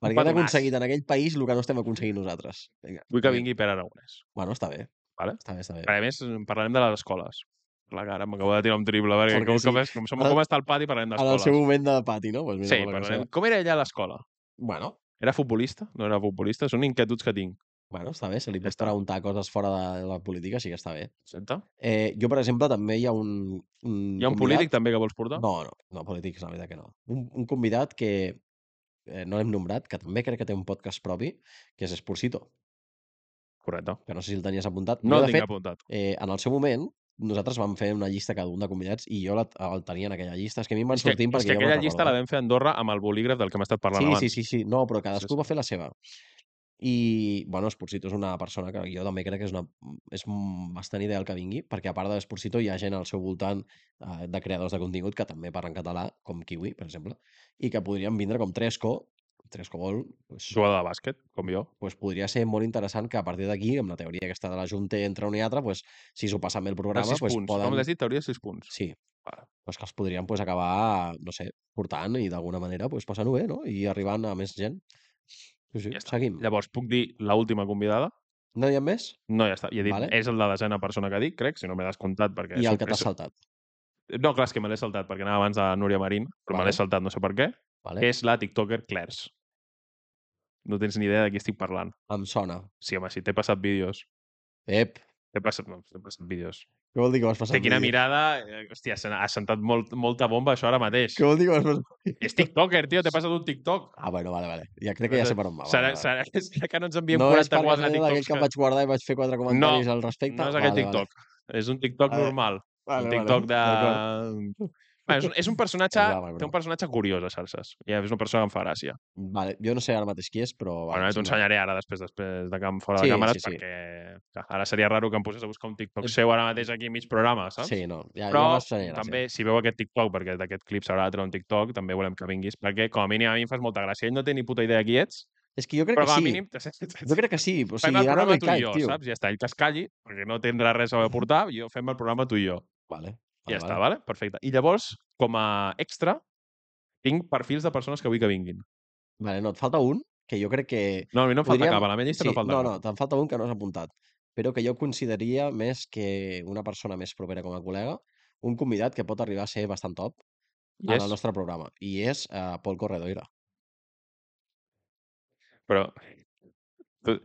Speaker 3: Perquè han
Speaker 2: petonàs.
Speaker 3: aconseguit en aquell país el que no estem aconseguint nosaltres. Vinga.
Speaker 2: Vull que
Speaker 3: Bé.
Speaker 2: vingui Pere Aragonès.
Speaker 3: Bueno, està bé.
Speaker 2: Vale.
Speaker 3: Està bé, està bé.
Speaker 2: A més, parlarem de les escoles. Clar, que ara m'acabo de tirar un triple, perquè,
Speaker 3: Perquè
Speaker 2: com,
Speaker 3: sí.
Speaker 2: com, és, com, som,
Speaker 3: Ara-
Speaker 2: com està el pati
Speaker 3: En
Speaker 2: parlarem
Speaker 3: el
Speaker 2: d'escoles.
Speaker 3: seu moment de pati, no? Pues mira,
Speaker 2: Sí, eh.
Speaker 3: per la
Speaker 2: parlarem...
Speaker 3: cosa.
Speaker 2: Com era ella a l'escola?
Speaker 3: Bueno,
Speaker 2: Era futbolista? No era futbolista? Són inquietuds que tinc.
Speaker 3: bueno, està bé. Se li
Speaker 2: Ja
Speaker 3: pot
Speaker 2: està.
Speaker 3: preguntar coses fora de la política, sí que està bé.
Speaker 2: Senta?
Speaker 3: Eh, jo, per exemple, també hi ha un, un
Speaker 2: Hi ha un polític també que vols portar?
Speaker 3: No, no, no, polítics, la veritat que no. Un, un convidat que eh, no l'hem nombrat, que també crec que té un podcast propi, que és Esporcito,
Speaker 2: Correcte.
Speaker 3: que no sé si el tenies apuntat.
Speaker 2: No
Speaker 3: Jo,
Speaker 2: el
Speaker 3: de
Speaker 2: tinc
Speaker 3: fet,
Speaker 2: apuntat.
Speaker 3: eh, en el seu moment, nosaltres vam fer una llista cada un de convidats i jo la, el tenia en aquella llista. És que a mi em van
Speaker 2: És que,
Speaker 3: sortint
Speaker 2: és
Speaker 3: perquè
Speaker 2: que
Speaker 3: jo me'n
Speaker 2: aquella llista
Speaker 3: recordo,
Speaker 2: la
Speaker 3: eh?
Speaker 2: vam fer a Andorra amb el bolígraf del que hem estat parlant abans.
Speaker 3: Sí, sí, sí, sí. No, però cadascú
Speaker 2: sí.
Speaker 3: va fer la seva. I, bueno, Esporcito és una persona que jo també crec que és, una, és un- bastant ideal que vingui, perquè a part de l'Esporcito hi ha gent al seu voltant eh, de creadors de contingut que també parlen català, com Kiwi, per exemple, i que podrien vindre com Tresco, Tresco Vol, pues,
Speaker 2: Jugador de bàsquet, com jo.
Speaker 3: pues podria ser molt interessant que a partir d'aquí, amb la teoria aquesta de la Junta entre un i altre, pues, si s'ho passen bé el
Speaker 2: Dels
Speaker 3: programa,
Speaker 2: 6
Speaker 3: pues,
Speaker 2: punts. Poden... Com
Speaker 3: poden...
Speaker 2: l'has dit, teoria de 6 punts.
Speaker 3: Sí,
Speaker 2: Vale.
Speaker 3: pues que els podrien pues, acabar, no sé, portant i d'alguna manera pues, passant-ho bé, no? I arribant a més gent. Sí, sí,
Speaker 2: Ja està.
Speaker 3: seguim.
Speaker 2: Llavors, puc dir l'última convidada?
Speaker 3: No hi ha més?
Speaker 2: No, ja està. Ja he dit,
Speaker 3: Vale.
Speaker 2: vale. és el de desena persona que dic, crec, si no m'he descomptat. Perquè
Speaker 3: I
Speaker 2: és-
Speaker 3: el que t'ha
Speaker 2: és-
Speaker 3: saltat.
Speaker 2: No, clar, és que me l'he saltat, perquè anava abans de Núria Marín, però me
Speaker 3: Vale.
Speaker 2: l'he saltat no sé per què,
Speaker 3: Vale?
Speaker 2: que és la tiktoker Clars. No tens ni idea de qui estic parlant.
Speaker 3: Em sona.
Speaker 2: Sí, home, si t'he passat vídeos.
Speaker 3: Ep,
Speaker 2: T'he passat, no, t'he passat vídeos.
Speaker 3: què vol dir que vas passar?
Speaker 2: Té quina
Speaker 3: vídeo?
Speaker 2: mirada... eh, Hòstia, se n'ha- ha sentat molt, molta bomba això ara mateix.
Speaker 3: Què vol dir que vas passar?
Speaker 2: És tiktoker, tio, t'he passat un tiktok.
Speaker 3: Ah, bueno, vale, vale. Ja crec que ja sé per on va.
Speaker 2: serà,
Speaker 3: vale, vale.
Speaker 2: serà, serà que no ens envien
Speaker 3: no és perquè
Speaker 2: 44
Speaker 3: sigui d'aquell
Speaker 2: tiktoks.
Speaker 3: que em vaig guardar i vaig fer quatre comentaris al respecte.
Speaker 2: No és aquell
Speaker 3: Vale,
Speaker 2: tiktok. És un tiktok
Speaker 3: Vale,
Speaker 2: normal.
Speaker 3: Vale,
Speaker 2: un
Speaker 3: vale,
Speaker 2: tiktok
Speaker 3: d'acord.
Speaker 2: de... Bé, és, un- és un personatge,
Speaker 3: És guapa,
Speaker 2: té
Speaker 3: però.
Speaker 2: un personatge curiós a xarxes. I és una persona que em fa gràcia.
Speaker 3: Vale, jo no sé ara mateix qui és, però...
Speaker 2: Vale, bueno,
Speaker 3: vale,
Speaker 2: t'ho
Speaker 3: sembla-
Speaker 2: ensenyaré ara, després, després de camp fora
Speaker 3: Sí,
Speaker 2: de càmeres,
Speaker 3: sí, sí.
Speaker 2: perquè clar, ara seria raro que em posés a buscar un TikTok
Speaker 3: Eh,
Speaker 2: seu ara mateix aquí mig programa, saps?
Speaker 3: Sí, no, ja,
Speaker 2: Però
Speaker 3: ja m'ensenyaràs.
Speaker 2: també, si veu aquest TikTok, perquè d'aquest clip s'haurà de treure un TikTok, també volem que vinguis, perquè com a mínim a mi em fas molta gràcia. Ell no té ni puta idea qui ets,
Speaker 3: Ja. És que jo crec
Speaker 2: però
Speaker 3: que
Speaker 2: com a
Speaker 3: sí.
Speaker 2: mínim...
Speaker 3: Jo crec que sí, o
Speaker 2: Fem
Speaker 3: sigui,
Speaker 2: el
Speaker 3: ara no hi
Speaker 2: programa tu i
Speaker 3: caic,
Speaker 2: jo,
Speaker 3: tio.
Speaker 2: saps? Ja està, ell que es calli, perquè no tindrà res a aportar, jo fem el programa tu i jo.
Speaker 3: Vale, vale,
Speaker 2: I ja està, vale? Perfecte. I llavors, com a extra, tinc perfils de persones que vull que vinguin.
Speaker 3: Vale, no, et falta un, que jo crec que...
Speaker 2: No, a mi no em falta
Speaker 3: Podríem-
Speaker 2: cap, a la meva llista
Speaker 3: Sí,
Speaker 2: no em falta
Speaker 3: no,
Speaker 2: cap.
Speaker 3: no, te'n falta un que no has apuntat, però que jo consideraria més que una persona més propera com a col·lega, un convidat que pot arribar a ser bastant top en el
Speaker 2: Yes,
Speaker 3: nostre programa, i és uh, Pol Corredoira.
Speaker 2: però... Tu,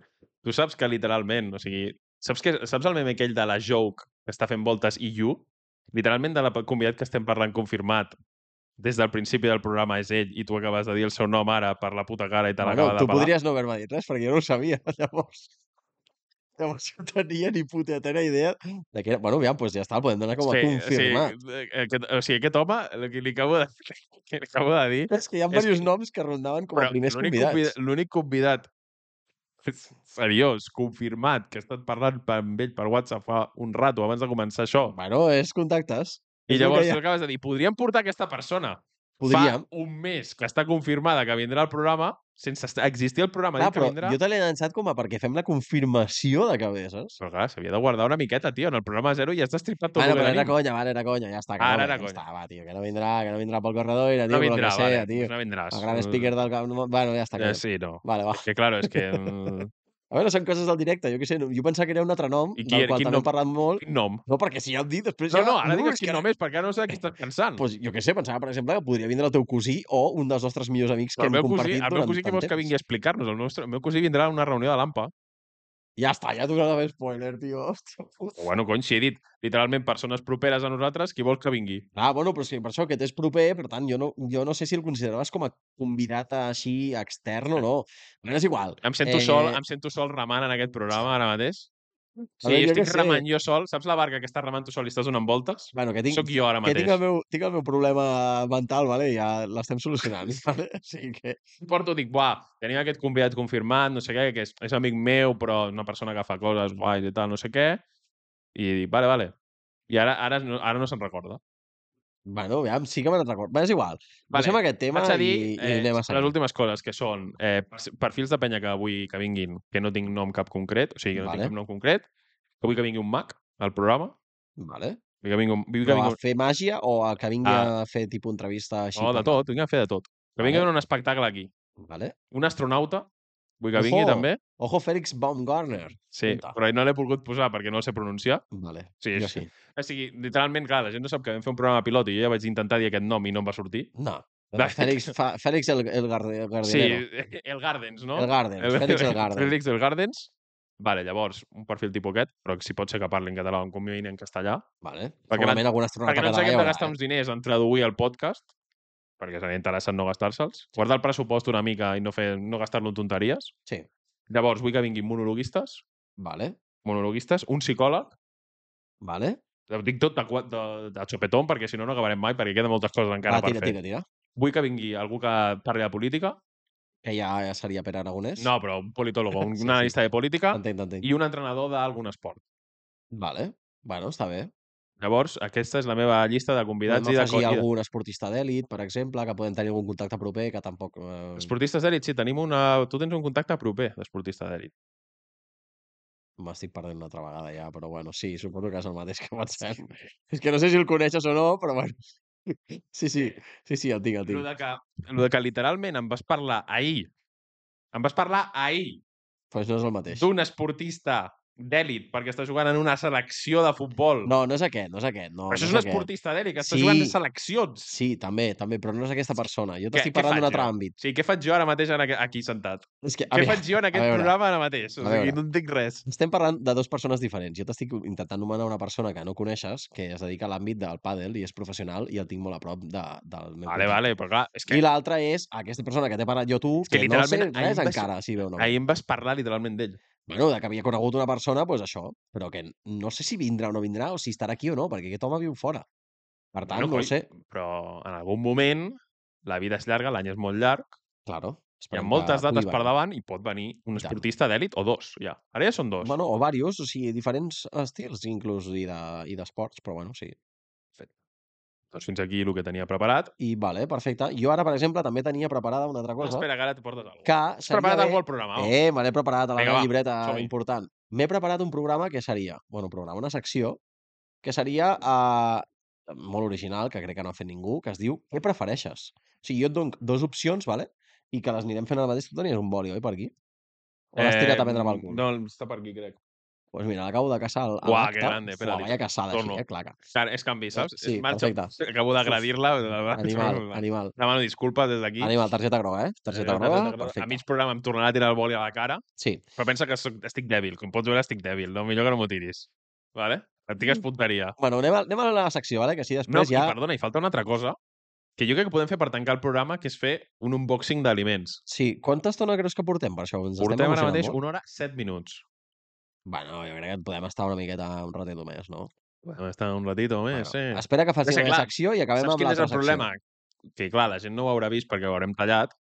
Speaker 2: tu saps que literalment, o sigui... Saps, que, saps el meme aquell de la joke que està fent voltes i you? Literalment de la pe- convidat que estem parlant confirmat des del principi del programa és ell i tu acabes de dir el seu nom ara per la puta cara i te l'acaba
Speaker 3: tu
Speaker 2: de pelar.
Speaker 3: podries no haver-me dit res, perquè jo no ho sabia, llavors... Llavors no tenia ni putatera idea de que era... Bueno, aviam, doncs ja està, el podem donar com a confirmat.
Speaker 2: O sigui, eh, aquest, o sigui, aquest home, el que li acabo de, que li acabo de dir...
Speaker 3: És que hi ha
Speaker 2: és que-
Speaker 3: diversos noms que rondaven com a
Speaker 2: però
Speaker 3: primers
Speaker 2: l'únic
Speaker 3: convidats.
Speaker 2: convida- L'únic convidat seriós, confirmat, que he estat parlant pa- amb ell per WhatsApp fa un rato abans de començar això.
Speaker 3: Bueno, és contactes. és el
Speaker 2: I
Speaker 3: que
Speaker 2: llavors
Speaker 3: hi ha.
Speaker 2: tu acabes de dir, podríem portar aquesta persona.
Speaker 3: Podríem.
Speaker 2: Fa un mes que està confirmada que vindrà al programa, sense est- existir el programa,
Speaker 3: Clar,
Speaker 2: dit que
Speaker 3: però
Speaker 2: vindrà...
Speaker 3: jo te l'he llançat com a perquè fem la confirmació de que ve, saps?
Speaker 2: Però clar, s'havia de guardar una miqueta, tio. En el programa zero ja has destripat tot
Speaker 3: Bueno,
Speaker 2: el
Speaker 3: però
Speaker 2: que
Speaker 3: era
Speaker 2: tenim.
Speaker 3: conya, vale, era conya, ja està. Que no,
Speaker 2: Ara
Speaker 3: ve,
Speaker 2: era
Speaker 3: ja
Speaker 2: conya.
Speaker 3: Està, va, tio, que no vindrà, que no vindrà pel corredor, i
Speaker 2: No
Speaker 3: tio,
Speaker 2: vindrà,
Speaker 3: pel que
Speaker 2: vale.
Speaker 3: sea, tio.
Speaker 2: Pues no vindràs.
Speaker 3: El gran
Speaker 2: Eh,
Speaker 3: speaker del... cap- no- Bueno, ja està.
Speaker 2: Eh,
Speaker 3: Que...
Speaker 2: sí, no.
Speaker 3: Vale, va.
Speaker 2: Que claro, és que... mm,
Speaker 3: A veure, són coses del directe, jo què sé, no- jo pensava que era un altre nom,
Speaker 2: I qui
Speaker 3: del
Speaker 2: era-
Speaker 3: qual
Speaker 2: quin
Speaker 3: també
Speaker 2: nom-
Speaker 3: hem parlat molt.
Speaker 2: Quin nom?
Speaker 3: No, perquè si ja em dit, després
Speaker 2: No,
Speaker 3: ja...
Speaker 2: no, ara
Speaker 3: no,
Speaker 2: digues
Speaker 3: és
Speaker 2: quin
Speaker 3: que Eh,
Speaker 2: nom és, perquè ara no sé de qui estàs pensant.
Speaker 3: Pues, jo què sé, pensava, per exemple, que podria vindre el teu cosí o un dels nostres millors amics que
Speaker 2: Però el
Speaker 3: hem
Speaker 2: meu cosí,
Speaker 3: compartit
Speaker 2: el meu
Speaker 3: durant
Speaker 2: cosí que
Speaker 3: tant
Speaker 2: vols que
Speaker 3: temps.
Speaker 2: vingui a explicar-nos? El, nostre, el meu cosí vindrà a una reunió de l'AMPA.
Speaker 3: Ja està, ja t'ho acabo de spoiler, tio. Hòstia puta.
Speaker 2: O bueno, cony, si he dit literalment persones properes a nosaltres, qui vols que vingui?
Speaker 3: Ah, bueno, però sí, per això aquest és proper, per tant, jo no, jo no sé si el consideraves com a convidat així extern o no. Bueno, és igual.
Speaker 2: Em sento, eh... sol, em sento sol remant en aquest programa ara mateix. Sí,
Speaker 3: veure, jo
Speaker 2: estic
Speaker 3: què sé.
Speaker 2: remant jo sol. Saps la barca que estàs remant tu sol i estàs donant voltes?
Speaker 3: Bueno, que tinc,
Speaker 2: Sóc jo ara
Speaker 3: que
Speaker 2: mateix.
Speaker 3: tinc, el meu, tinc el meu problema mental, vale? ja l'estem solucionant. Vale? O sigui que...
Speaker 2: Porto, dic, buah, tenim aquest convidat confirmat, no sé què, que és, és amic meu, però és una persona que fa coses guais i tal, no sé què. I dic, vale, vale. I ara, ara, no- ara no se'n recorda.
Speaker 3: Bueno, aviam, sí que me'n recordo. Bé, és igual.
Speaker 2: Vale,
Speaker 3: Vale. Deixem aquest tema
Speaker 2: Vaig a dir
Speaker 3: i,
Speaker 2: eh,
Speaker 3: i anem a seguir.
Speaker 2: les últimes coses, que són eh, per- perfils de penya que vull que vinguin, que no tinc nom cap concret, o sigui, que no
Speaker 3: Vale.
Speaker 2: tinc cap nom concret, que vull que vingui un mag al programa,
Speaker 3: Vale.
Speaker 2: vull que vingui un... Vull que
Speaker 3: Però a
Speaker 2: vingui un...
Speaker 3: fer màgia o a que vingui
Speaker 2: Ah.
Speaker 3: a fer tipus entrevista així?
Speaker 2: No, de
Speaker 3: parlant?
Speaker 2: tot, vinc a fer de tot. Que vingui un espectacle aquí.
Speaker 3: Vale.
Speaker 2: Un astronauta, vull que vingui
Speaker 3: Ojo!
Speaker 2: també.
Speaker 3: Ojo, Félix Baumgartner.
Speaker 2: Sí,
Speaker 3: Apunta.
Speaker 2: però no l'he volgut posar perquè no el sé pronunciar.
Speaker 3: Vale,
Speaker 2: Sí,
Speaker 3: jo
Speaker 2: és-
Speaker 3: sí.
Speaker 2: O sigui, literalment, clar, la gent no sap que vam fer un programa pilot i jo ja vaig intentar dir aquest nom i no em va sortir.
Speaker 3: No.
Speaker 2: Vale.
Speaker 3: Félix, fa, Félix el, el, Garde- el
Speaker 2: Sí, eh,
Speaker 3: Gardenero.
Speaker 2: el Gardens, no?
Speaker 3: El Garden, el, Félix el Garden.
Speaker 2: Félix del Gardens. Vale, llavors, un perfil tipus aquest, però si pot ser que parli en català o en conviïn en castellà.
Speaker 3: Vale.
Speaker 2: Perquè
Speaker 3: Segurament algun astronauta
Speaker 2: perquè no ens
Speaker 3: català hi
Speaker 2: haguem de
Speaker 3: haurà, eh?
Speaker 2: gastar uns diners en traduir el podcast, perquè seria interessant no gastar-se'ls. Guardar el pressupost una mica i no, fer, no gastar-lo en tonteries.
Speaker 3: Sí.
Speaker 2: Llavors, vull que vinguin monologuistes,
Speaker 3: Eh? Vale,
Speaker 2: monologuistes, un psicòleg,
Speaker 3: vale.
Speaker 2: ho dic tot de, cua- de, de xopetón, perquè si no, no acabarem mai, perquè queden moltes coses encara
Speaker 3: Va, tira,
Speaker 2: per fer.
Speaker 3: tira, tira.
Speaker 2: Vull que vingui algú que parli de política.
Speaker 3: Que ja, ja seria Pere Aragonès.
Speaker 2: No, però un politòleg, un
Speaker 3: Sí, sí.
Speaker 2: analista de política.
Speaker 3: Entenc, t'entenc.
Speaker 2: i un entrenador d'algun esport.
Speaker 3: Vale. Bueno, està bé.
Speaker 2: Llavors, aquesta és la meva llista de convidats
Speaker 3: Podem
Speaker 2: i de
Speaker 3: afegir
Speaker 2: co- i de...
Speaker 3: algun esportista d'èlit, per exemple, que podem tenir algun contacte proper que tampoc... Eh...
Speaker 2: Esportistes d'èlit, sí, tenim una... Tu tens un contacte proper d'esportista d'èlit.
Speaker 3: M'estic perdent una altra vegada ja, però bueno, sí, suposo que és el mateix que pensem. És que no sé si el coneixes o no, però bueno. Sí, sí, sí, sí, el tinc, el
Speaker 2: Lo
Speaker 3: tinc.
Speaker 2: de, que, lo de que literalment em vas parlar ahir, em vas parlar ahir
Speaker 3: Pues no és el mateix.
Speaker 2: d'un esportista d'èlit perquè està jugant en una selecció de futbol.
Speaker 3: No, no és aquest, no és aquest. No,
Speaker 2: Però això
Speaker 3: no
Speaker 2: és un
Speaker 3: aquest.
Speaker 2: esportista d'èlit que està
Speaker 3: Sí.
Speaker 2: jugant en seleccions.
Speaker 3: Sí, també, també, però no és aquesta persona. Jo
Speaker 2: Què-
Speaker 3: t'estic
Speaker 2: què
Speaker 3: parlant d'un
Speaker 2: faig
Speaker 3: altre
Speaker 2: jo?
Speaker 3: àmbit.
Speaker 2: O sigui, què faig jo ara mateix en aqu- aquí sentat?
Speaker 3: És que, a
Speaker 2: Què
Speaker 3: veure,
Speaker 2: faig jo en aquest
Speaker 3: veure.
Speaker 2: programa ara mateix?
Speaker 3: A
Speaker 2: O sigui,
Speaker 3: veure.
Speaker 2: no entenc res.
Speaker 3: estem parlant de dues persones diferents. Jo t'estic intentant nomenar una persona que no coneixes, que es dedica a l'àmbit del pàdel i és professional i el tinc molt a prop de, del meu
Speaker 2: Vale,
Speaker 3: contacte.
Speaker 2: vale, però clar, és que
Speaker 3: I l'altra és aquesta persona que t'he parlat jo tu,
Speaker 2: que
Speaker 3: que, no sé
Speaker 2: literalment ahir
Speaker 3: res
Speaker 2: em va sor-
Speaker 3: encara, si veu o no.
Speaker 2: ahir em vas parlar literalment d'ell.
Speaker 3: Bueno, de que havia conegut una persona, doncs això, però que no sé si vindrà o no vindrà, o si estarà aquí o no, perquè aquest home viu fora. Per tant, no, no ho sé.
Speaker 2: Però en algun moment la vida és llarga, l'any és molt llarg,
Speaker 3: Claro.
Speaker 2: hi ha
Speaker 3: esperem que
Speaker 2: moltes
Speaker 3: pugui
Speaker 2: dates per
Speaker 3: venir.
Speaker 2: davant i pot venir un
Speaker 3: I tant.
Speaker 2: esportista d'èlit o dos, ja. Ara ja són dos.
Speaker 3: Bueno, o varios, o sigui, diferents estils inclús i de- i d'esports, però bueno, sí.
Speaker 2: Doncs fins aquí el que tenia preparat.
Speaker 3: I vale, perfecte. Jo ara, per exemple, també tenia preparada una altra cosa.
Speaker 2: Espera, que ara et portes alguna cosa.
Speaker 3: que
Speaker 2: Has
Speaker 3: seria
Speaker 2: preparat
Speaker 3: bé...
Speaker 2: alguna al programa? o?
Speaker 3: Eh, me l'he preparat a la
Speaker 2: Vinga,
Speaker 3: meva
Speaker 2: va,
Speaker 3: llibreta
Speaker 2: som-hi.
Speaker 3: important. M'he preparat un programa que seria... Bueno, un programa, una secció, que seria eh, molt original, que crec que no ha fet ningú, que es diu Què prefereixes? O sigui, jo et dono dues opcions, vale? i que les anirem fent ara mateix. Tu tenies un boli, oi, per aquí? O l'has tirat a prendre pel cul? Doncs
Speaker 2: Eh, No, està per aquí, crec.
Speaker 3: pues mira, l'acabo de caçar al- a
Speaker 2: Uah,
Speaker 3: l'acte.
Speaker 2: que grande, espera,
Speaker 3: Uah,
Speaker 2: li-
Speaker 3: vaya caçada, així,
Speaker 2: torno.
Speaker 3: eh, claca.
Speaker 2: Clar, és canvi, saps?
Speaker 3: Sí,
Speaker 2: és marxa.
Speaker 3: perfecte.
Speaker 2: Acabo d'agradir-la.
Speaker 3: Animal, animal.
Speaker 2: Demano disculpes des d'aquí.
Speaker 3: Animal, targeta groga, eh? Targeta groga,
Speaker 2: A
Speaker 3: perfecte.
Speaker 2: mig programa em tornarà a tirar el boli a la cara,
Speaker 3: Sí,
Speaker 2: però pensa que soc, estic dèbil. Com pots veure, estic dèbil. No? Millor que no m'ho tiris. Vale? Et digues punteria.
Speaker 3: bueno, anem a, anem a la secció, vale? que així
Speaker 2: No,
Speaker 3: Mm. després ja...
Speaker 2: ja... i perdona, i falta una altra cosa que jo crec que podem fer per tancar el programa, que és fer un unboxing d'aliments.
Speaker 3: Sí, quanta estona creus que portem per això? Ens
Speaker 2: Portem
Speaker 3: estem
Speaker 2: ara mateix
Speaker 3: emocionant molt?
Speaker 2: una hora, set minuts.
Speaker 3: Bueno, jo crec que podem estar una miqueta un ratet més, no?
Speaker 2: Podem estar un ratito més,
Speaker 3: bueno,
Speaker 2: bueno, sí.
Speaker 3: Espera que faci
Speaker 2: que,
Speaker 3: la
Speaker 2: clar,
Speaker 3: secció i acabem
Speaker 2: Saps
Speaker 3: amb
Speaker 2: quin és
Speaker 3: l'altra
Speaker 2: el problema? Que, clar, la gent no ho haurà vist perquè ho haurem tallat,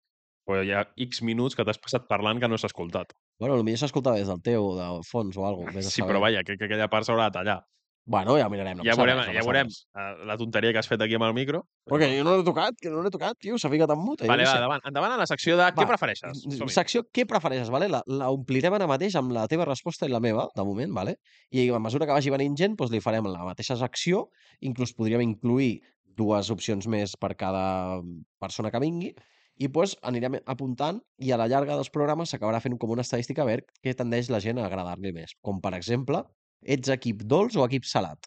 Speaker 2: però hi ha X minuts que t'has passat parlant que no s'ha escoltat.
Speaker 3: secció. Bueno, potser s'escolta des del teu, del fons o alguna cosa.
Speaker 2: Sí, però vaja, crec que aquella part s'haurà de tallar.
Speaker 3: Bueno, ja ho mirarem. No
Speaker 2: ja
Speaker 3: passa
Speaker 2: veurem,
Speaker 3: res, no
Speaker 2: ja
Speaker 3: passa
Speaker 2: veurem
Speaker 3: res.
Speaker 2: eh, la tonteria que has fet aquí amb el micro.
Speaker 3: Però que jo no l'he tocat, que no l'he tocat, tio, s'ha ficat en mute. jo
Speaker 2: Vale,
Speaker 3: què
Speaker 2: va,
Speaker 3: sé.
Speaker 2: endavant, endavant a la secció de
Speaker 3: Va,
Speaker 2: què prefereixes. Som-hi.
Speaker 3: Secció, què prefereixes, vale? La, la omplirem ara mateix amb la teva resposta i la meva, de moment, vale? I a mesura que vagi venint gent, doncs li farem la mateixa secció, inclús podríem incluir dues opcions més per cada persona que vingui, i doncs anirem apuntant i a la llarga dels programes s'acabarà fent com una estadística a veure què tendeix la gent a agradar-li més. Com, per exemple, ets equip dolç o equip salat?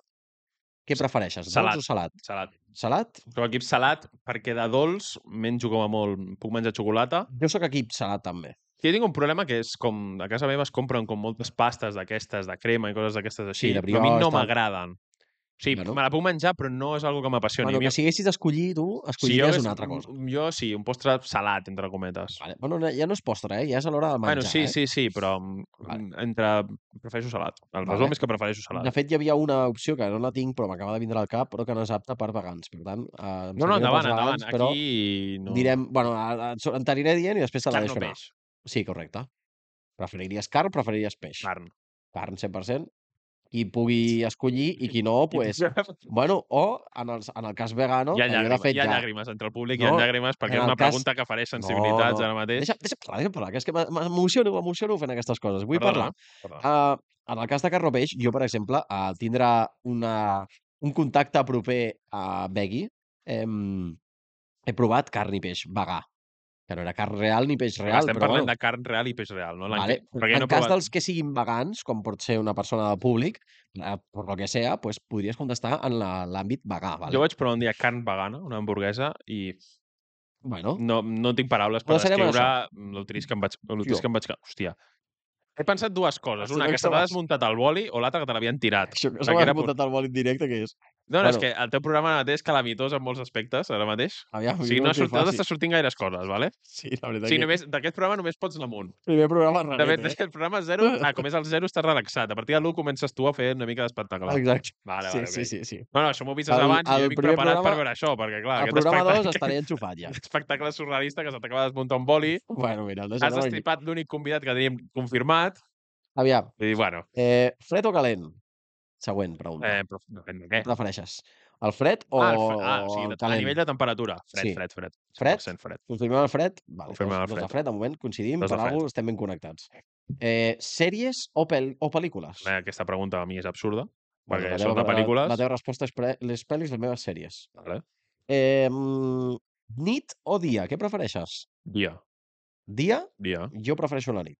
Speaker 3: Què prefereixes,
Speaker 2: Salat.
Speaker 3: dolç o salat?
Speaker 2: Salat.
Speaker 3: Salat?
Speaker 2: Però equip salat, perquè de dolç menjo com a molt, puc menjar xocolata.
Speaker 3: Jo sóc equip salat, també.
Speaker 2: Jo tinc un problema que és com, a casa meva es compren com moltes pastes d'aquestes, de crema i coses d'aquestes així,
Speaker 3: Sí, de
Speaker 2: però a mi
Speaker 3: brioche,
Speaker 2: no
Speaker 3: tal.
Speaker 2: m'agraden. Sí,
Speaker 3: Bueno.
Speaker 2: bueno. me la puc menjar, però no és algo que m'apassioni.
Speaker 3: Bueno,
Speaker 2: A mi-
Speaker 3: que si haguessis d'escollir, tu
Speaker 2: si jo
Speaker 3: escolliries
Speaker 2: hagués-
Speaker 3: una altra cosa.
Speaker 2: Jo sí, un postre salat, entre cometes.
Speaker 3: Vale. Bueno, no- ja no és postre, eh? Ja és a l'hora de menjar.
Speaker 2: bueno, sí,
Speaker 3: eh?
Speaker 2: sí, sí, però mm,
Speaker 3: Vale.
Speaker 2: entre... Prefereixo salat. El
Speaker 3: Vale.
Speaker 2: resum és que prefereixo salat.
Speaker 3: De fet, hi havia una opció que no la tinc, però m'acaba de vindre al cap, però que no és apta per vegans. Per tant, eh, em
Speaker 2: No, no,
Speaker 3: sap greu pels
Speaker 2: endavant, endavant.
Speaker 3: vegans, però
Speaker 2: Aquí no...
Speaker 3: direm... Bueno, a- a- so- en t'aniré dient i després te la
Speaker 2: Carn o
Speaker 3: deixo anar.
Speaker 2: peix?
Speaker 3: Sí, correcte. Preferiries carn, preferiries peix.
Speaker 2: Carn.
Speaker 3: Carn, 100%. Qui pugui escollir i qui no, pues,
Speaker 2: hi
Speaker 3: bueno, o en el, en el cas vegano,
Speaker 2: ha
Speaker 3: que jo de
Speaker 2: llàgrimes,
Speaker 3: fet
Speaker 2: hi ha
Speaker 3: ja...
Speaker 2: llàgrimes entre el públic, hi
Speaker 3: No,
Speaker 2: ha llàgrimes, perquè
Speaker 3: en
Speaker 2: és
Speaker 3: el
Speaker 2: una
Speaker 3: cas-
Speaker 2: pregunta que faré sensibilitats
Speaker 3: no.
Speaker 2: ara mateix.
Speaker 3: Deixa, deixa parlar, deixa parlar, que és que m'e- m'emociono, m'emociono fent aquestes coses. Vull parlar.
Speaker 2: Perdona.
Speaker 3: Uh, en el cas de Carro Peix, jo, per exemple, al tindre una, un contacte proper a Begui, em, he provat carn i peix vegà. Que no era carn real ni peix
Speaker 2: Real,
Speaker 3: real,
Speaker 2: estem
Speaker 3: però bueno.
Speaker 2: parlant bueno. de carn real i peix real, no? L'han-
Speaker 3: Vale.
Speaker 2: Perquè
Speaker 3: en
Speaker 2: no he
Speaker 3: cas
Speaker 2: provat...
Speaker 3: dels que siguin vegans, com pot ser una persona de públic, eh, per lo que sea, pues, podries contestar en la- l'àmbit vegà. Vale?
Speaker 2: Jo vaig provar un dia carn vegana, una hamburguesa, i
Speaker 3: Bueno,
Speaker 2: no, no tinc paraules per
Speaker 3: No serem
Speaker 2: descriure l'utrís que em vaig...
Speaker 3: Jo.
Speaker 2: L'utrís que em vaig... ca- Hòstia. He pensat dues coses.
Speaker 3: Això
Speaker 2: Una,
Speaker 3: no
Speaker 2: que se t'ha
Speaker 3: estaves-
Speaker 2: desmuntat el boli, o l'altra, que te l'havien tirat.
Speaker 3: això que
Speaker 2: perquè
Speaker 3: s'ha
Speaker 2: era
Speaker 3: muntat al bol indirecte, que és...
Speaker 2: No, bueno.
Speaker 3: Bueno.
Speaker 2: és que el teu programa ara mateix és calamitós en molts aspectes, ara mateix.
Speaker 3: Aviam,
Speaker 2: O sigui,
Speaker 3: jo
Speaker 2: no,
Speaker 3: crec que
Speaker 2: surt, no
Speaker 3: faci.
Speaker 2: t'està sortint gaires coses, vale?
Speaker 3: Sí, la veritat
Speaker 2: Sí,
Speaker 3: que...
Speaker 2: només d'aquest programa només pots anar amunt.
Speaker 3: Primer programa
Speaker 2: De fet,
Speaker 3: raret, eh?
Speaker 2: el programa 0, ah, com és el 0, estàs relaxat. A partir de l'1 comences tu a fer una mica d'espectacle. Vale,
Speaker 3: Exacte.
Speaker 2: vale,
Speaker 3: sí,
Speaker 2: ok.
Speaker 3: sí, sí, sí.
Speaker 2: Bueno, això m'ho avises
Speaker 3: El-
Speaker 2: abans i
Speaker 3: el
Speaker 2: jo vinc
Speaker 3: primer
Speaker 2: preparat per
Speaker 3: programa-
Speaker 2: veure això, perquè clar,
Speaker 3: Al
Speaker 2: aquest
Speaker 3: programa 2
Speaker 2: espectacle,
Speaker 3: estaré enxufat ja.
Speaker 2: espectacle surrealista que se t'acaba de desmuntar un boli,
Speaker 3: Bueno, mira, el
Speaker 2: has
Speaker 3: deixarem aquí.
Speaker 2: destripat l'únic convidat que teníem confirmat,
Speaker 3: Aviam,
Speaker 2: i bueno,
Speaker 3: eh, fred o calent? Següent pregunta.
Speaker 2: eh, però depèn de què.
Speaker 3: Prefereixes el fred o,
Speaker 2: Ah, el fre- ah, o sigui,
Speaker 3: el
Speaker 2: de- a
Speaker 3: calent?
Speaker 2: nivell de temperatura. Fred,
Speaker 3: Sí.
Speaker 2: fred, fred.
Speaker 3: Fred?
Speaker 2: 100% fred.
Speaker 3: Confirmem el fred? Vale,
Speaker 2: Confirmem
Speaker 3: doncs,
Speaker 2: el
Speaker 3: doncs
Speaker 2: fred.
Speaker 3: de fred, de moment, coincidim,
Speaker 2: Dos de
Speaker 3: per alguna cosa estem ben connectats. Eh, sèries o, pel o pel·lícules?
Speaker 2: Eh, Aquesta pregunta a mi és absurda.
Speaker 3: Bueno,
Speaker 2: perquè
Speaker 3: la
Speaker 2: són
Speaker 3: teva-
Speaker 2: de pel·lícules.
Speaker 3: La, la teva resposta és pre- les pel·lis, les meves sèries.
Speaker 2: Vale.
Speaker 3: Eh, mm, nit o dia? Què prefereixes?
Speaker 2: Dia,
Speaker 3: Dia?
Speaker 2: dia.
Speaker 3: Jo prefereixo la nit.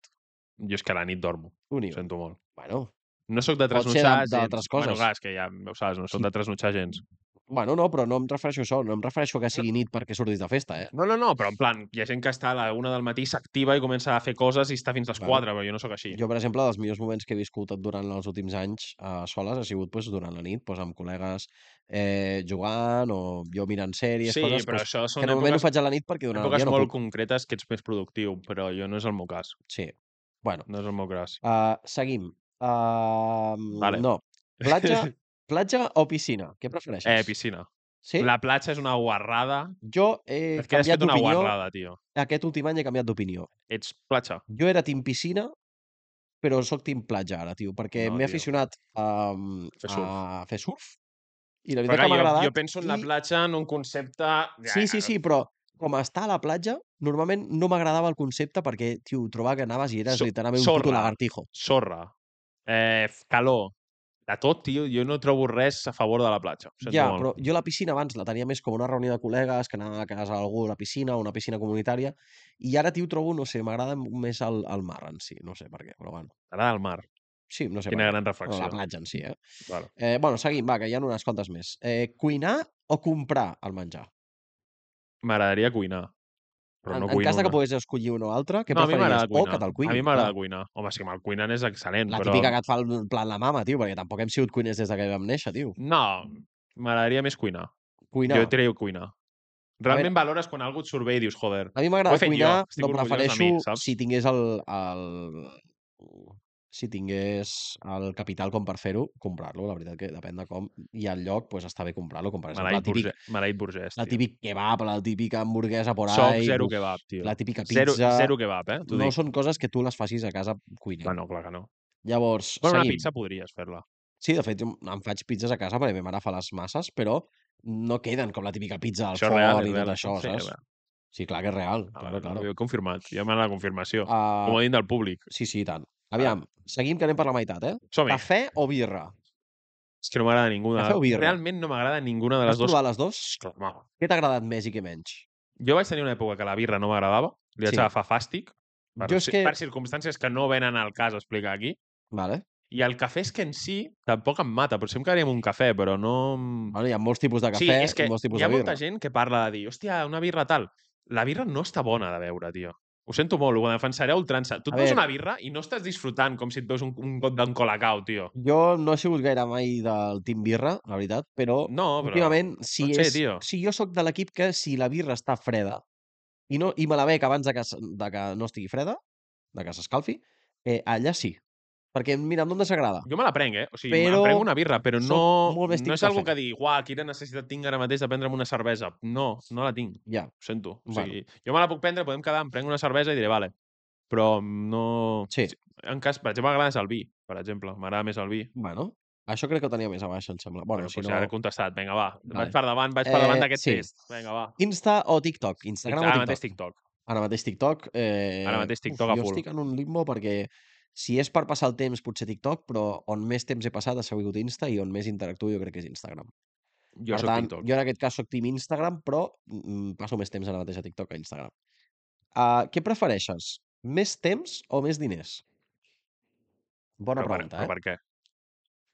Speaker 2: Jo és que a la nit dormo,
Speaker 3: Únic.
Speaker 2: ho sento molt.
Speaker 3: Bueno,
Speaker 2: No sóc de
Speaker 3: Pot ser
Speaker 2: trasnotxar
Speaker 3: de- d'altres
Speaker 2: Bueno,
Speaker 3: coses. Mm.
Speaker 2: clar, és que ja ho saps, no sóc de trasnotxar gens.
Speaker 3: Bueno, no, però no em refereixo a això, no em refereixo a que sigui nit perquè surtis de festa, eh?
Speaker 2: No, no, no, però en plan, hi ha gent que està a la una del matí, s'activa i comença a fer coses i està fins a les
Speaker 3: Vale.
Speaker 2: 4, però jo no sóc així.
Speaker 3: Jo, per exemple, dels millors moments que he viscut durant els últims anys a soles ha sigut pues, durant la nit, pues, amb col·legues eh, jugant o jo mirant sèries,
Speaker 2: sí,
Speaker 3: coses
Speaker 2: però
Speaker 3: pues,
Speaker 2: això
Speaker 3: que
Speaker 2: són
Speaker 3: normalment ho
Speaker 2: èpoques,
Speaker 3: faig a la nit perquè durant el
Speaker 2: èpoques
Speaker 3: dia no
Speaker 2: molt
Speaker 3: puc.
Speaker 2: concretes que ets més productiu, però jo no és el meu cas.
Speaker 3: Sí. Bueno,
Speaker 2: No és el meu cas.
Speaker 3: uh, seguim. Uh,
Speaker 2: Vale.
Speaker 3: No. Platja, platja o piscina? Què prefereixes?
Speaker 2: Eh, piscina.
Speaker 3: Sí?
Speaker 2: La platja és una guarrada.
Speaker 3: Jo he
Speaker 2: Et quedes
Speaker 3: canviat
Speaker 2: fet una
Speaker 3: d'opinió.
Speaker 2: guarrada, tio.
Speaker 3: Aquest últim any he canviat d'opinió.
Speaker 2: Ets platja.
Speaker 3: Jo era team piscina, però sóc team platja ara, tio, perquè
Speaker 2: No,
Speaker 3: m'he
Speaker 2: tio.
Speaker 3: aficionat um,
Speaker 2: Fer surf.
Speaker 3: a fer surf. I la
Speaker 2: Però
Speaker 3: veritat que
Speaker 2: clar,
Speaker 3: m'ha
Speaker 2: jo,
Speaker 3: agradat.
Speaker 2: jo penso en la
Speaker 3: i-
Speaker 2: platja en un concepte...
Speaker 3: Sí, sí, sí, però com estar a la platja, normalment no m'agradava el concepte perquè, tio, trobava que anaves i eres
Speaker 2: So-
Speaker 3: literalment un puto
Speaker 2: sorra.
Speaker 3: lagartijo.
Speaker 2: Sorra, eh, calor, de tot, tio. Jo no trobo res a favor de la platja. ho sento
Speaker 3: Ja,
Speaker 2: molt.
Speaker 3: però jo la piscina abans la tenia més com una reunió de col·legues, que anava a casa d'algú a la piscina, una piscina comunitària, i ara, tio, trobo, no sé, m'agrada més el, el mar en si, no sé per què, però bueno.
Speaker 2: T'agrada el mar.
Speaker 3: Sí, no sé
Speaker 2: Quina
Speaker 3: per què.
Speaker 2: gran
Speaker 3: Bueno,
Speaker 2: reflexió.
Speaker 3: la platja en si, eh?
Speaker 2: Vale.
Speaker 3: eh? Bueno, seguim, va, que hi ha unes quantes més. Eh, cuinar o comprar el menjar?
Speaker 2: M'agradaria cuinar. Però
Speaker 3: en,
Speaker 2: no
Speaker 3: en
Speaker 2: cuino
Speaker 3: cas de que
Speaker 2: una.
Speaker 3: pogués escollir un o altre, què
Speaker 2: no, a mi
Speaker 3: preferiries?
Speaker 2: m'agrada
Speaker 3: O que
Speaker 2: cuinar.
Speaker 3: te'l cuini?
Speaker 2: a mi
Speaker 3: clar.
Speaker 2: m'agrada cuinar. Home, és que amb el cuinant és excel·lent,
Speaker 3: La
Speaker 2: però...
Speaker 3: típica que et fa el plan la mama, tio, perquè tampoc hem sigut cuiners des de que vam néixer, tio.
Speaker 2: No, m'agradaria més cuinar.
Speaker 3: Cuinar.
Speaker 2: Jo trio cuinar. Realment valores quan algú et surt bé i dius, joder,
Speaker 3: A mi
Speaker 2: Ho he
Speaker 3: m'agrada
Speaker 2: fet jo,
Speaker 3: cuinar,
Speaker 2: estic
Speaker 3: però
Speaker 2: orgullós de mi,
Speaker 3: prefereixo
Speaker 2: saps?
Speaker 3: si tingués el, el... si tingués el capital com per fer-ho, comprar-lo, la veritat que depèn de com, i el lloc, pues, està bé comprar-lo, com per exemple, la
Speaker 2: maleït,
Speaker 3: típic,
Speaker 2: burge... maleït burgès,
Speaker 3: la
Speaker 2: tio.
Speaker 3: típic kebab, la típica hamburguesa por
Speaker 2: Soc
Speaker 3: ahí,
Speaker 2: zero
Speaker 3: uf,
Speaker 2: kebab, tio.
Speaker 3: la típica pizza,
Speaker 2: Zero, zero kebab, eh? T'ho
Speaker 3: no
Speaker 2: dic.
Speaker 3: són coses que tu les facis a casa cuinant.
Speaker 2: Bueno, clar que no.
Speaker 3: Llavors,
Speaker 2: Bueno, una
Speaker 3: seguim.
Speaker 2: pizza podries fer-la.
Speaker 3: Sí, de fet, jo em faig pizzas a casa perquè ma mare fa les masses, però no queden com la típica pizza al
Speaker 2: Això és
Speaker 3: forn
Speaker 2: real, és
Speaker 3: i tot
Speaker 2: real,
Speaker 3: això,
Speaker 2: sí, és
Speaker 3: saps?
Speaker 2: real.
Speaker 3: Sí, clar que és real,
Speaker 2: Ah,
Speaker 3: claro,
Speaker 2: vale,
Speaker 3: claro.
Speaker 2: Ho he confirmat. Ja m'ha la confirmació. Uh...
Speaker 3: Ah,
Speaker 2: Com ho del públic.
Speaker 3: Sí, sí, i tant. Aviam, seguim que anem per la meitat, eh?
Speaker 2: Som-hi.
Speaker 3: Cafè o birra?
Speaker 2: És que no m'agrada ninguna.
Speaker 3: Cafè o birra?
Speaker 2: Realment no m'agrada ninguna de
Speaker 3: Has
Speaker 2: les dues.
Speaker 3: provat les dues?
Speaker 2: Clar, home.
Speaker 3: Què t'ha agradat més i què menys?
Speaker 2: Jo vaig tenir una època que la birra no m'agradava. Li vaig
Speaker 3: Sí.
Speaker 2: agafar fàstic. Per,
Speaker 3: Jo és
Speaker 2: ci-
Speaker 3: que-
Speaker 2: per circumstàncies que no venen al cas a explicar aquí.
Speaker 3: Vale.
Speaker 2: I el cafè és que en si tampoc em mata. Potser em quedaria amb un cafè, però no... em-
Speaker 3: Bueno, hi ha molts tipus de cafè
Speaker 2: sí, és que
Speaker 3: i molts tipus
Speaker 2: hi ha
Speaker 3: de birra.
Speaker 2: molta gent que parla de dir, hòstia, una birra tal. La birra no està bona de beure, tio. Ho sento molt, ho defensaré a ultrança. Tu
Speaker 3: A
Speaker 2: et veus
Speaker 3: veure.
Speaker 2: una birra i no estàs disfrutant com si et veus un, un got d'en colacao, tio.
Speaker 3: Jo no he sigut gaire mai del team birra, la veritat, però,
Speaker 2: No, però...
Speaker 3: últimament, si,
Speaker 2: pot ser,
Speaker 3: és,
Speaker 2: tio.
Speaker 3: si jo sóc de l'equip que si la birra està freda i, no, i me la bec abans de que, s- de que no estigui freda, de que s'escalfi, eh, allà sí. Perquè, mira, no em desagrada.
Speaker 2: Jo me la prenc, eh? O sigui,
Speaker 3: Però
Speaker 2: em prenc una birra, però
Speaker 3: soc
Speaker 2: no,
Speaker 3: molt més
Speaker 2: no
Speaker 3: team
Speaker 2: és algo
Speaker 3: cafè.
Speaker 2: que digui, uah, quina necessitat tinc ara mateix de prendre'm una cervesa. No, no la tinc,
Speaker 3: Ja,
Speaker 2: ho sento. O
Speaker 3: Bueno.
Speaker 2: sigui, jo me la puc prendre, podem quedar, em prenc una cervesa i diré, vale. Però no...
Speaker 3: sí.
Speaker 2: En cas, per exemple, m'agrada més el vi, per exemple. M'agrada més el vi.
Speaker 3: Bueno, això crec que ho tenia més a baix, em sembla. Bueno,
Speaker 2: Bueno,
Speaker 3: si
Speaker 2: pues
Speaker 3: no...
Speaker 2: ara he contestat. Vinga, va.
Speaker 3: Vale.
Speaker 2: Vaig per davant, vaig per davant
Speaker 3: Eh,
Speaker 2: d'aquest
Speaker 3: sí.
Speaker 2: test. Vinga, va.
Speaker 3: Insta o TikTok? Instagram
Speaker 2: Ara
Speaker 3: o
Speaker 2: mateix
Speaker 3: TikTok?
Speaker 2: TikTok.
Speaker 3: Ara mateix TikTok. Eh...
Speaker 2: Ara mateix TikTok
Speaker 3: uf,
Speaker 2: a
Speaker 3: jo
Speaker 2: full.
Speaker 3: estic en un limbo perquè si és per passar el temps potser TikTok, però on més temps he passat ha sigut Insta i on més interactuo jo crec que és Instagram.
Speaker 2: Jo
Speaker 3: per
Speaker 2: soc
Speaker 3: tant,
Speaker 2: TikTok.
Speaker 3: jo en aquest cas soc team Instagram, però mm, passo més temps ara mateix a TikTok que a Instagram. Uh, què prefereixes? Més temps o més diners? Bona
Speaker 2: Però per,
Speaker 3: pregunta,
Speaker 2: però
Speaker 3: eh?
Speaker 2: per què?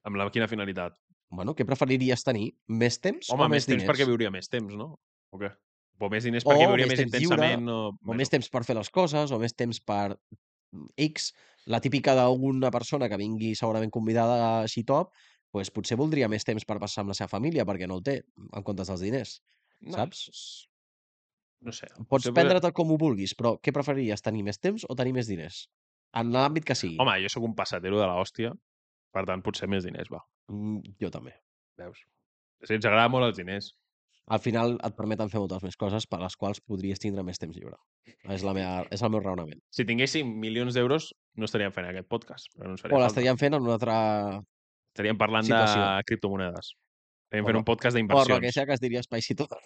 Speaker 2: Amb la, quina finalitat?
Speaker 3: Bueno, què preferiries tenir? Més temps
Speaker 2: Home,
Speaker 3: o
Speaker 2: més,
Speaker 3: més,
Speaker 2: temps
Speaker 3: diners?
Speaker 2: perquè viuria més temps, no? O què? O més diners
Speaker 3: O
Speaker 2: perquè viuria
Speaker 3: més
Speaker 2: més
Speaker 3: temps lliure,
Speaker 2: intensament. No...
Speaker 3: o més temps per fer les coses, o més temps per mm, X, la típica d'una persona que vingui segurament convidada així top, doncs potser voldria més temps per passar amb la seva família, perquè no el té, en comptes dels diners.
Speaker 2: no,
Speaker 3: saps?
Speaker 2: és- No sé.
Speaker 3: Pots
Speaker 2: potser-
Speaker 3: prendre-te'l com ho vulguis, però què preferiries, tenir més temps o tenir més diners? En l'àmbit que sigui.
Speaker 2: Home, jo sóc un passatero de la hòstia, per tant, potser més diners, va.
Speaker 3: Mm, Jo també.
Speaker 2: Veus? Si ens agrada molt els diners.
Speaker 3: Al final et permeten fer moltes més coses per les quals podries tindre més temps lliure. És, la meva, és el meu raonament.
Speaker 2: Si tinguéssim milions d'euros, no estaríem fent aquest podcast. Però no ens faria
Speaker 3: O
Speaker 2: falta.
Speaker 3: l'estaríem fent en una altra...
Speaker 2: Estaríem parlant
Speaker 3: Situació.
Speaker 2: de criptomonedes. Estaríem
Speaker 3: O
Speaker 2: fent
Speaker 3: no.
Speaker 2: un
Speaker 3: O
Speaker 2: podcast
Speaker 3: el que
Speaker 2: d'inversions.
Speaker 3: sea que es diria Spicy tot.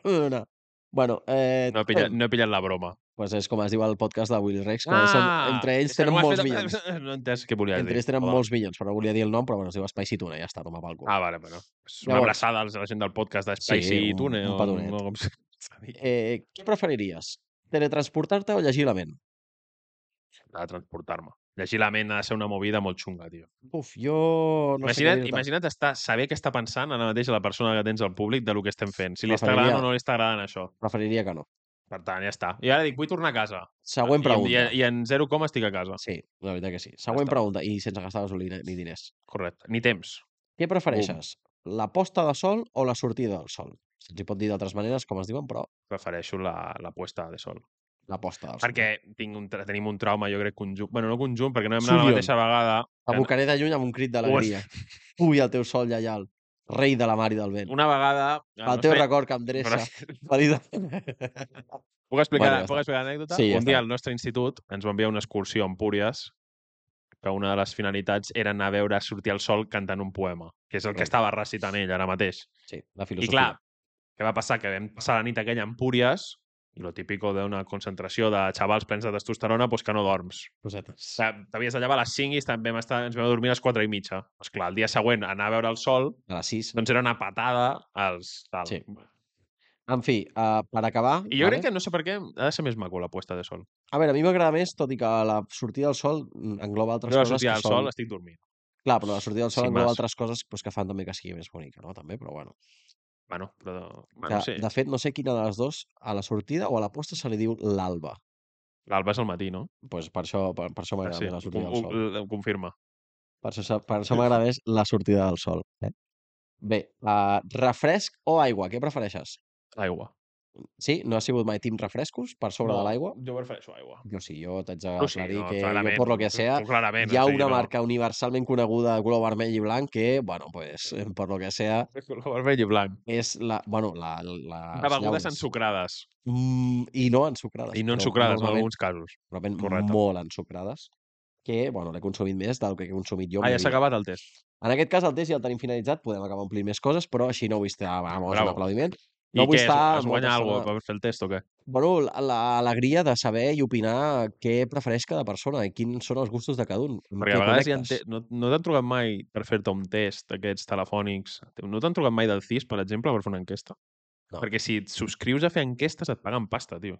Speaker 3: Bueno, eh,
Speaker 2: No he, pillat, no he pillat la broma.
Speaker 3: Pues és com es diu el podcast de Will Rex, que són, entre ells
Speaker 2: és que
Speaker 3: tenen
Speaker 2: Ah, no ho has
Speaker 3: molts
Speaker 2: fet-
Speaker 3: milions.
Speaker 2: No he entès què volies
Speaker 3: Entre
Speaker 2: dir.
Speaker 3: ells tenen
Speaker 2: Perdona.
Speaker 3: molts milions, però no volia dir el nom, però bueno, es diu Spicy Tuna, ja està, no m'apalco.
Speaker 2: Ah, vale, bueno. És una
Speaker 3: Llavors-
Speaker 2: abraçada als- a la gent del podcast de
Speaker 3: Sí,
Speaker 2: Spicy sí,
Speaker 3: un-
Speaker 2: Tune.
Speaker 3: un
Speaker 2: o
Speaker 3: petonet.
Speaker 2: no, com s'ha dit.
Speaker 3: Eh, què preferiries? Teletransportar-te o llegir la ment?
Speaker 2: de transportar-me. Llegir la ment ha de ser una movida molt xunga, tio.
Speaker 3: Uf, jo no sé què
Speaker 2: imagina't
Speaker 3: dir-te.
Speaker 2: imagina't estar, saber què està pensant ara mateix a la persona que tens al públic de lo que estem fent. Si li està
Speaker 3: Preferiria-
Speaker 2: agradant o no li està agradant això.
Speaker 3: Preferiria que no.
Speaker 2: Per tant, ja està. I ara dic, vull tornar a casa.
Speaker 3: Següent
Speaker 2: I, en-
Speaker 3: pregunta.
Speaker 2: I, i en zero coma estic a casa.
Speaker 3: Sí, la veritat que sí. Següent
Speaker 2: està.
Speaker 3: pregunta, i sense gastar gasolina ni diners.
Speaker 2: Correcte. Ni temps.
Speaker 3: Què prefereixes? La posta de sol o la sortida del sol? Se'ls hi pot dir d'altres maneres, com es diuen, però
Speaker 2: Prefereixo la, la puesta de sol.
Speaker 3: la posta del sol.
Speaker 2: Perquè tinc un, tra- tenim un trauma, jo crec, conjunt. Bueno, no conjunt, perquè no hem anat la
Speaker 3: Sullom.
Speaker 2: mateixa vegada.
Speaker 3: T'abocaré de lluny amb un crit
Speaker 2: Uf.
Speaker 3: d'alegria. Ui, el teu sol, Lleial. Rei de la mar i del vent.
Speaker 2: Una vegada... eh,
Speaker 3: El teu record que em dreça. Però...
Speaker 2: Puc explicar,
Speaker 3: Bueno, ja
Speaker 2: puc
Speaker 3: està.
Speaker 2: explicar l'anècdota?
Speaker 3: Sí, ja
Speaker 2: un
Speaker 3: està.
Speaker 2: dia al nostre institut ens va enviar una excursió a Empúries que una de les finalitats era anar a veure sortir el sol cantant un poema, que és el que
Speaker 3: Correcte.
Speaker 2: estava recitant ell ara mateix.
Speaker 3: Sí, la
Speaker 2: I
Speaker 3: filosofia.
Speaker 2: clar, què va passar? Que vam passar la nit aquella a Empúries i lo típico d'una concentració de xavals plens de testosterona, doncs que no dorms.
Speaker 3: Cosetes.
Speaker 2: T'ha- T'havies de llevar a les 5 i estem- vam estar, ens vam dormir a les 4 i mitja. Doncs clar, el dia següent anar a veure el sol,
Speaker 3: A les 6.
Speaker 2: doncs era una patada als... Tal.
Speaker 3: Sí. En fi, uh, per acabar...
Speaker 2: I jo crec que no sé per què ha de ser més maco la puesta de sol.
Speaker 3: A veure, a mi m'agrada més, tot i que la sortida del sol mm, engloba altres
Speaker 2: Jo la
Speaker 3: coses
Speaker 2: sortida
Speaker 3: que
Speaker 2: del
Speaker 3: són...
Speaker 2: sol estic dormint.
Speaker 3: Clar, però la sortida del sol
Speaker 2: Sí,
Speaker 3: engloba
Speaker 2: mas.
Speaker 3: altres coses pues, que fan també que sigui més bonica, no? També, però bueno.
Speaker 2: Bueno, però...
Speaker 3: Que,
Speaker 2: Bueno, sí.
Speaker 3: De fet, no sé quina de les dues, a la sortida o a la posta se li diu l'alba.
Speaker 2: L'alba és al matí, no? Ah,
Speaker 3: Pues per això, per, per això m'agrada
Speaker 2: sí.
Speaker 3: més la sortida
Speaker 2: Ho,
Speaker 3: del sol.
Speaker 2: ho, ho confirma.
Speaker 3: Per això, per això m'agrada més la sortida del sol. Eh? Bé, uh, refresc o aigua? Què prefereixes?
Speaker 2: Aigua.
Speaker 3: Sí, no ha sigut mai team refrescos per sobre de l'aigua?
Speaker 2: Jo prefereixo aigua.
Speaker 3: Jo sí, jo t'haig
Speaker 2: No,
Speaker 3: d'aclarir
Speaker 2: sí, no,
Speaker 3: que
Speaker 2: clarament,
Speaker 3: jo, por lo que
Speaker 2: tu-
Speaker 3: sea,
Speaker 2: tu clarament,
Speaker 3: hi ha
Speaker 2: o sigui,
Speaker 3: una
Speaker 2: no.
Speaker 3: marca universalment coneguda de color vermell i blanc que, bueno, pues, eh, por lo que sea,
Speaker 2: Color vermell i blanc.
Speaker 3: és la... Bueno, la... la
Speaker 2: De begudes ensucrades.
Speaker 3: Mm, I no ensucrades.
Speaker 2: I no
Speaker 3: però
Speaker 2: ensucrades, en
Speaker 3: normalment-
Speaker 2: alguns casos.
Speaker 3: Normalment
Speaker 2: Correcte.
Speaker 3: molt ensucrades, que, bueno, l'he consumit més del que he consumit jo. en
Speaker 2: Ah,
Speaker 3: mi
Speaker 2: ja s'ha
Speaker 3: vida.
Speaker 2: acabat el test.
Speaker 3: En aquest cas, el test ja el tenim finalitzat, podem acabar omplint més coses, però així no ah, vull estar... Vamos, un
Speaker 2: Bravo.
Speaker 3: aplaudiment.
Speaker 2: No
Speaker 3: No
Speaker 2: I
Speaker 3: vull
Speaker 2: què?
Speaker 3: estar
Speaker 2: Estar es
Speaker 3: amb
Speaker 2: guanya
Speaker 3: una
Speaker 2: alguna cosa
Speaker 3: persona-
Speaker 2: per fer el test o què?
Speaker 3: Bueno, la- l'alegria de saber i opinar què prefereix cada persona i quins són els gustos de cada un. amb què
Speaker 2: Perquè a vegades hi ha
Speaker 3: connectes.
Speaker 2: te... no, no t'han trucat mai per fer-te un test aquests telefònics. No t'han trucat mai del CIS, per exemple, per fer una enquesta?
Speaker 3: No.
Speaker 2: Perquè si et subscrius a fer enquestes et paguen pasta, tio.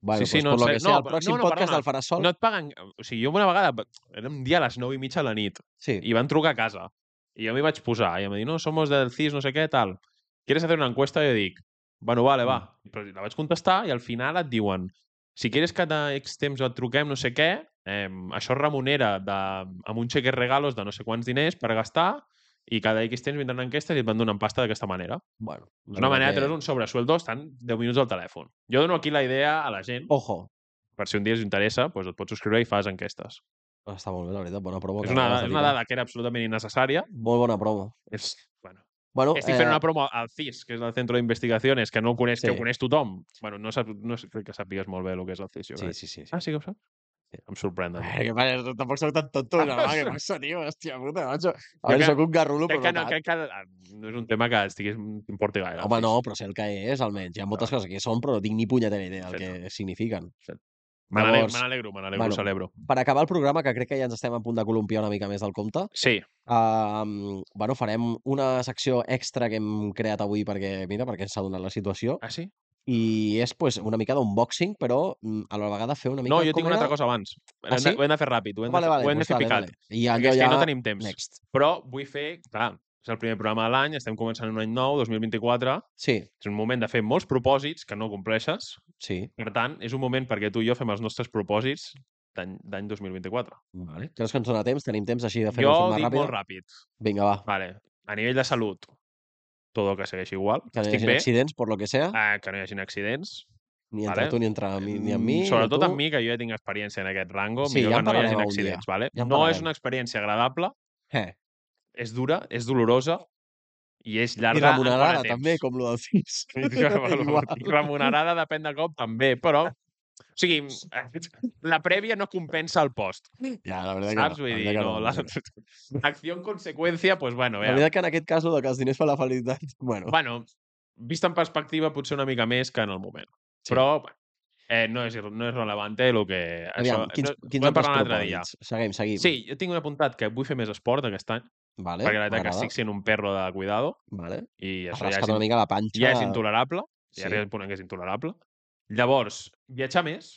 Speaker 3: Bueno,
Speaker 2: sí,
Speaker 3: pues,
Speaker 2: no,
Speaker 3: por lo
Speaker 2: sé-
Speaker 3: que
Speaker 2: no,
Speaker 3: sea, el
Speaker 2: però-
Speaker 3: pròxim
Speaker 2: no, no,
Speaker 3: podcast
Speaker 2: perdona,
Speaker 3: del Farasol...
Speaker 2: No et paguen... O sigui, jo una vegada... Era un dia a les 9 i mitja de la nit
Speaker 3: Sí.
Speaker 2: i van trucar a casa. I jo m'hi vaig posar i em va dir, no, somos del CIS, no sé què, tal. ¿Quieres hacer una encuesta? I jo dic, bueno, vale, va.
Speaker 3: Mm.
Speaker 2: Però la vaig contestar i al final et diuen, si quieres que cada X temps et truquem no sé què, eh, això es remunera de, amb un xequer regalos de no sé quants diners per gastar i cada X temps vindran enquestes i et van donant pasta d'aquesta manera.
Speaker 3: Bueno, la
Speaker 2: D'una
Speaker 3: veritat
Speaker 2: manera
Speaker 3: que-
Speaker 2: que... tens un sobresueldo, estan 10 minuts al telèfon. Jo dono aquí la idea a la gent
Speaker 3: Ojo,
Speaker 2: per si un dia us interessa, doncs et pots subscriure i fas enquestes.
Speaker 3: està molt bé, la veritat, bona promo.
Speaker 2: és,
Speaker 3: que
Speaker 2: una,
Speaker 3: acabes de
Speaker 2: és una
Speaker 3: tirar.
Speaker 2: dada que era absolutament innecessària.
Speaker 3: Molt bona promo.
Speaker 2: És, bueno,
Speaker 3: Bueno, eh,
Speaker 2: estic fent una promo al CIS, que és el Centro d'Investigacions, que no ho coneix, sí. que
Speaker 3: sí.
Speaker 2: ho coneix tothom. Bueno, no, sap, no sé- crec que sàpigues molt bé el que és el CIS, jo
Speaker 3: Sí,
Speaker 2: crec.
Speaker 3: sí, sí. sí.
Speaker 2: Ah, sí que ho saps?
Speaker 3: Sí.
Speaker 2: Em sorprèn.
Speaker 3: Ai, que passa, tampoc soc tan tonto, no, home, què passa, tio? Hòstia puta, macho. A
Speaker 2: Crec
Speaker 3: veure,
Speaker 2: que-
Speaker 3: soc un garrulo,
Speaker 2: Crec
Speaker 3: però
Speaker 2: que,
Speaker 3: no,
Speaker 2: no,
Speaker 3: tant.
Speaker 2: crec que ah, no és un tema que estigués t'importi gaire. el
Speaker 3: Home,
Speaker 2: CIS.
Speaker 3: no, però sé el que és, almenys. Hi ha moltes
Speaker 2: Clar.
Speaker 3: coses que són, però no tinc ni punyetera idea del
Speaker 2: Fet.
Speaker 3: que signifiquen.
Speaker 2: Fet. Me n'alegro,
Speaker 3: Llavors,
Speaker 2: me n'alegro, me n'alegro,
Speaker 3: bueno.
Speaker 2: ho celebro.
Speaker 3: per acabar el programa, que crec que ja ens estem a punt de columpiar una mica més del compte,
Speaker 2: Sí,
Speaker 3: uh, bueno, farem una secció extra que hem creat avui perquè, mira, perquè ens ha donat la situació,
Speaker 2: ah, sí?
Speaker 3: i és pues, una mica d'unboxing, però mm, a la vegada fer una mica...
Speaker 2: No, jo
Speaker 3: com
Speaker 2: tinc una
Speaker 3: era?
Speaker 2: altra cosa abans.
Speaker 3: Ah,
Speaker 2: Hem de-
Speaker 3: sí?
Speaker 2: Ho hem de fer ràpid, ho hem de
Speaker 3: Vale,
Speaker 2: fer-
Speaker 3: vale,
Speaker 2: ho hem de
Speaker 3: pues
Speaker 2: fer
Speaker 3: dale,
Speaker 2: picat.
Speaker 3: dale. I
Speaker 2: Perquè
Speaker 3: allò
Speaker 2: és
Speaker 3: ja...
Speaker 2: que no tenim temps.
Speaker 3: Next.
Speaker 2: Però vull fer... Clar, és el primer programa de l'any, estem començant un any nou, 2024.
Speaker 3: Sí,
Speaker 2: És un moment de fer molts propòsits que no compleixes.
Speaker 3: sí.
Speaker 2: Per tant, és un moment perquè tu i jo fem els nostres propòsits d'any d'any 2024.
Speaker 3: Vale. Creus que ens dona temps? Tenim temps així de fer-ho
Speaker 2: Jo
Speaker 3: de forma
Speaker 2: dic
Speaker 3: ràpida?
Speaker 2: molt ràpid.
Speaker 3: Vinga, va.
Speaker 2: Vale. A nivell de salut, tot el que segueix igual.
Speaker 3: Que no hi
Speaker 2: Estic
Speaker 3: hagi
Speaker 2: bé,
Speaker 3: accidents, per lo que sea,
Speaker 2: eh, que no hi hagi accidents.
Speaker 3: ni entre
Speaker 2: vale.
Speaker 3: tu, ni entre mi, ni amb
Speaker 2: Mm,
Speaker 3: mi. ni
Speaker 2: Sobretot
Speaker 3: tu.
Speaker 2: amb mi, que jo ja tinc experiència en aquest rango.
Speaker 3: Sí, ja en
Speaker 2: millor que no hi
Speaker 3: parlarem
Speaker 2: hagi
Speaker 3: algun dia.
Speaker 2: accidents. Vale?
Speaker 3: Ja en
Speaker 2: no és
Speaker 3: parlarem.
Speaker 2: una experiència agradable,
Speaker 3: Eh.
Speaker 2: és dura, és dolorosa i és
Speaker 3: I
Speaker 2: llarga. en quant a
Speaker 3: remunerada,
Speaker 2: temps.
Speaker 3: també, com lo del CIS.
Speaker 2: Igual.
Speaker 3: Igual.
Speaker 2: Remunerada depèn de cop, també, però... O sigui, la prèvia no compensa el post,
Speaker 3: Ja, la veritat que
Speaker 2: saps?
Speaker 3: no.
Speaker 2: Vull
Speaker 3: la
Speaker 2: dir,
Speaker 3: veritat que
Speaker 2: no, la...
Speaker 3: la veritat.
Speaker 2: Acció en conseqüència, doncs, bueno,
Speaker 3: La
Speaker 2: vea.
Speaker 3: veritat que en aquest cas, lo de que els diners fa la felicitat, bueno,
Speaker 2: Bueno, vist en perspectiva, potser una mica més que en el moment.
Speaker 3: Sí.
Speaker 2: Sí. Però, bueno, eh, no, és, ir- no és relevante el que...
Speaker 3: aviam, quins,
Speaker 2: no,
Speaker 3: quins
Speaker 2: podem
Speaker 3: altres
Speaker 2: parlar un altre dia.
Speaker 3: propòsits? Seguim, seguim.
Speaker 2: Sí, jo tinc un apuntat que vull fer més esport aquest any,
Speaker 3: vale,
Speaker 2: perquè la veritat que
Speaker 3: m'agrada,
Speaker 2: estic sent un perro de cuidado
Speaker 3: Vale.
Speaker 2: i
Speaker 3: Eh? Has
Speaker 2: això ja
Speaker 3: rascat
Speaker 2: és,
Speaker 3: una mica la panxa.
Speaker 2: ja és intolerable.
Speaker 3: Sí,
Speaker 2: Sí. Ja arriba un punt en què és intolerable. Llavors, viatjar més,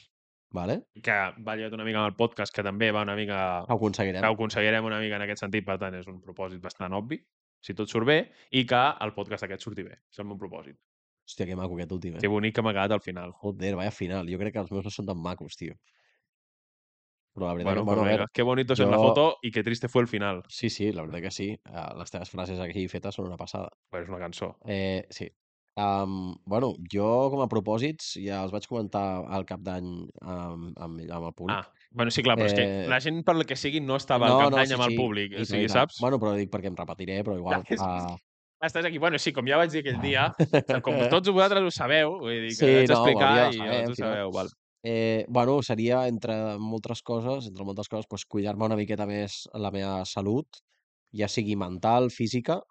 Speaker 3: vale,
Speaker 2: que va lligat una mica amb el podcast, que també va una mica...
Speaker 3: ho aconseguirem.
Speaker 2: Que ho aconseguirem una mica en aquest sentit, per tant, és un propòsit bastant obvi, si tot surt bé, i que el podcast aquest surti bé. És el meu propòsit.
Speaker 3: Hòstia, que maco aquest últim, eh?
Speaker 2: Que bonic que m'ha quedat al final.
Speaker 3: Joder, vaya final. Jo crec que els meus no són tan macos, tio. Però la veritat,
Speaker 2: Bueno,
Speaker 3: que-
Speaker 2: bueno,
Speaker 3: bueno, a veure,
Speaker 2: venga, qué bonito es en la
Speaker 3: jo-
Speaker 2: foto y qué triste fue el final.
Speaker 3: Ah, Sí, sí, la veritat que sí. Eh, Les teves frases aquí fetes són una passada.
Speaker 2: Bueno, és una cançó.
Speaker 3: Eh, sí. Um, bueno, jo com a propòsits ja els vaig comentar al cap d'any amb, amb, amb el públic.
Speaker 2: Ah, bueno, sí, clar, però eh... és
Speaker 3: Eh,
Speaker 2: que la gent per la que sigui no estava
Speaker 3: No,
Speaker 2: al cap
Speaker 3: no,
Speaker 2: d'any
Speaker 3: sí,
Speaker 2: amb el
Speaker 3: sí.
Speaker 2: públic,
Speaker 3: I
Speaker 2: o sigui,
Speaker 3: tant,
Speaker 2: saps?
Speaker 3: Bueno, però dic perquè em repetiré, però igual.
Speaker 2: és-
Speaker 3: Uh,
Speaker 2: Estàs aquí, bueno, sí, com ja vaig dir aquell dia,
Speaker 3: dia,
Speaker 2: com tots vosaltres ho sabeu, vull dir que
Speaker 3: Sí,
Speaker 2: vaig
Speaker 3: no, ho
Speaker 2: explicar
Speaker 3: hauria de
Speaker 2: i
Speaker 3: saber,
Speaker 2: ja
Speaker 3: al
Speaker 2: ho
Speaker 3: final.
Speaker 2: sabeu, val.
Speaker 3: Eh, bueno, seria, entre moltes coses, entre moltes coses, doncs, cuidar-me una miqueta més la meva salut, ja sigui mental, física,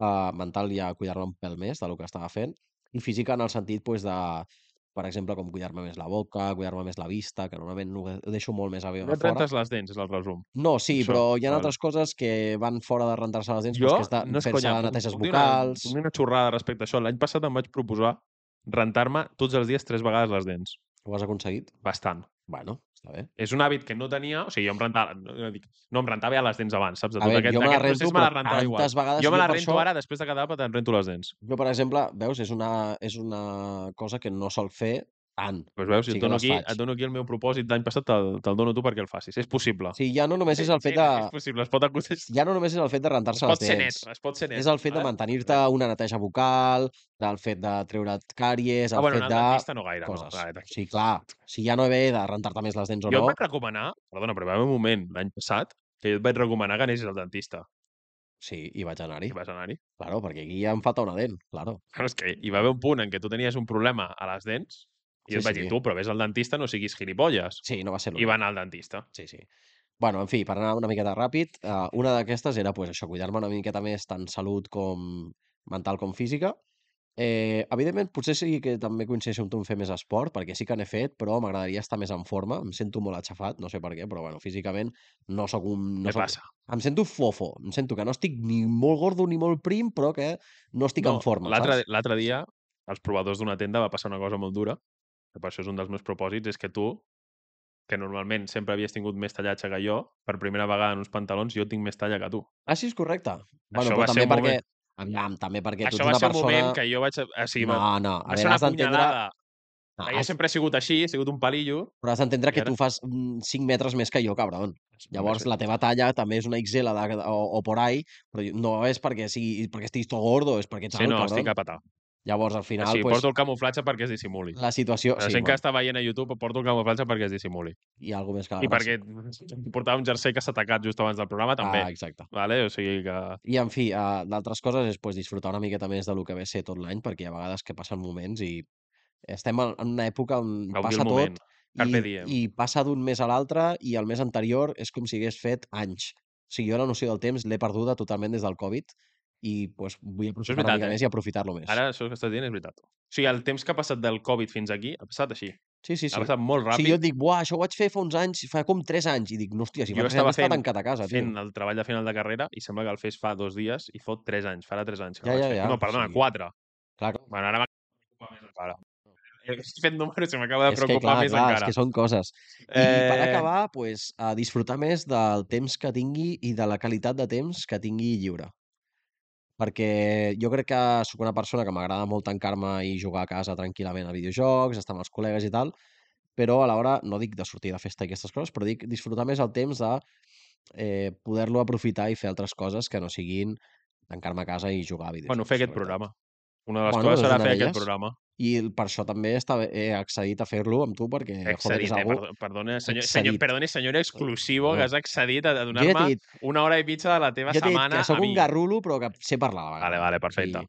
Speaker 3: eh, mental ja cuidar-me un pèl més del que estava fent, i física en el sentit doncs, de, per exemple, com cuidar-me més la boca, cuidar-me més la vista, que normalment ho ho deixo molt més a,
Speaker 2: No
Speaker 3: a
Speaker 2: et
Speaker 3: fora.
Speaker 2: rentes les dents, és el resum.
Speaker 3: No, sí,
Speaker 2: això,
Speaker 3: però hi ha
Speaker 2: val.
Speaker 3: altres coses que van fora de rentar-se les dents,
Speaker 2: Jo,
Speaker 3: doncs, que és de
Speaker 2: no és
Speaker 3: fer-se
Speaker 2: conya, puc-
Speaker 3: neteges
Speaker 2: puc dir Una,
Speaker 3: bucals...
Speaker 2: puc dir una xorrada respecte a això. L'any passat em vaig proposar rentar-me tots els dies tres vegades les dents.
Speaker 3: Ho has aconseguit?
Speaker 2: Bastant.
Speaker 3: Bueno, està bé.
Speaker 2: És un hàbit que no tenia, o sigui, jo em rentava, no, no dic- no em rentava ja les dents abans, saps? De
Speaker 3: A
Speaker 2: tot
Speaker 3: veure,
Speaker 2: aquest,
Speaker 3: jo me la
Speaker 2: aquest
Speaker 3: rento,
Speaker 2: procés me
Speaker 3: però
Speaker 2: la rentava igual.
Speaker 3: tantes vegades...
Speaker 2: Jo me la
Speaker 3: per
Speaker 2: rento
Speaker 3: això-
Speaker 2: ara, després de cada àpat em rento les dents.
Speaker 3: Jo, per exemple, veus, és una, és una cosa que no sol fer tant.
Speaker 2: Pues veus, si
Speaker 3: Sí
Speaker 2: et
Speaker 3: que
Speaker 2: dono,
Speaker 3: les
Speaker 2: aquí,
Speaker 3: faig.
Speaker 2: et dono aquí el meu propòsit d'any passat, te'l te dono tu perquè el facis. És possible.
Speaker 3: O sigui, ja no només és el fet de...
Speaker 2: És possible, es pot aconseguir.
Speaker 3: Ja no només és el fet de
Speaker 2: Es
Speaker 3: rentar-se les
Speaker 2: pot ser
Speaker 3: dents.
Speaker 2: net, es pot ser eh? net.
Speaker 3: És el fet de
Speaker 2: vale?
Speaker 3: mantenir-te una neteja bucal, del fet de treure't càries,
Speaker 2: Ah,
Speaker 3: el
Speaker 2: bueno,
Speaker 3: fet
Speaker 2: anar al
Speaker 3: de
Speaker 2: dentista no gaire,
Speaker 3: coses.
Speaker 2: no. clar, d'aquí.
Speaker 3: Sí, clar, si ja no ve de rentar-te més les dents o
Speaker 2: Jo
Speaker 3: no,
Speaker 2: et vaig recomanar, perdona, però va haver un moment l'any passat que jo et vaig recomanar que anessis al dentista.
Speaker 3: sí, hi vaig anar-hi.
Speaker 2: I vas anar-hi.
Speaker 3: Claro, perquè aquí ja em falta una dent, claro.
Speaker 2: Però és que hi va haver un punt en què tu tenies un problema a les dents
Speaker 3: Sí,
Speaker 2: i jo et vaig
Speaker 3: sí.
Speaker 2: dir, tu, però vés al dentista, no siguis gilipolles.
Speaker 3: Sí, no va ser
Speaker 2: I
Speaker 3: l'únic.
Speaker 2: va anar al dentista.
Speaker 3: Sí, sí. Bueno, en fi, per anar una miqueta ràpid, eh, una d'aquestes era pues, això, cuidar-me una miqueta més tant salut com mental com física. Eh, evidentment, potser sí que també coincideixo amb tu en fer més esport, perquè sí que n'he fet, però m'agradaria estar més en forma. Em sento molt aixafat, no sé per què, però bueno, físicament no sóc un... No
Speaker 2: No Què
Speaker 3: soc...
Speaker 2: passa?
Speaker 3: Em sento fofo, em sento que no estic ni molt gordo ni molt prim, però que no estic en forma,
Speaker 2: l'altre-
Speaker 3: saps?
Speaker 2: L'altre dia, als provadors d'una tenda va passar una cosa molt dura, que per això és un dels meus propòsits, és que tu, que normalment sempre havies tingut més tallatge que jo, per primera vegada en uns pantalons jo tinc més talla que tu.
Speaker 3: Ah, sí, és correcte. Bueno, però
Speaker 2: Això va ser
Speaker 3: també
Speaker 2: un
Speaker 3: perquè...
Speaker 2: moment.
Speaker 3: Aviam, també perquè tu
Speaker 2: Això
Speaker 3: ets
Speaker 2: va
Speaker 3: una
Speaker 2: ser un
Speaker 3: persona...
Speaker 2: moment que jo vaig... O sigui,
Speaker 3: No,
Speaker 2: va,
Speaker 3: no, a
Speaker 2: va
Speaker 3: veure,
Speaker 2: ser una
Speaker 3: has d'entendre...
Speaker 2: punyalada.
Speaker 3: No,
Speaker 2: Ah, jo
Speaker 3: has-
Speaker 2: sempre he sigut així, he sigut un palillo.
Speaker 3: Però has d'entendre
Speaker 2: I
Speaker 3: que
Speaker 2: ara-
Speaker 3: tu fas 5 metres més que jo, cabron. Llavors, la teva talla també és una XL de, o, o por ahí, però no és perquè, sigui, perquè estiguis tot gordo, és perquè ets
Speaker 2: Sí,
Speaker 3: alt,
Speaker 2: no, estic
Speaker 3: cabron.
Speaker 2: a petar.
Speaker 3: Llavors, al final,
Speaker 2: Així,
Speaker 3: pues,
Speaker 2: porto el camuflatge perquè es dissimuli.
Speaker 3: la situació...
Speaker 2: La
Speaker 3: Sí,
Speaker 2: gent que
Speaker 3: bueno,
Speaker 2: està veient a YouTube porto el camuflatge perquè es dissimuli.
Speaker 3: hi ha alguna més que la
Speaker 2: I perquè portava un jersei que s'ha tacat just abans del programa, també.
Speaker 3: Ah, exacte.
Speaker 2: Vale? O sigui que...
Speaker 3: I, en fi, uh, d'altres coses és pues, disfrutar una miqueta més del que ve a ser tot l'any, perquè hi ha vegades que passen moments i estem en en una època on
Speaker 2: Gaudir
Speaker 3: passa
Speaker 2: el
Speaker 3: tot
Speaker 2: moment. Carpe
Speaker 3: i,
Speaker 2: diem.
Speaker 3: i passa d'un mes a l'altre i el mes anterior és com si hagués fet anys. O sigui, jo la noció del temps l'he perduda totalment des del Covid i pues, vull aprofitar una
Speaker 2: veritat,
Speaker 3: mica
Speaker 2: eh?
Speaker 3: més i aprofitar-lo més.
Speaker 2: Ara això que estàs dient és veritat. O sigui, el temps que ha passat del Covid fins aquí ha passat així.
Speaker 3: Sí, sí,
Speaker 2: Sí.
Speaker 3: sí.
Speaker 2: Ha passat molt
Speaker 3: Si
Speaker 2: ràpid.
Speaker 3: jo et dic, buah, això ho vaig fer fa uns anys, fa com 3 anys, i dic, no, hòstia, si
Speaker 2: Jo
Speaker 3: fa 3
Speaker 2: estava
Speaker 3: anys estava
Speaker 2: fent-
Speaker 3: tancat a casa,
Speaker 2: fent
Speaker 3: tio.
Speaker 2: el treball de final de carrera i sembla que el fes fa dos dies i fot tres anys, farà tres anys. Que
Speaker 3: Ja,
Speaker 2: el vaig
Speaker 3: ja,
Speaker 2: fer.
Speaker 3: ja,
Speaker 2: No, perdona,
Speaker 3: sí.
Speaker 2: quatre.
Speaker 3: Clar, clar.
Speaker 2: Bueno, ara m'acaba de preocupar més encara. He fet números i m'acaba de
Speaker 3: és que,
Speaker 2: preocupar
Speaker 3: clar,
Speaker 2: més
Speaker 3: clar, és
Speaker 2: encara.
Speaker 3: que són coses. I per
Speaker 2: Eh,
Speaker 3: acabar, pues, a disfrutar més del temps que tingui i de la qualitat de temps que tingui lliure. Perquè jo crec que sóc una persona que m'agrada molt tancar-me i jugar a casa tranquil·lament a videojocs, estar amb els col·legues i tal, però a l'hora no dic de sortir de festa i aquestes coses, però dic disfrutar més el temps de eh, poder-lo aprofitar i fer altres coses que no siguin tancar-me a casa i jugar a videojocs.
Speaker 2: Bueno, fer aquest
Speaker 3: la veritat.
Speaker 2: programa. Una de les
Speaker 3: Bueno,
Speaker 2: coses
Speaker 3: és
Speaker 2: serà
Speaker 3: una
Speaker 2: fer aquest
Speaker 3: d'elles.
Speaker 2: programa.
Speaker 3: I el- per això també està, bé- he accedit a fer-lo amb tu, perquè
Speaker 2: He
Speaker 3: joder,
Speaker 2: accedit,
Speaker 3: és
Speaker 2: eh?
Speaker 3: algú...
Speaker 2: Perdó, perdona, senyor, senyor,
Speaker 3: Accedit.
Speaker 2: perdona, senyor exclusivo,
Speaker 3: No.
Speaker 2: que has accedit a, a
Speaker 3: Jo ja t'he
Speaker 2: donar-me
Speaker 3: dit,
Speaker 2: una hora i mitja de la teva
Speaker 3: jo t'he dit
Speaker 2: setmana
Speaker 3: que sóc
Speaker 2: a mi.
Speaker 3: un garrulo, però que sé parlar. a la
Speaker 2: Vale,
Speaker 3: vegada.
Speaker 2: vale, perfecte.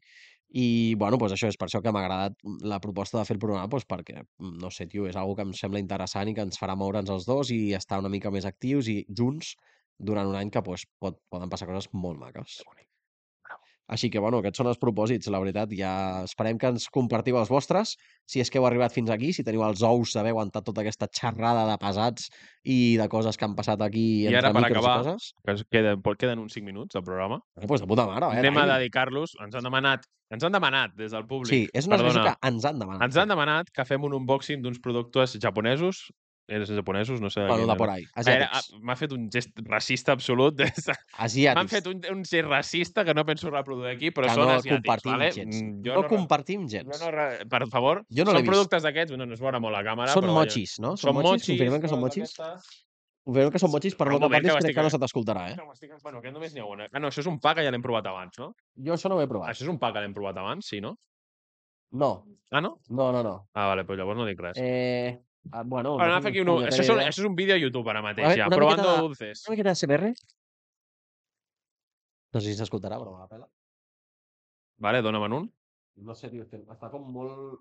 Speaker 3: I, i bueno, doncs això és per això que m'ha agradat mm, la proposta de fer el programa, doncs perquè, no sé, tio, és algo que em sembla interessant i que ens farà moure'ns els dos i estar una mica més actius i junts durant un any que doncs, pot, poden passar coses molt maques. Així que, bueno, aquests són els propòsits, la veritat. Ja esperem que ens compartiu els vostres, si és que heu arribat fins aquí, si teniu els ous d'haver aguantat tota aquesta xerrada de pesats i de coses que han passat aquí
Speaker 2: I
Speaker 3: entre
Speaker 2: ara, per
Speaker 3: micros
Speaker 2: acabar,
Speaker 3: i coses.
Speaker 2: Que es queden, pot- queden uns 5 minuts del programa.
Speaker 3: Bueno, doncs de puta mare, eh?
Speaker 2: Anem a
Speaker 3: Dani?
Speaker 2: dedicar-los. Ens han demanat, ens han demanat des del públic.
Speaker 3: Sí, és una expressió
Speaker 2: Perdona.
Speaker 3: que ens han demanat.
Speaker 2: Ens han demanat que fem un unboxing d'uns productes japonesos. Eres japonesos? No sé. de
Speaker 3: Bueno,
Speaker 2: quins
Speaker 3: de por
Speaker 2: eren.
Speaker 3: ahí.
Speaker 2: Era-
Speaker 3: Asiàtics.
Speaker 2: ah, M'ha fet un gest racista absolut. M'han
Speaker 3: asiàtics.
Speaker 2: fet un, un gest racista que no penso reproduir aquí, però
Speaker 3: que
Speaker 2: són
Speaker 3: no
Speaker 2: asiàtics.
Speaker 3: compartim
Speaker 2: Vale?
Speaker 3: gens.
Speaker 2: Mm,
Speaker 3: No,
Speaker 2: re-
Speaker 3: compartim gens.
Speaker 2: Jo no, re- per favor,
Speaker 3: Jo no l'he
Speaker 2: són
Speaker 3: vist.
Speaker 2: productes d'aquests, no, no es veurà molt la càmera,
Speaker 3: són
Speaker 2: però vaja.
Speaker 3: mochis, no?
Speaker 2: Són mochis,
Speaker 3: Confirmem que són
Speaker 2: coses
Speaker 3: mochis.
Speaker 2: d'aquestes.
Speaker 3: Confirmem que són mochis, però
Speaker 2: Però
Speaker 3: no
Speaker 2: un
Speaker 3: que
Speaker 2: moment,
Speaker 3: parlis
Speaker 2: que
Speaker 3: crec
Speaker 2: m'estic-
Speaker 3: que no se t'escoltarà, eh?
Speaker 2: No, m'estic- Bueno, aquest només n'hi ha una. Ah, no, això és un pa que ja l'hem provat abans, no?
Speaker 3: Jo això no ho he provat.
Speaker 2: Això és un pa que l'hem provat abans, sí, no?
Speaker 3: No,
Speaker 2: Ah, no?
Speaker 3: no, no, no.
Speaker 2: Ah, vale, però llavors no dic res. Eh,
Speaker 3: Eh, ah, bueno,
Speaker 2: però
Speaker 3: no
Speaker 2: no
Speaker 3: tinc ni
Speaker 2: aquí un...
Speaker 3: punyetera
Speaker 2: Això, és un,
Speaker 3: idea.
Speaker 2: això és un vídeo a YouTube ara mateix,
Speaker 3: A
Speaker 2: a
Speaker 3: veure,
Speaker 2: ja.
Speaker 3: una
Speaker 2: Provando
Speaker 3: miqueta de-
Speaker 2: dulces.
Speaker 3: Una miqueta de CBR? No sé si s'escoltarà, però me la pela.
Speaker 2: Vale, dona'm un.
Speaker 3: No sé, tio, estem- està com molt...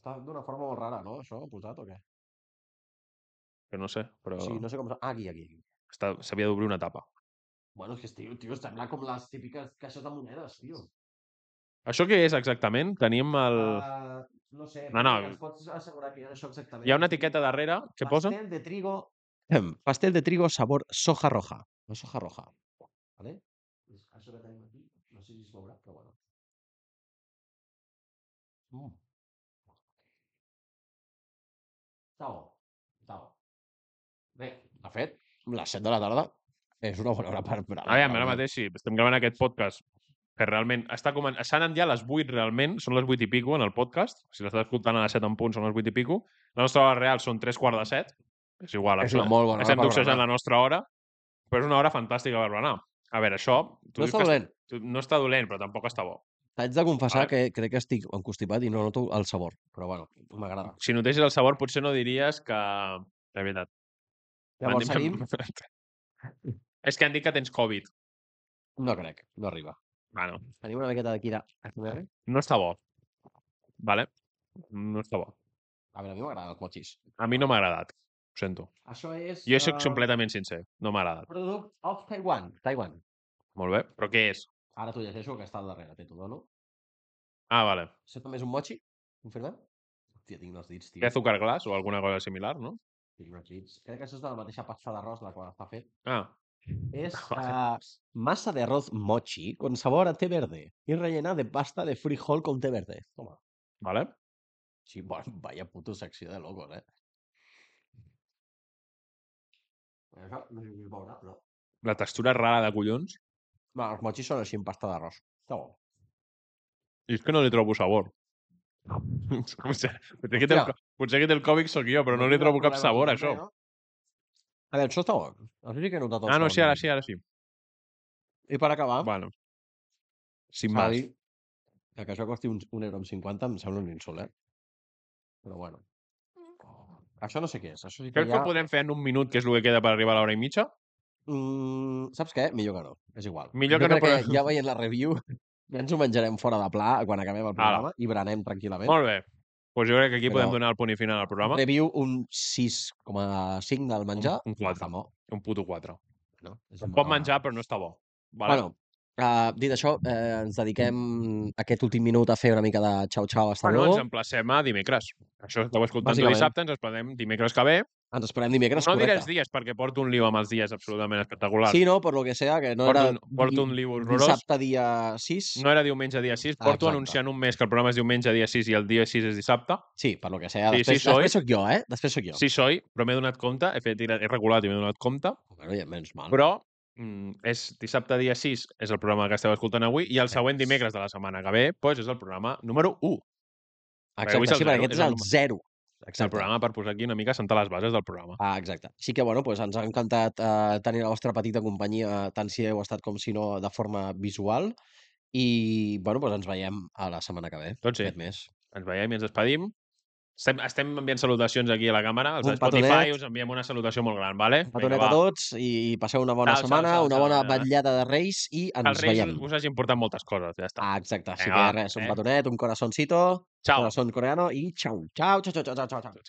Speaker 3: Està d'una forma molt rara, no, això, posat o què?
Speaker 2: Que no sé, però
Speaker 3: O sigui, no sé com... Ah, aquí, aquí. aquí.
Speaker 2: està- s'havia d'obrir una tapa.
Speaker 3: Bueno, és que, tio, tio, sembla com les típiques caixes de monedes, tio.
Speaker 2: Això què és exactament? Tenim el...
Speaker 3: Ah, no sé,
Speaker 2: No,
Speaker 3: però
Speaker 2: no.
Speaker 3: ens pots assegurar que hi ha això exactament.
Speaker 2: Hi ha una etiqueta darrere que posa...
Speaker 3: Pastel de trigo... Em, Pastel de trigo sabor soja roja. No soja roja. Vale? És Això que tenim aquí, no sé si es veurà, però bueno. Mm. Està bo. Està bo. Bé, de fet, les 7 de la tarda és una bona hora per... per
Speaker 2: Ah, ja, ara
Speaker 3: per-
Speaker 2: mateix sí, estem gravant aquest podcast que realment està comen... s'han anat ja les 8 realment, són les 8 i pico en el podcast, si l'estàs escoltant a les 7 en punt són les 8 i pico, la nostra hora real són 3 quarts de 7, és igual,
Speaker 3: És una
Speaker 2: absolut-
Speaker 3: molt bona hora
Speaker 2: estem
Speaker 3: per
Speaker 2: doxejant
Speaker 3: berenar.
Speaker 2: la nostra hora, però és una hora fantàstica per berenar. A veure, això... tu
Speaker 3: No
Speaker 2: dius
Speaker 3: està
Speaker 2: que
Speaker 3: dolent.
Speaker 2: est- tu- No està dolent, però tampoc està bo.
Speaker 3: T'haig de confessar
Speaker 2: veure.
Speaker 3: que crec que estic encostipat i no noto el sabor, però bueno, m'agrada.
Speaker 2: Si notessis el sabor, potser no diries que... De veritat. M'han
Speaker 3: Llavors
Speaker 2: dit
Speaker 3: seguim?
Speaker 2: que- és que han dit que tens Covid.
Speaker 3: No crec, no arriba.
Speaker 2: Bueno,
Speaker 3: Tenim una miqueta d'aquí de... eh? ASMR?
Speaker 2: no està bo. Vale? No està bo.
Speaker 3: A veure, a mi m'agraden els mochis.
Speaker 2: A mi no m'ha agradat. Ho sento.
Speaker 3: Això és...
Speaker 2: Jo soc
Speaker 3: eh,
Speaker 2: completament sincer. No m'ha agradat.
Speaker 3: Product of Taiwan. Taiwan.
Speaker 2: Molt bé. Però què és?
Speaker 3: Ara t'ho llegeixo que està al darrere, té, t'ho dono.
Speaker 2: Ah, vale.
Speaker 3: Això també és un mochi? Confirmem? Hòstia, tinc els dits, tio.
Speaker 2: Té azúcar glaç o alguna cosa similar, no?
Speaker 3: Tinc els dits. Crec que això és de la mateixa pasta d'arròs de quan està fet.
Speaker 2: Ah,
Speaker 3: És
Speaker 2: Vale.
Speaker 3: uh, massa de arroz mochi con sabor a té verde y rellena de pasta de frijol con té verde. Toma.
Speaker 2: vale.
Speaker 3: Sí, bueno, vaya puto secció de locos, eh? Això no sé si es veurà, però...
Speaker 2: La textura és rara de collons.
Speaker 3: Bueno, els mochis són així amb pasta d'arròs. Està bo.
Speaker 2: I és que no li trobo sabor. potser, potser, que té el,
Speaker 3: Hòstia.
Speaker 2: co- potser que té el còmic sóc jo, però no li
Speaker 3: tinc
Speaker 2: trobo cap
Speaker 3: problema
Speaker 2: sabor, a
Speaker 3: amb eh,
Speaker 2: això.
Speaker 3: res, No? A veure, això està bo. Això sí que he notat el
Speaker 2: Ah, no,
Speaker 3: sabor
Speaker 2: sí, ara
Speaker 3: molt.
Speaker 2: sí, ara sí.
Speaker 3: I per acabar,
Speaker 2: Bueno. Sin
Speaker 3: s'ha
Speaker 2: más.
Speaker 3: de dir que, que això costi un, un euro amb 50 em sembla un insult, eh? Però bueno. Això no sé què és. Això sí que
Speaker 2: Creus Mm. que
Speaker 3: ja...
Speaker 2: ho podrem fer en un minut, que és el que queda per arribar a l'hora i mitja?
Speaker 3: Mm, saps què? Millor que no. És igual.
Speaker 2: Millor
Speaker 3: Jo
Speaker 2: que no,
Speaker 3: crec
Speaker 2: però-
Speaker 3: Ja veient la review, ja ens ho menjarem fora de pla quan acabem el
Speaker 2: Ala.
Speaker 3: programa i berenem tranquil·lament.
Speaker 2: Molt bé. Doncs pues jo crec que aquí
Speaker 3: Però-
Speaker 2: podem donar el punt i final al programa.
Speaker 3: Review un 6,5 del menjar.
Speaker 2: un quatre.
Speaker 3: Està bo.
Speaker 2: Un puto 4.
Speaker 3: No? És
Speaker 2: Pot menjar, però no està bo. Vale?
Speaker 3: Bueno, uh, dit això, eh, ens dediquem aquest últim minut a fer una mica de xau-xau hasta
Speaker 2: Bueno,
Speaker 3: luego.
Speaker 2: ens emplacem a dimecres. Això esteu escoltant tu
Speaker 3: Bàsicament.
Speaker 2: dissabte, ens esperem dimecres que ve.
Speaker 3: Ens esperem dimecres,
Speaker 2: no diré els
Speaker 3: correcte.
Speaker 2: dies, perquè porto un lío amb els dies absolutament espectacular.
Speaker 3: Sí, no, per lo que sea, que no
Speaker 2: porto,
Speaker 3: era
Speaker 2: un, porto un lío horrorós.
Speaker 3: dissabte dia 6.
Speaker 2: No era diumenge dia 6,
Speaker 3: Ah,
Speaker 2: porto
Speaker 3: exacte.
Speaker 2: anunciant un mes que el programa és diumenge dia 6 i el dia 6 és dissabte.
Speaker 3: Sí, per lo que sea.
Speaker 2: Sí, sí,
Speaker 3: Després,
Speaker 2: soy.
Speaker 3: després sóc jo, eh? Després sóc jo.
Speaker 2: Sí, soy, però m'he donat compte, he, fet, he regulat i m'he donat compte,
Speaker 3: Bueno, ja, menys mal.
Speaker 2: però mm, és dissabte dia 6 és el programa que esteu escoltant avui i el següent dimecres de la setmana que ve doncs és el programa número 1. avui és
Speaker 3: Exacte,
Speaker 2: el
Speaker 3: sí, perquè
Speaker 2: zero,
Speaker 3: aquest
Speaker 2: és
Speaker 3: és
Speaker 2: el
Speaker 3: el
Speaker 2: número.
Speaker 3: 0.
Speaker 2: És el
Speaker 3: Exacte.
Speaker 2: programa per posar aquí una mica, sentar les bases del programa.
Speaker 3: Ah, exacte. Així que, bueno, doncs ens ha encantat eh, tenir la vostra petita companyia, eh, tant si heu estat com si no, de forma visual. I, bueno, doncs ens veiem a la setmana que ve,
Speaker 2: Doncs sí.
Speaker 3: aquest mes.
Speaker 2: Ens veiem i ens despedim. Estem, estem enviant salutacions aquí a la càmera. Els
Speaker 3: Un
Speaker 2: de Spotify
Speaker 3: petonet.
Speaker 2: us enviem una salutació molt gran, vale?
Speaker 3: Petonet a tots i passeu una bona
Speaker 2: Ciao, ciao,
Speaker 3: setmana,
Speaker 2: ciao,
Speaker 3: una
Speaker 2: ciao,
Speaker 3: bona
Speaker 2: eh?
Speaker 3: vetllada de Reis i
Speaker 2: Els
Speaker 3: ens
Speaker 2: Reis
Speaker 3: veiem.
Speaker 2: us hagin portat moltes coses, ja està.
Speaker 3: Ah, exacte. Així
Speaker 2: Vinga,
Speaker 3: que
Speaker 2: va,
Speaker 3: res, un
Speaker 2: eh?
Speaker 3: petonet, un corazoncito,
Speaker 2: Ciao.
Speaker 3: corazón coreano i xau, xau, xau, xau, xau, xau, xau.